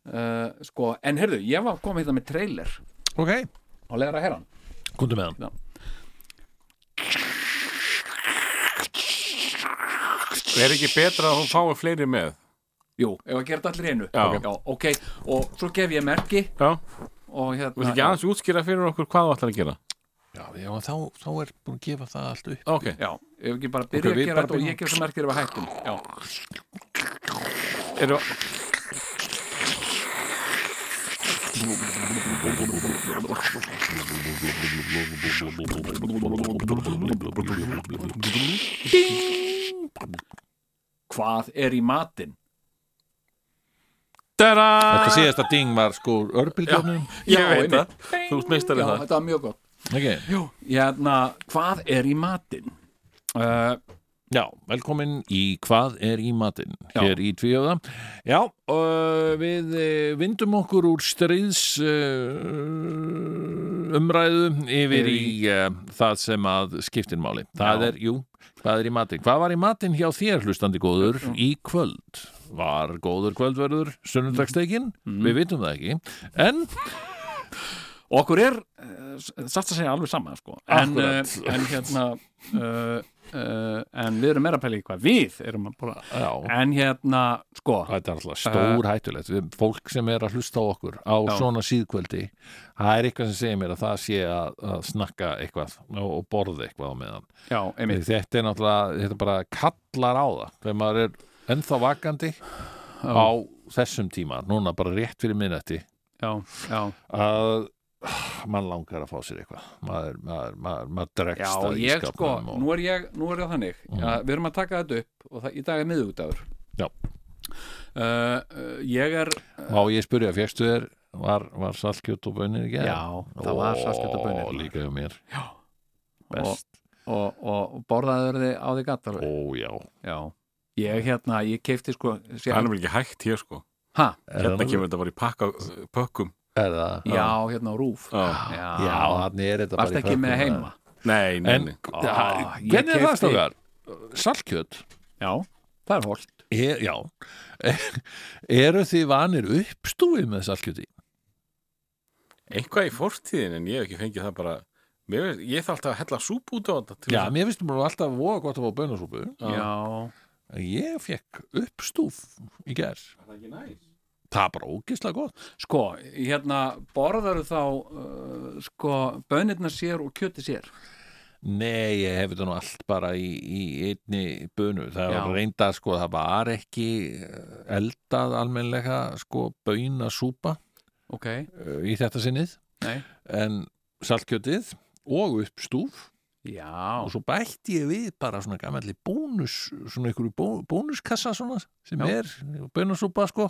uh, sko, en heyrðu, ég var komið hérna með trailer
Ok,
og leður að herra hann
kundu með hann.
Er ekki betra að hún fái fleiri með?
Jú, ef að gera þetta allir í einu
Já.
Já, ok, og svo gef ég merki
Já.
og hérna
Þú veist ekki aðeins útskýra fyrir okkur hvað þú ætlar að gera?
Já, já þá, þá er búin að gefa það allt upp.
Ok.
Já, ef ekki bara byrja
Ok, við
að gera
bara
þetta og
byrjum.
ég gef þessu merkir ef að hættum Já,
Eru...
hvað er í matinn?
Tada!
Þetta síðasta ding var sko örbylgjónum.
Ég veit
einmitt.
það. Þú ert meistari
Já,
það.
þetta var mjög gott
Ok,
Jú, hérna, hvað er í matinn? Uh,
já, velkomin í Hvað er í matinn?
Já.
Hér í tvíöða. Já, uh, við uh, vindum okkur úr stríðs uh, umræðu yfir í uh, það sem að skiptir máli. Það
Já.
er, jú, hvað er í matinn? Hvað var í matinn hjá þér, hlustandi góður, í kvöld? Var góður kvöldverður sunnundagstekin? Við vitum það ekki. En
og okkur er uh, satt að segja alveg sama sko. en, uh,
Akkúrat.
en hérna uh, uh, en við erum meira að pæla í hvað við erum að bóla
Já.
en hérna sko
Þetta er alltaf stór hættulegt Við- fólk sem er að hlusta á okkur á
Já.
svona síðkvöldi það er eitthvað sem segir mér að það sé að, að snakka eitthvað og, og borða eitthvað á meðan
já, einmitt
Þetta er náttúrulega, þetta bara kallar á það þegar maður er ennþá vakandi á þessum tíma núna bara rétt fyrir minnætti
já, já,
að ah, mann langar að fá sér eitthvað maður, maður, maður, maður dregst
já
það í
ég sko,
skápnum og...
nú er ég nú er það þannig,
Mhm.
að við erum að taka þetta upp og það, í dag er miðugdagur
Já.
Uh, uh, ég er
Má ég spurja, fegstu þér var, var saltkjöt og bönir ekki?
það var saskjöta
Ó,
bönir
Líka hjá mér
og, og, og borðaður þið á því gatt alveg
Ó, já
já, ég hérna, ég keipti sko
Það er
sér,
vel ekki hægt hér sko
ha,
Hérna kemur þetta bara í pakka, pökkum
Er það?
já, hérna á rúf
Já.
Já,
já,
þannig er þetta
varst
bara í
ekki
pökkun,
með
það.
heima
Nei, nei,
En
nei
ah,
ég
hvernig er það
keypti-
stofgar? Saltkjöt
já, það er holt
er, Já [LAUGHS] Eru þið vanir uppstúið með saltkjöti?
Eitthvað í fortíðin en ég hef ekki fengið það bara mér, veist- Ég þarf alltaf að hella súpu út á þetta til
Já,
þess að-
mér finnst mér alltaf voða gott að fá bönasúpu
já,
Ég fekk uppstúf í gær
Það er ekki næs
Það er bara ógislega gott
sko, hérna borðaður þá uh, sko, bönirna sér og kjöti sér
Nei, ég hef þetta nú allt bara í, í einni bönu Það
Já.
var reynda, sko, það var ekki eh, eldað almennlega sko, bönasúpa
ok,
eh, í þetta sinnið
nei,
en saltkjötið og uppstúf
já
og svo bætti ég við bara svona gamalli bónus, svona einhverju bó, bónuskassa svona sem
Já.
er bönasúpa sko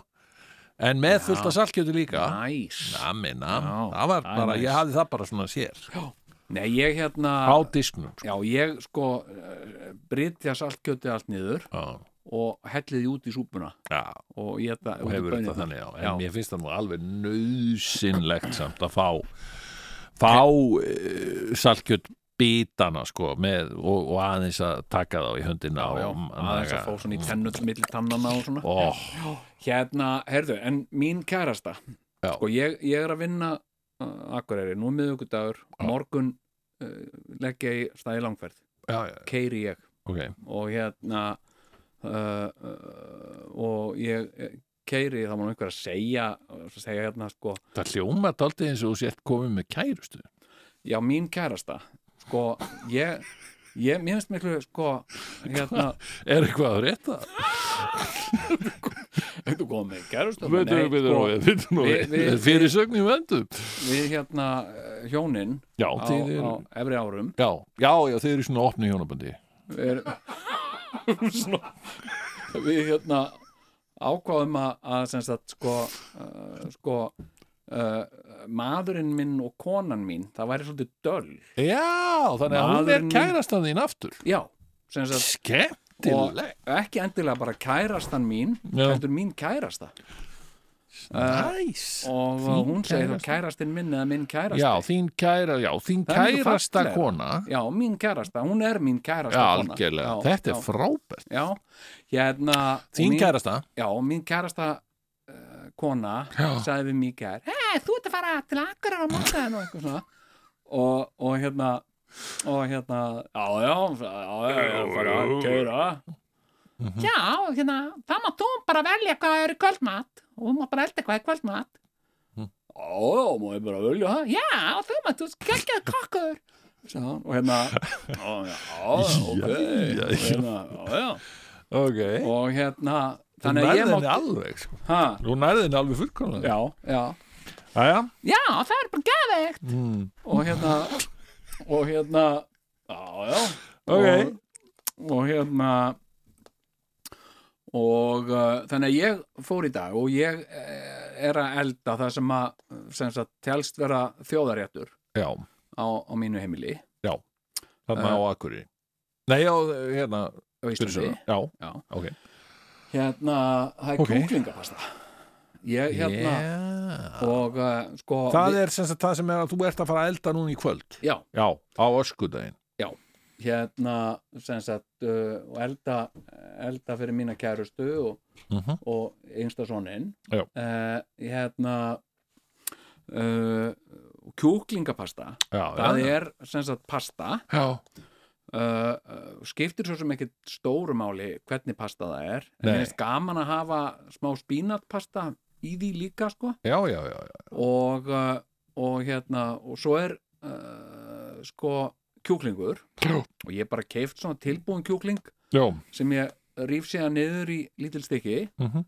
en með
Já.
fullt af saltkjöti líka
næs
nami, nam,
Já,
það var
það er
bara,
næs.
ég hafði það bara svona sér
nei, ég hérna
á disknum sko.
Já, ég sko eh, brytja saltkjötið allt niður
já,
og helliði út í súpuna
já,
og ég þetta
og hefur þetta þannig já. en mér finnst það nú alveg nöðsynlegt samt að fá fá uh, saltkjöt bitana sko með, og, og aðeins að taka þá í höndina
Já, já,
og
aðeins að fá svona í tennull milli tannana og svona
Ó,
Hérna, heyrðu, en mín kærasta
Já.
Sko, ég, ég er að vinna uh, Akureyri, nú er miðvikudagur morgun uh, leggja ég stæði langferð,
já, já,
keiri ég
ok
og hérna uh, uh, og ég eh, keiri, það má nú einhver að segja segja hérna sko
Það hljóma daldið eins og þú sért komið með kærustu.
Já, mín kærasta Sko, ég, ég Mér finnst miklu, sko hérna,
Er eitthvað að rétta?
Þú komið með sko, kærasta
Veitum við, veitum við, veitum
við-
við,
við-
fyrir sögnum vendum.
Við hérna eh, hjónin
Já,
á,
þið eru,
á efri árum
já, já, já, þið eru í svona opni hjónabandi.
er, svona, Við hérna ákváðum að, að sem sagt, sko, uh, sko uh, maðurinn minn og konan mín það væri svolítið döl
Já, þannig að hún er
Maðurinn-
kærastan þín aftur.
Já, sem sagt og
Skemmtileg.
ekki endilega bara kærastan mín
Já.
heldur mín kærasta
Næs.
og
Þín
hún segir þá
kærasta.
kærastinn minn eða minn kærasti
Já, þín kæra, já, þín
Það er miklu
kærasta
fallegra.
kona.
Já, mín kærasta, hún er mín kærasta
Já,
kona.
algjörlega. Þetta
já,
er frábært.
Já, hérna og
Þín
mín-
kærasta.
Já, mín kærasta uh, kona
Já.
sagði við mig í gær Hei, þú ert að fara til akkurar á morgun og eitthvað svona og, og hérna og hérna, já, já, já, já, já, fara að kæra
Já, hérna, það mátt þú bara velja hvað það er í kvöldmat og þú mátt bara elda eitthvað í kvöldmat.
Já, já, má ég bara velja það
Já, þú mátt, þú skelgjað kokkur.
Sagði hann, og hérna já, já, já, ok
já,
og hérna, já, já.
Ok.
og hérna
Þú
þannig að
nærði
ég
henni
mátt
alveg, sko.
ha,
Þú nærði henni alveg fullkomlega.
já, já,
Jæja.
Já, það er bara geðveikt.
Mm.
og hérna og hérna já, já,
Ok.
og, og hérna og uh, þannig að ég fór í dag og ég eh, er að elda það sem að sem sagt, telst vera þjóðaréttur
Já,
á, á mínu heimili
þarna á Akureyri. Nei, já, hérna,
á Íslandi
Fyrirsögðu, já,
Já.
ok
hérna, það
Ok.
er okay. ég hérna og uh, sko
Eh, Það er sem sagt það sem er að þú ert að fara að elda núna í kvöld
já,
Já, á öskudaginn
hérna sem sagt uh, og elda, elda fyrir mína kærustu og,
Mhm.
og einsta soninn
Já.
Eh, hérna uh, kjúklingapasta
Já,
það
já,
er sem sagt pasta
já,
uh, uh, skiptir svo sem ekkit stórumáli hvernig pasta það er en
Nei.
mér finnst gaman að hafa smá spínatpasta í því líka sko
já, já, já, já.
og, uh, og hérna og svo er uh, sko kjúklingur
Já.
og ég bara keift svona tilbúin kjúkling
já.
sem ég rýf síðan niður í lítil stykki
Mhm.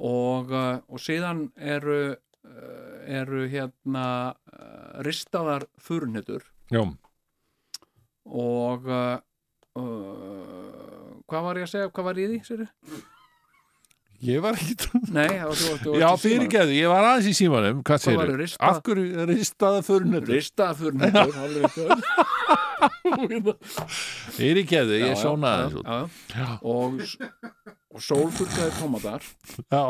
og, uh, og síðan eru uh, eru hérna uh, ristaðar furunhetur
já.
og uh, uh, hvað var ég að segja, hvað var ég í því, sér?
Ég var ekki
Nei, það var þú, þú, þú
Já, fyrirgeðu, ég var aðeins í símanum Hvað
Hvað var
segirðu?
ristað?
Af hverju ristaða förunötu? [LAUGHS]
[LAUGHS] Ristaða furunhetur, alveg
hérna- Yfirgefðu, ég
Já, já,
sónaði þessu
já, já. og, og sólfurkaði tómatar
Já,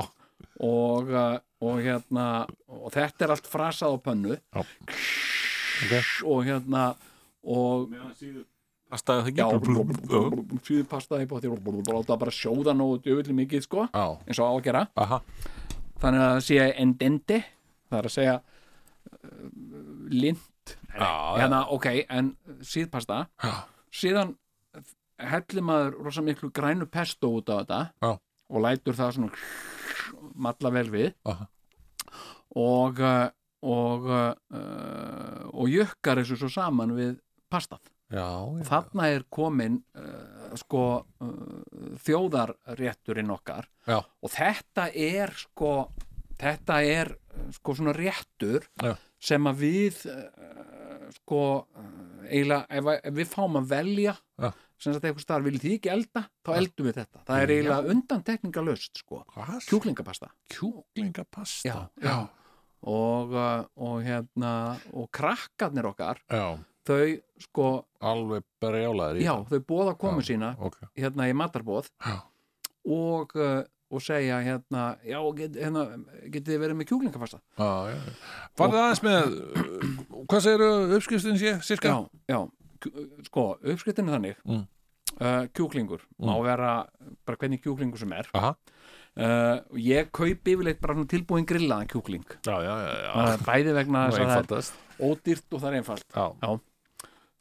og, uh, og hérna og þetta er allt frasað á pönnu
Já.
og hérna og
Pastaði
já,
það ekki?
síðu pastaði bótti og láta bara sjóða nógu djöfulli mikið sko,
já,
eins og á að gera
aha
þannig að það sé endendi það er að segja uh, lind
Já,
hérna, ok, en síðpasta
Já.
síðan hellir maður rosa miklu grænu pesto út á þetta
Já.
og lætur það svona malla vel við
Aha.
og uh, og uh, og jökkar þessu svo saman við pastað.
já, já,
Þarna er komin uh, sko uh, þjóðarrétturinn okkar
Já.
og þetta er sko þetta er uh, sko svona réttur
Já.
sem að við uh, sko uh, eiginlega, ef, að- ef við fáum að velja
Já.
sem sagt eitthvað starf, viljið þið ekki elda þá eldum við þetta, það er eiginlega undantekningalöst sko,
hvað?
kjúklingapasta
Kjúklingapasta
Já, já. og, uh, og hérna og krakkarnir okkar
já,
þau sko,
alveg berjálaður í
já, þau bóða komu
Já.
sína
ok,
hérna í matarbóð
Já.
og, uh, og segja hérna, já, get, hérna, getið þið verið með kjúklingafasta
já, já Farðu aðeins með, uh, hvað segir uppskriftin sé, sirka?
já, já, kjú- sko, uppskriftinu þannig
Mm.
uh, kjúklingur, má vera bara hvernig kjúklingur sem er
Aha.
Uh, ég kaupi yfirleitt bara nú tilbúin grillaðan kjúkling
já, já, já, já.
uh, bæði vegna
Ah. Nú
þess að það
einfaldast.
er ódýrt og það er einfalt
Já.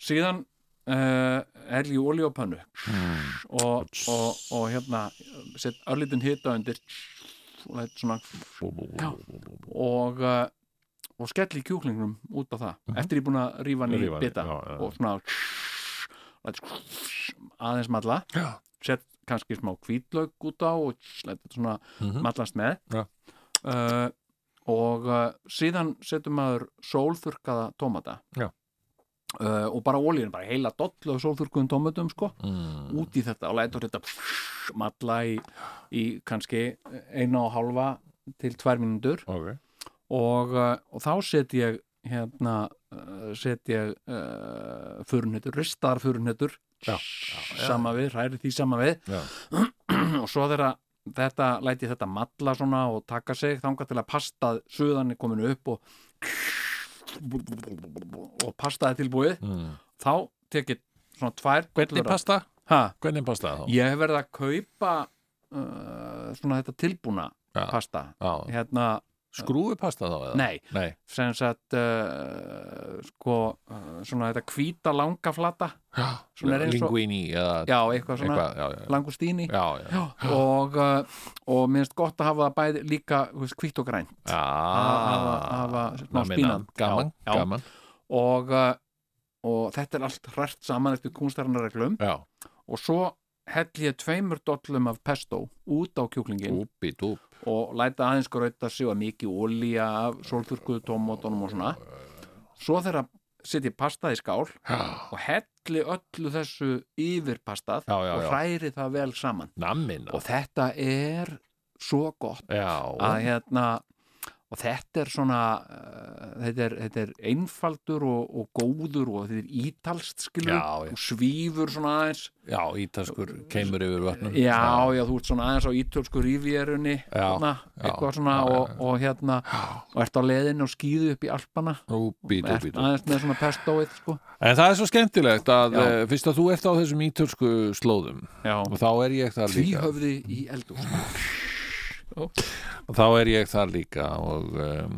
síðan uh, hell í olíu á pönnu
Mm.
og, og, og hérna set örlítinn hita undir og læt svona já, og, uh, og skell í kjúklingnum út á það eftir ég búin að rífa hann í
Mhm. Rífa hann í,
bita
já, já.
og svona læt aðeins malla
Já.
set kannski smá hvítlaug út á og læt þetta svona
Mhm.
mallast með
Já.
uh, og uh, síðan setjum maður sólþurkaða tómata
Já.
Uh, og bara ólíðin, bara heila dollu og sólþurkuðum tómatum sko,
Mm.
út í þetta og lætur þetta pff, malla í, í kannski eina og hálfa til tvær mínútur
Ok,
og, uh, og þá set ég hérna uh, set ég uh, furunhetur, ristaðar furunhetur
Já,
sama við, hræri því sama við
Já.
[CLEARS THROAT] og svo þeirra þetta, læti ég þetta malla svona og taka sig þangað til að pastað suðan er komin upp og og pastaði tilbúið
mm.
þá tekið svona tvær
hvernig pasta?
pasta?
Hvernig pasta þá?
Ég hef verið að kaupa uh, svona þetta tilbúna
Já.
pasta
Já,
hérna,
skrúfi pasta þá eða?
nei,
Nei,
sem sagt uh, sko, uh, svona þetta hvíta langa flata
já,
Svona er eins og-
linguini eða
já, eitthvað svona
eitthvað, já, já,
langustíni
já, já,
og, uh, og minnst gott að hafa það bæði líka þú veist, hvítt og græn
já,
hafa- hafa
Nam,
smá
nam,
spínat.
gaman,
Já, já.
gaman,
og, uh, og þetta er allt hrært saman eftir kúnstarnarreglum
já,
og svo hell ég tveimur dollum af pesto út á kjúklingin
úpi, dúp,
og læta aðeins gröta sig og mikið olía af sólþurkuðu tómótonum og svona svo þegar setji pastað í skál
já,
og helli öllu þessu yfir pastað
Já, já,
og
já.
hræri það vel saman
namina,
og þetta er svo gott
já,
að hérna og þetta er svona uh, þetta, er, þetta er einfaldur og, og góður og þetta er ítalst skilur
Já, já.
og svífur svona aðeins
já, ítalskur keimur yfir vatnum,
já, já, þú ert svona aðeins á ítölsku rivjerunni
Mm, Já,
þarna,
já,
eitthvað svona
já, já,
og, og hérna, og ert á leðinu og skýðu upp í alpana
úpi,
ert
dúp, dúp.
aðeins með svona pestóið sko.
En það er svo skemmtilegt að
Já.
eh, fyrst að þú ert á þessum ítölsku slóðum
já,
og þá er ég þar líka
tvíhöfði í eldur
og þá er ég þar líka og, um,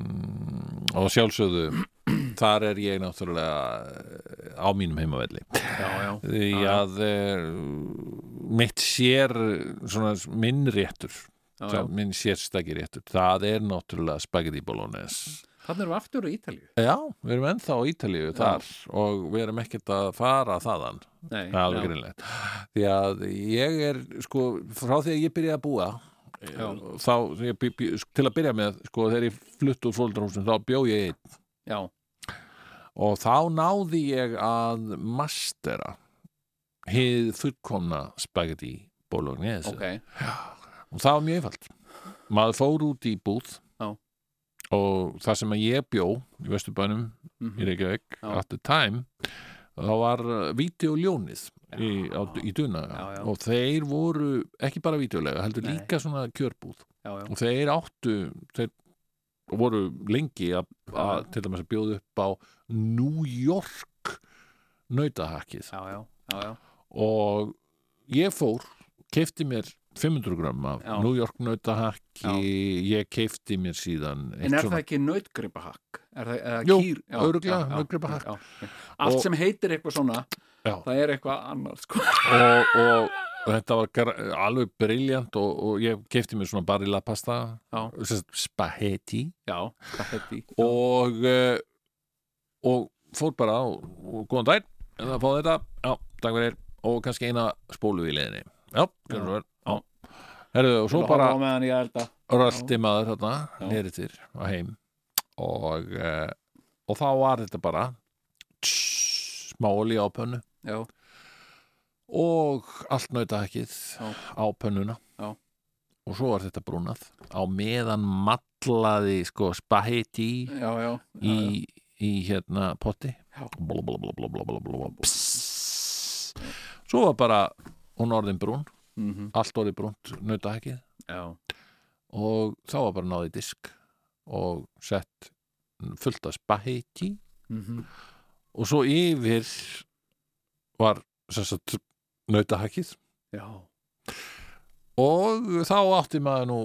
og sjálfsögðu þar er ég náttúrulega eh, á mínum heimavelli
já, já,
því að eh, mitt sér svona minn réttur
já, já.
það, minn sérstæki réttur, það er náttúrulega spagetti bolognese
þannig erum við aftur á Ítalíu
Já, við erum ennþá á Ítalíu þar og við erum ekkert að fara þaðan
Nei,
Það er alveg
já,
greinlegt því að ég er sko frá því að ég byrjaði að búa eh,
Já.
þá, ég, bý- bý- til að byrja með sko þegar ég flutt úr fóldrahúsum þá bjó ég einn
já,
og þá náði ég að mastera hið fullkomna spagetti bolognese
ok,
og það var mjög einfalt maður fór út í búð
Já.
og það sem að ég bjó í Vesturbænum
Mhm.
í Reykjavík
Já.
at the time það var Víti og Ljónið í, á, í Duna
Já, já.
og þeir voru ekki bara vídeolega, heldur
Nei.
líka svona kjörbúð
já, já,
og þeir áttu þeir voru lengi að að- til dæmis að bjóða upp á New York nautahakkið
já, já, já, já.
og ég fór kefti mér 500 grömm af
Já.
New York nautahakki ég kefti mér síðan eitt
En er
svona-
það ekki nautgripahakk? Er það, er það
Jú,
kýr? Já,
örugglega
já, já,
nautgripahakk.
já, já. Allt
Og-
sem heitir eitthvað svona,
Já.
það er eitthvað annars sko.
og, og þetta var gar- alveg briljant og, og ég kefti mér svona barilla pasta
Já.
sem sagt spagetti
[LAUGHS] Já, það heiti
og, eh, og fór bara og, og góðan dæn en það fáði þetta, já, takk fyrir og kannski eina spólu í leiðinni já, kannski vel, já Herðu, og svo bara
á meðan ég held að
rölti maður þarna,
Já.
nýri til og heim og, eh, og þá var þetta bara tss, smá olía á pönnu
Já,
og allt nautahekkið
Já.
á pönnuna
Já.
og svo var þetta brúnað á meðan matlaði sko spahetti
já, já, já, já.
í, í hérna potti
Já.
blá, blá, blá, blá, blá, blá, blá, Pss. svo var bara hún orðin brún,
Mhm,
allt orðið brúnt nautahekkið
já,
og þá var bara náði disk og sett fullt af spahetti
mhm,
og svo yfir var sem sagt nautahekkið
já,
og þá átti maður nú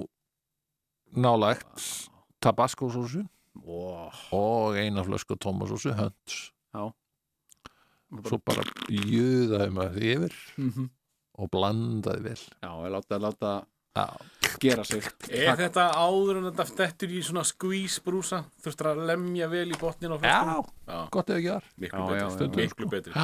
nálægt tabasco sósu
ó,
og eina flösku tómasósu hönds
Já.
svo bara jöðaði maður því yfir
mhm,
og blandaði vel
já, ég láta, láta
Já.
gera sig
Er þetta áður en þetta dettur í svona squeeze brúsa? Þurftur að lemja vel í botnin á flöskunum? Já.
gott ef ekki var
Miklu
Já, já, já,
betri,
já.
miklu betri.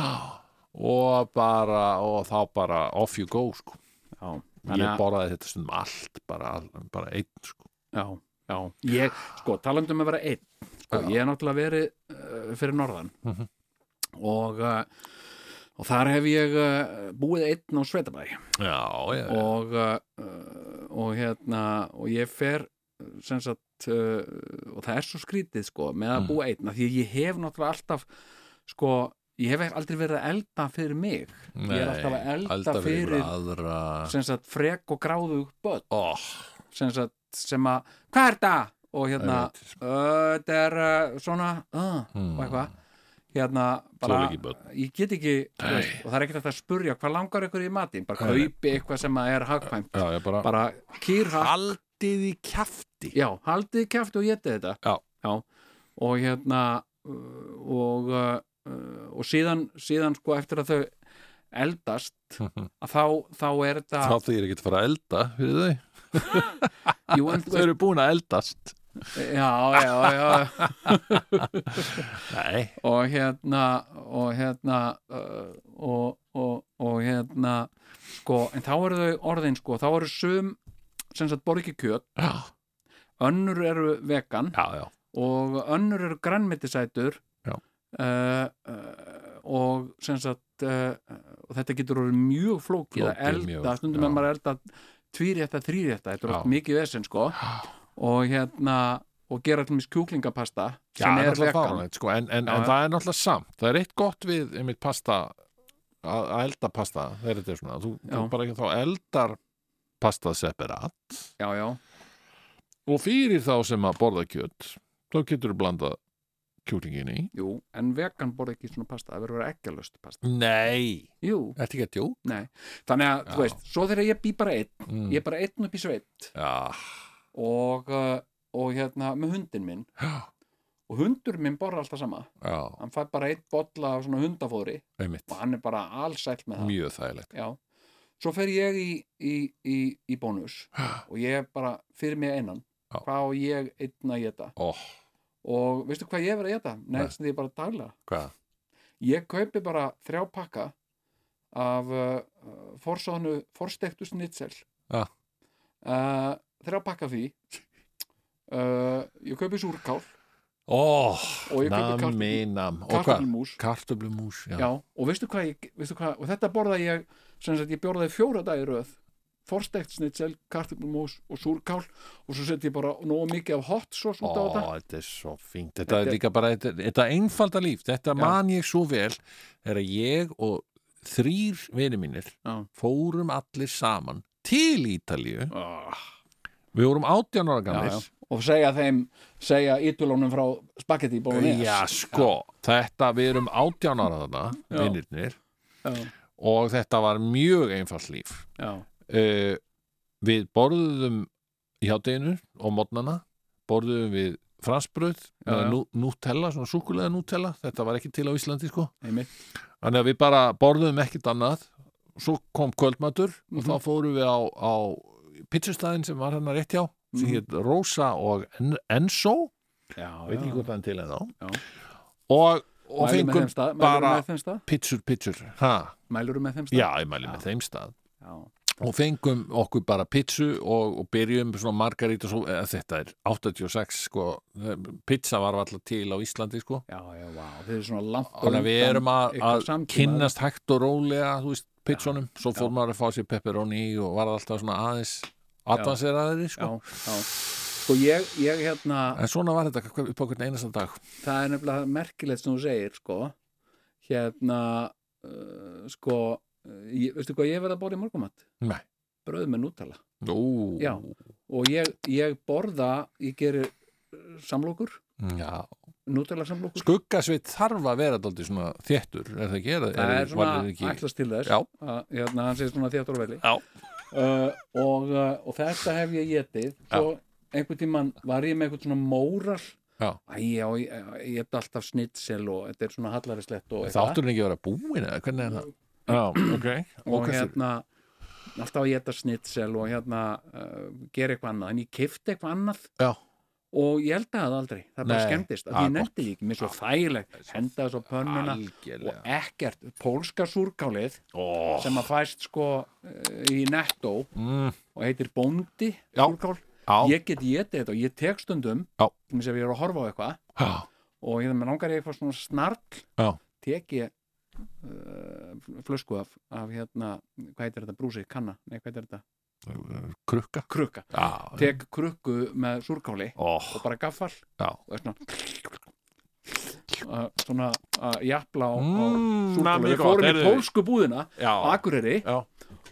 og bara, og þá bara off you go sko
Já,
ég
þannig að
borðaði þetta stundum allt bara, bara einn sko
Já, já, ég, sko, talandum að vera einn sko, ég er náttúrulega verið uh, fyrir norðan
Mhm.
og uh, og þar hef ég uh, búið einn á Svetabæ
já, já, já,
og, uh, og hérna og ég fer uh, sem sagt uh, og það er svo skrítið sko með að
Mm.
búa einn af því að ég hef náttúrulega alltaf sko, ég hef aldrei verið að elda fyrir mig ég er alltaf að elda, fyrir,
ykkur aðra
sem sagt frek og gráðug börn
oh,
sem sagt sem að, hvað er það? og hérna,
Einmitt.
"Ö, þetta er uh, svona, uh, og eitthvað hérna, bara,
Hmm. Þoli ekki börn.
ég get ekki þú
Nei.
veist, og það er ekkert hægt að spurja hvað langar ykkur í matinn, bara
Nei, nei.
kaupi eitthvað sem að er hagkvæmt
já, ég bara,
bara kýrhakk
haldið í kjafti
já, haldið kæft og getið þetta
Já.
og hérna uh, og, uh, og síðan, síðan sko eftir að þau
[LAUGHS]
eldast að þá, þá er þetta
þá þau eru ekki að fara að elda fyrir þau,
jú, en,
[LAUGHS] þau eru búin að eldast
já, já, já
nei,
og hérna og hérna uh, og, og, og hérna sko, en þá eru þau orðin sko þá eru sum sem sagt borgi kjöt
já,
önnur eru vegan
já, já
og önnur eru grænmetisætur
Já.
uh, uh, og sem sagt uh, og þetta getur orðið mjög flókið að
Flókið
elda,
mjög,
stundum
já.
er maður að elda tvírétta, þrírétta, þetta er
Já.
oft mikið vesinn sko og hérna og gera allir mis kjúklingapasta
Já,
sem er
náttúrulega
vegan
fáránlegt, sko, en, en,
Já,
en
já.
það er náttúrulega samt það er eitt gott við einmitt pasta að að elda pasta þegar þetta er svona þú, þú
Já.
bara ekki þá eldar pasta separat
já, já,
og fyrir þá sem að borða kjöt þá getur þú blandað kjúklingin í
jú, en vegan borði ekki svona pasta, það verður að vera ekkjalöst pasta
Nei,
jú,
ertu ekki að djó?
nei, þannig að
Já.
þú veist, svo þegar ég bý bara einn
Mm.
ég er bara einn upp í sveit
Já,
og, uh, og hérna með hundin minn
Já.
og hundur minn borða alltaf sama
já,
hann fær bara eitt bolla af svona hundafóðri
einmitt
og hann er bara allsæll með það
mjög [GASPS] þægilegt
Já. svo fer ég í, í, í, í bónus og ég er bara fyrir mig einan
Já.
hvað á ég einn að geta
Ó,
og veistu hvað ég er verið að geta? Nei,
Nei.
sem því ég bara daglega
Hvað?
ég kaupi bara þrjá pakka af uh, forsáðnu forstektu snitsel
Já.
uh, þrjá pakka af því uh, ég kaupi súrkál
ó,
Og ég kaupi
nami,
kartöflu-
nam Og hvað?
kartumús
Kartöflumús, já,
Já, og veistu hvað, ég, veistu hvað og þetta borða ég sem sagt ég borðaði fjóra dag í röð forstekt snitsel, kartöflumós og súrkál og svo setjum ég bara nógu mikið af hot sauce út á þetta
Ó, þetta er svo fínt Þetta,
Þetta
er
er-
líka bara, þetta, þetta einfalda líf Þetta man ég svo vel er að ég og þrýr vini mínir
Já.
fórum allir saman til Ítalíu
Ah.
Við vorum 18 ára
já, já.
gamlir
og segja þeim, segja ítulónum frá spagetti bóðinni
Já, sko, þetta við erum 18 ára þarna,
Já.
vinirnir
já,
og þetta var mjög einfalt líf
já,
uh, Við borðuðum í hádeginu og modnana borðuðum við fransbröð með
já.
nú, nútella, svona súkulega nútella þetta var ekki til á Íslandi sko
einmitt
Þannig að við bara borðum ekkert annað svo kom kvöldmatur og
Mhm.
þá fórum við á, á pizzustæðin sem var hennar rétt hjá sem
Mhm.
hétt Rosa og En- Enzo
já,
veit ekki hvort hann til en þá
Já.
og, og
Mælurðu með
fengum
þeim stað, bara...
bara
með þeim stað?
pizzur, pizzur ha,
Mælurðu með þeim stað?
já, ég mæli með þeim stað
Já.
og fengum okkur bara pizzu og, og byrjum svona margarita svo, eða, þetta er 86 sko, pizza var alltaf til á Íslandi sko
Já, já, vá, þið eru svona langt
Þannig að við
undan
erum að, að
ykkar samtíma.
kynnast hægt og rólega, þú veist, pitchunum, svo fór maður að fá sér pepperoni og var alltaf svona aðeins advanseraðri,
Já,
sko.
já Sko ég, ég hérna,
En svona var þetta hver- upp á hvern einasta dag.
það er nefnilega merkilegt sem þú segir, sko Hérna, uh, sko uh, ég, Veistu hvað ég verð að borða í morgumat?
Nei.
Bröð með nútala
Ú,
Já. Og ég, ég borða, ég gerir uh, samlokur,
já.
nútala samlokur
Skuggasveit þarf að vera dálítið svona þéttur, er það ekki? Er,
Það er
var
svona
ekki...
ætlast til þess
Já.
að, hérna, hann segir svona þjáttur og veli
Já.
uh, og, uh, og þetta hef ég getið svo einhvern tímann var ég með einhvern svona móral
Já.
Æ, já, ég, ég get alltaf snitsel og þetta er svona hallarinslegt og
Þáttur er ekki að vera búin eða hvernig er það? Já, ok.
og
Og hérna...
hérna alltaf að geta snitsel og hérna uh, gera eitthvað annað, en ég kifti eitthvað annað
Já.
og ég held að það aldrei það bara
Nei.
skemmtist, að
Ah,
ég nefndi því ekki mér er svo þægileg, henda þess á pönnuna
Algjörlega.
og ekkert, pólska súrkálið
Ó,
sem að fæst sko uh, í nettó
mm,
og heitir bóndi
Já.
súrkál.
á,
ég get getið þetta og ég tek stundum
Já.
sem ég er að horfa á eitthvað
á,
og ég með langar í eitthvað svona snarl
Já.
tek ég uh, flösku af, af hérna hvað heitir þetta, brúsi, kanna, nei hvað heitir þetta
krukka.
krukka,
Já,
tek krukku með súrkáli
Ó,
og bara gaffal
Já.
og er svona uh, svona að jafla á, á
Mm, na,
súrkáli
mjög
við
gott,
fórum í
heyrðu.
pólsku búðina á
já,
Akureyri
Já.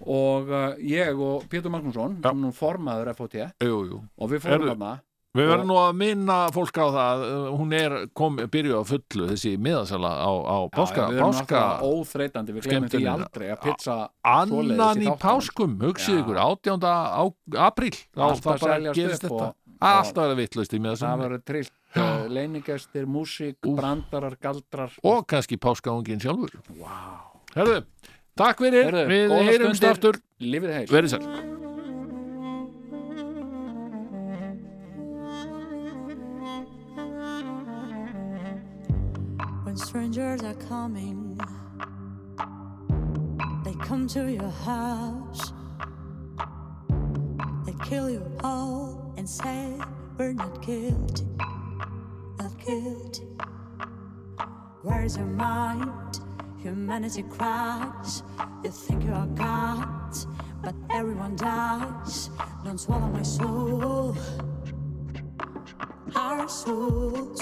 og uh, ég og Pétur Magnússon
Já.
sem nú formaður FHT
jú, jú.
og við fórum
Heyrðu.
þarna
Við
Og-
verðum nú að minna fólk á það uh, hún er kom, byrjuð á fullu þessi miðasala á, á páska,
Já, við erum
páska
náttúrulega óþreytandi, við glemum því
skemmtunina.
aldrei að pizza svoleiðis í
annan í
þáttunum.
páskum, hugsið
Já.
ykkur 18. Á, apríl þá,
Allt
þá
að
bara
seljast
gerist
upp
þetta
og-
alltaf er það vitlaust í
það
miðasala
verður trillt leiningestir, músík, brandarar, galdrar
og kannski páskaungin sjálfur
wow.
Herðu, takk fyrir,
Heyrðu,
við
góðar
heyrumst
stundir.
aftur
lifið heil
verið sæl
when strangers are coming. They come to your house, they kill you all and say, We're not guilty, not guilty. Where is your mind? Humanity cries. You think you are God, but everyone dies. Don't swallow my soul. Our souls.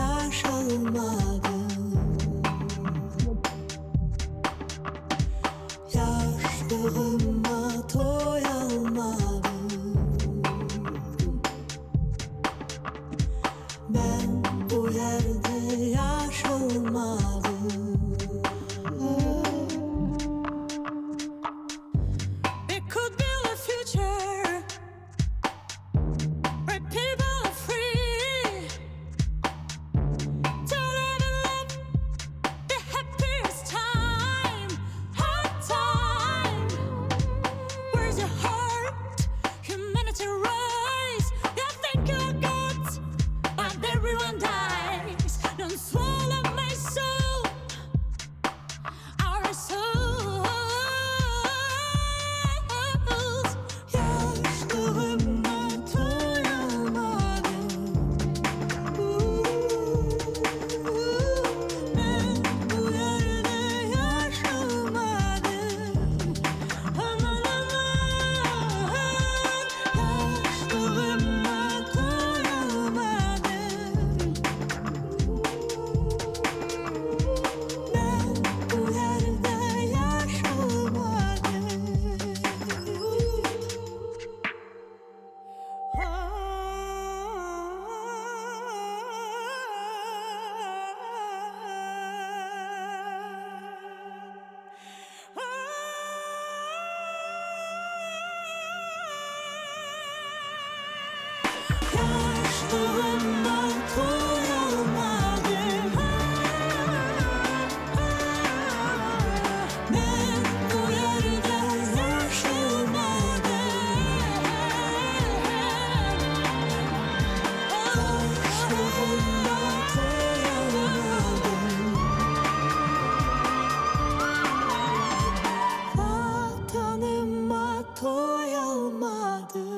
yaşalmadım Yaşlığıma doyamadım Ben bu yerde yaşalmadım ljómaður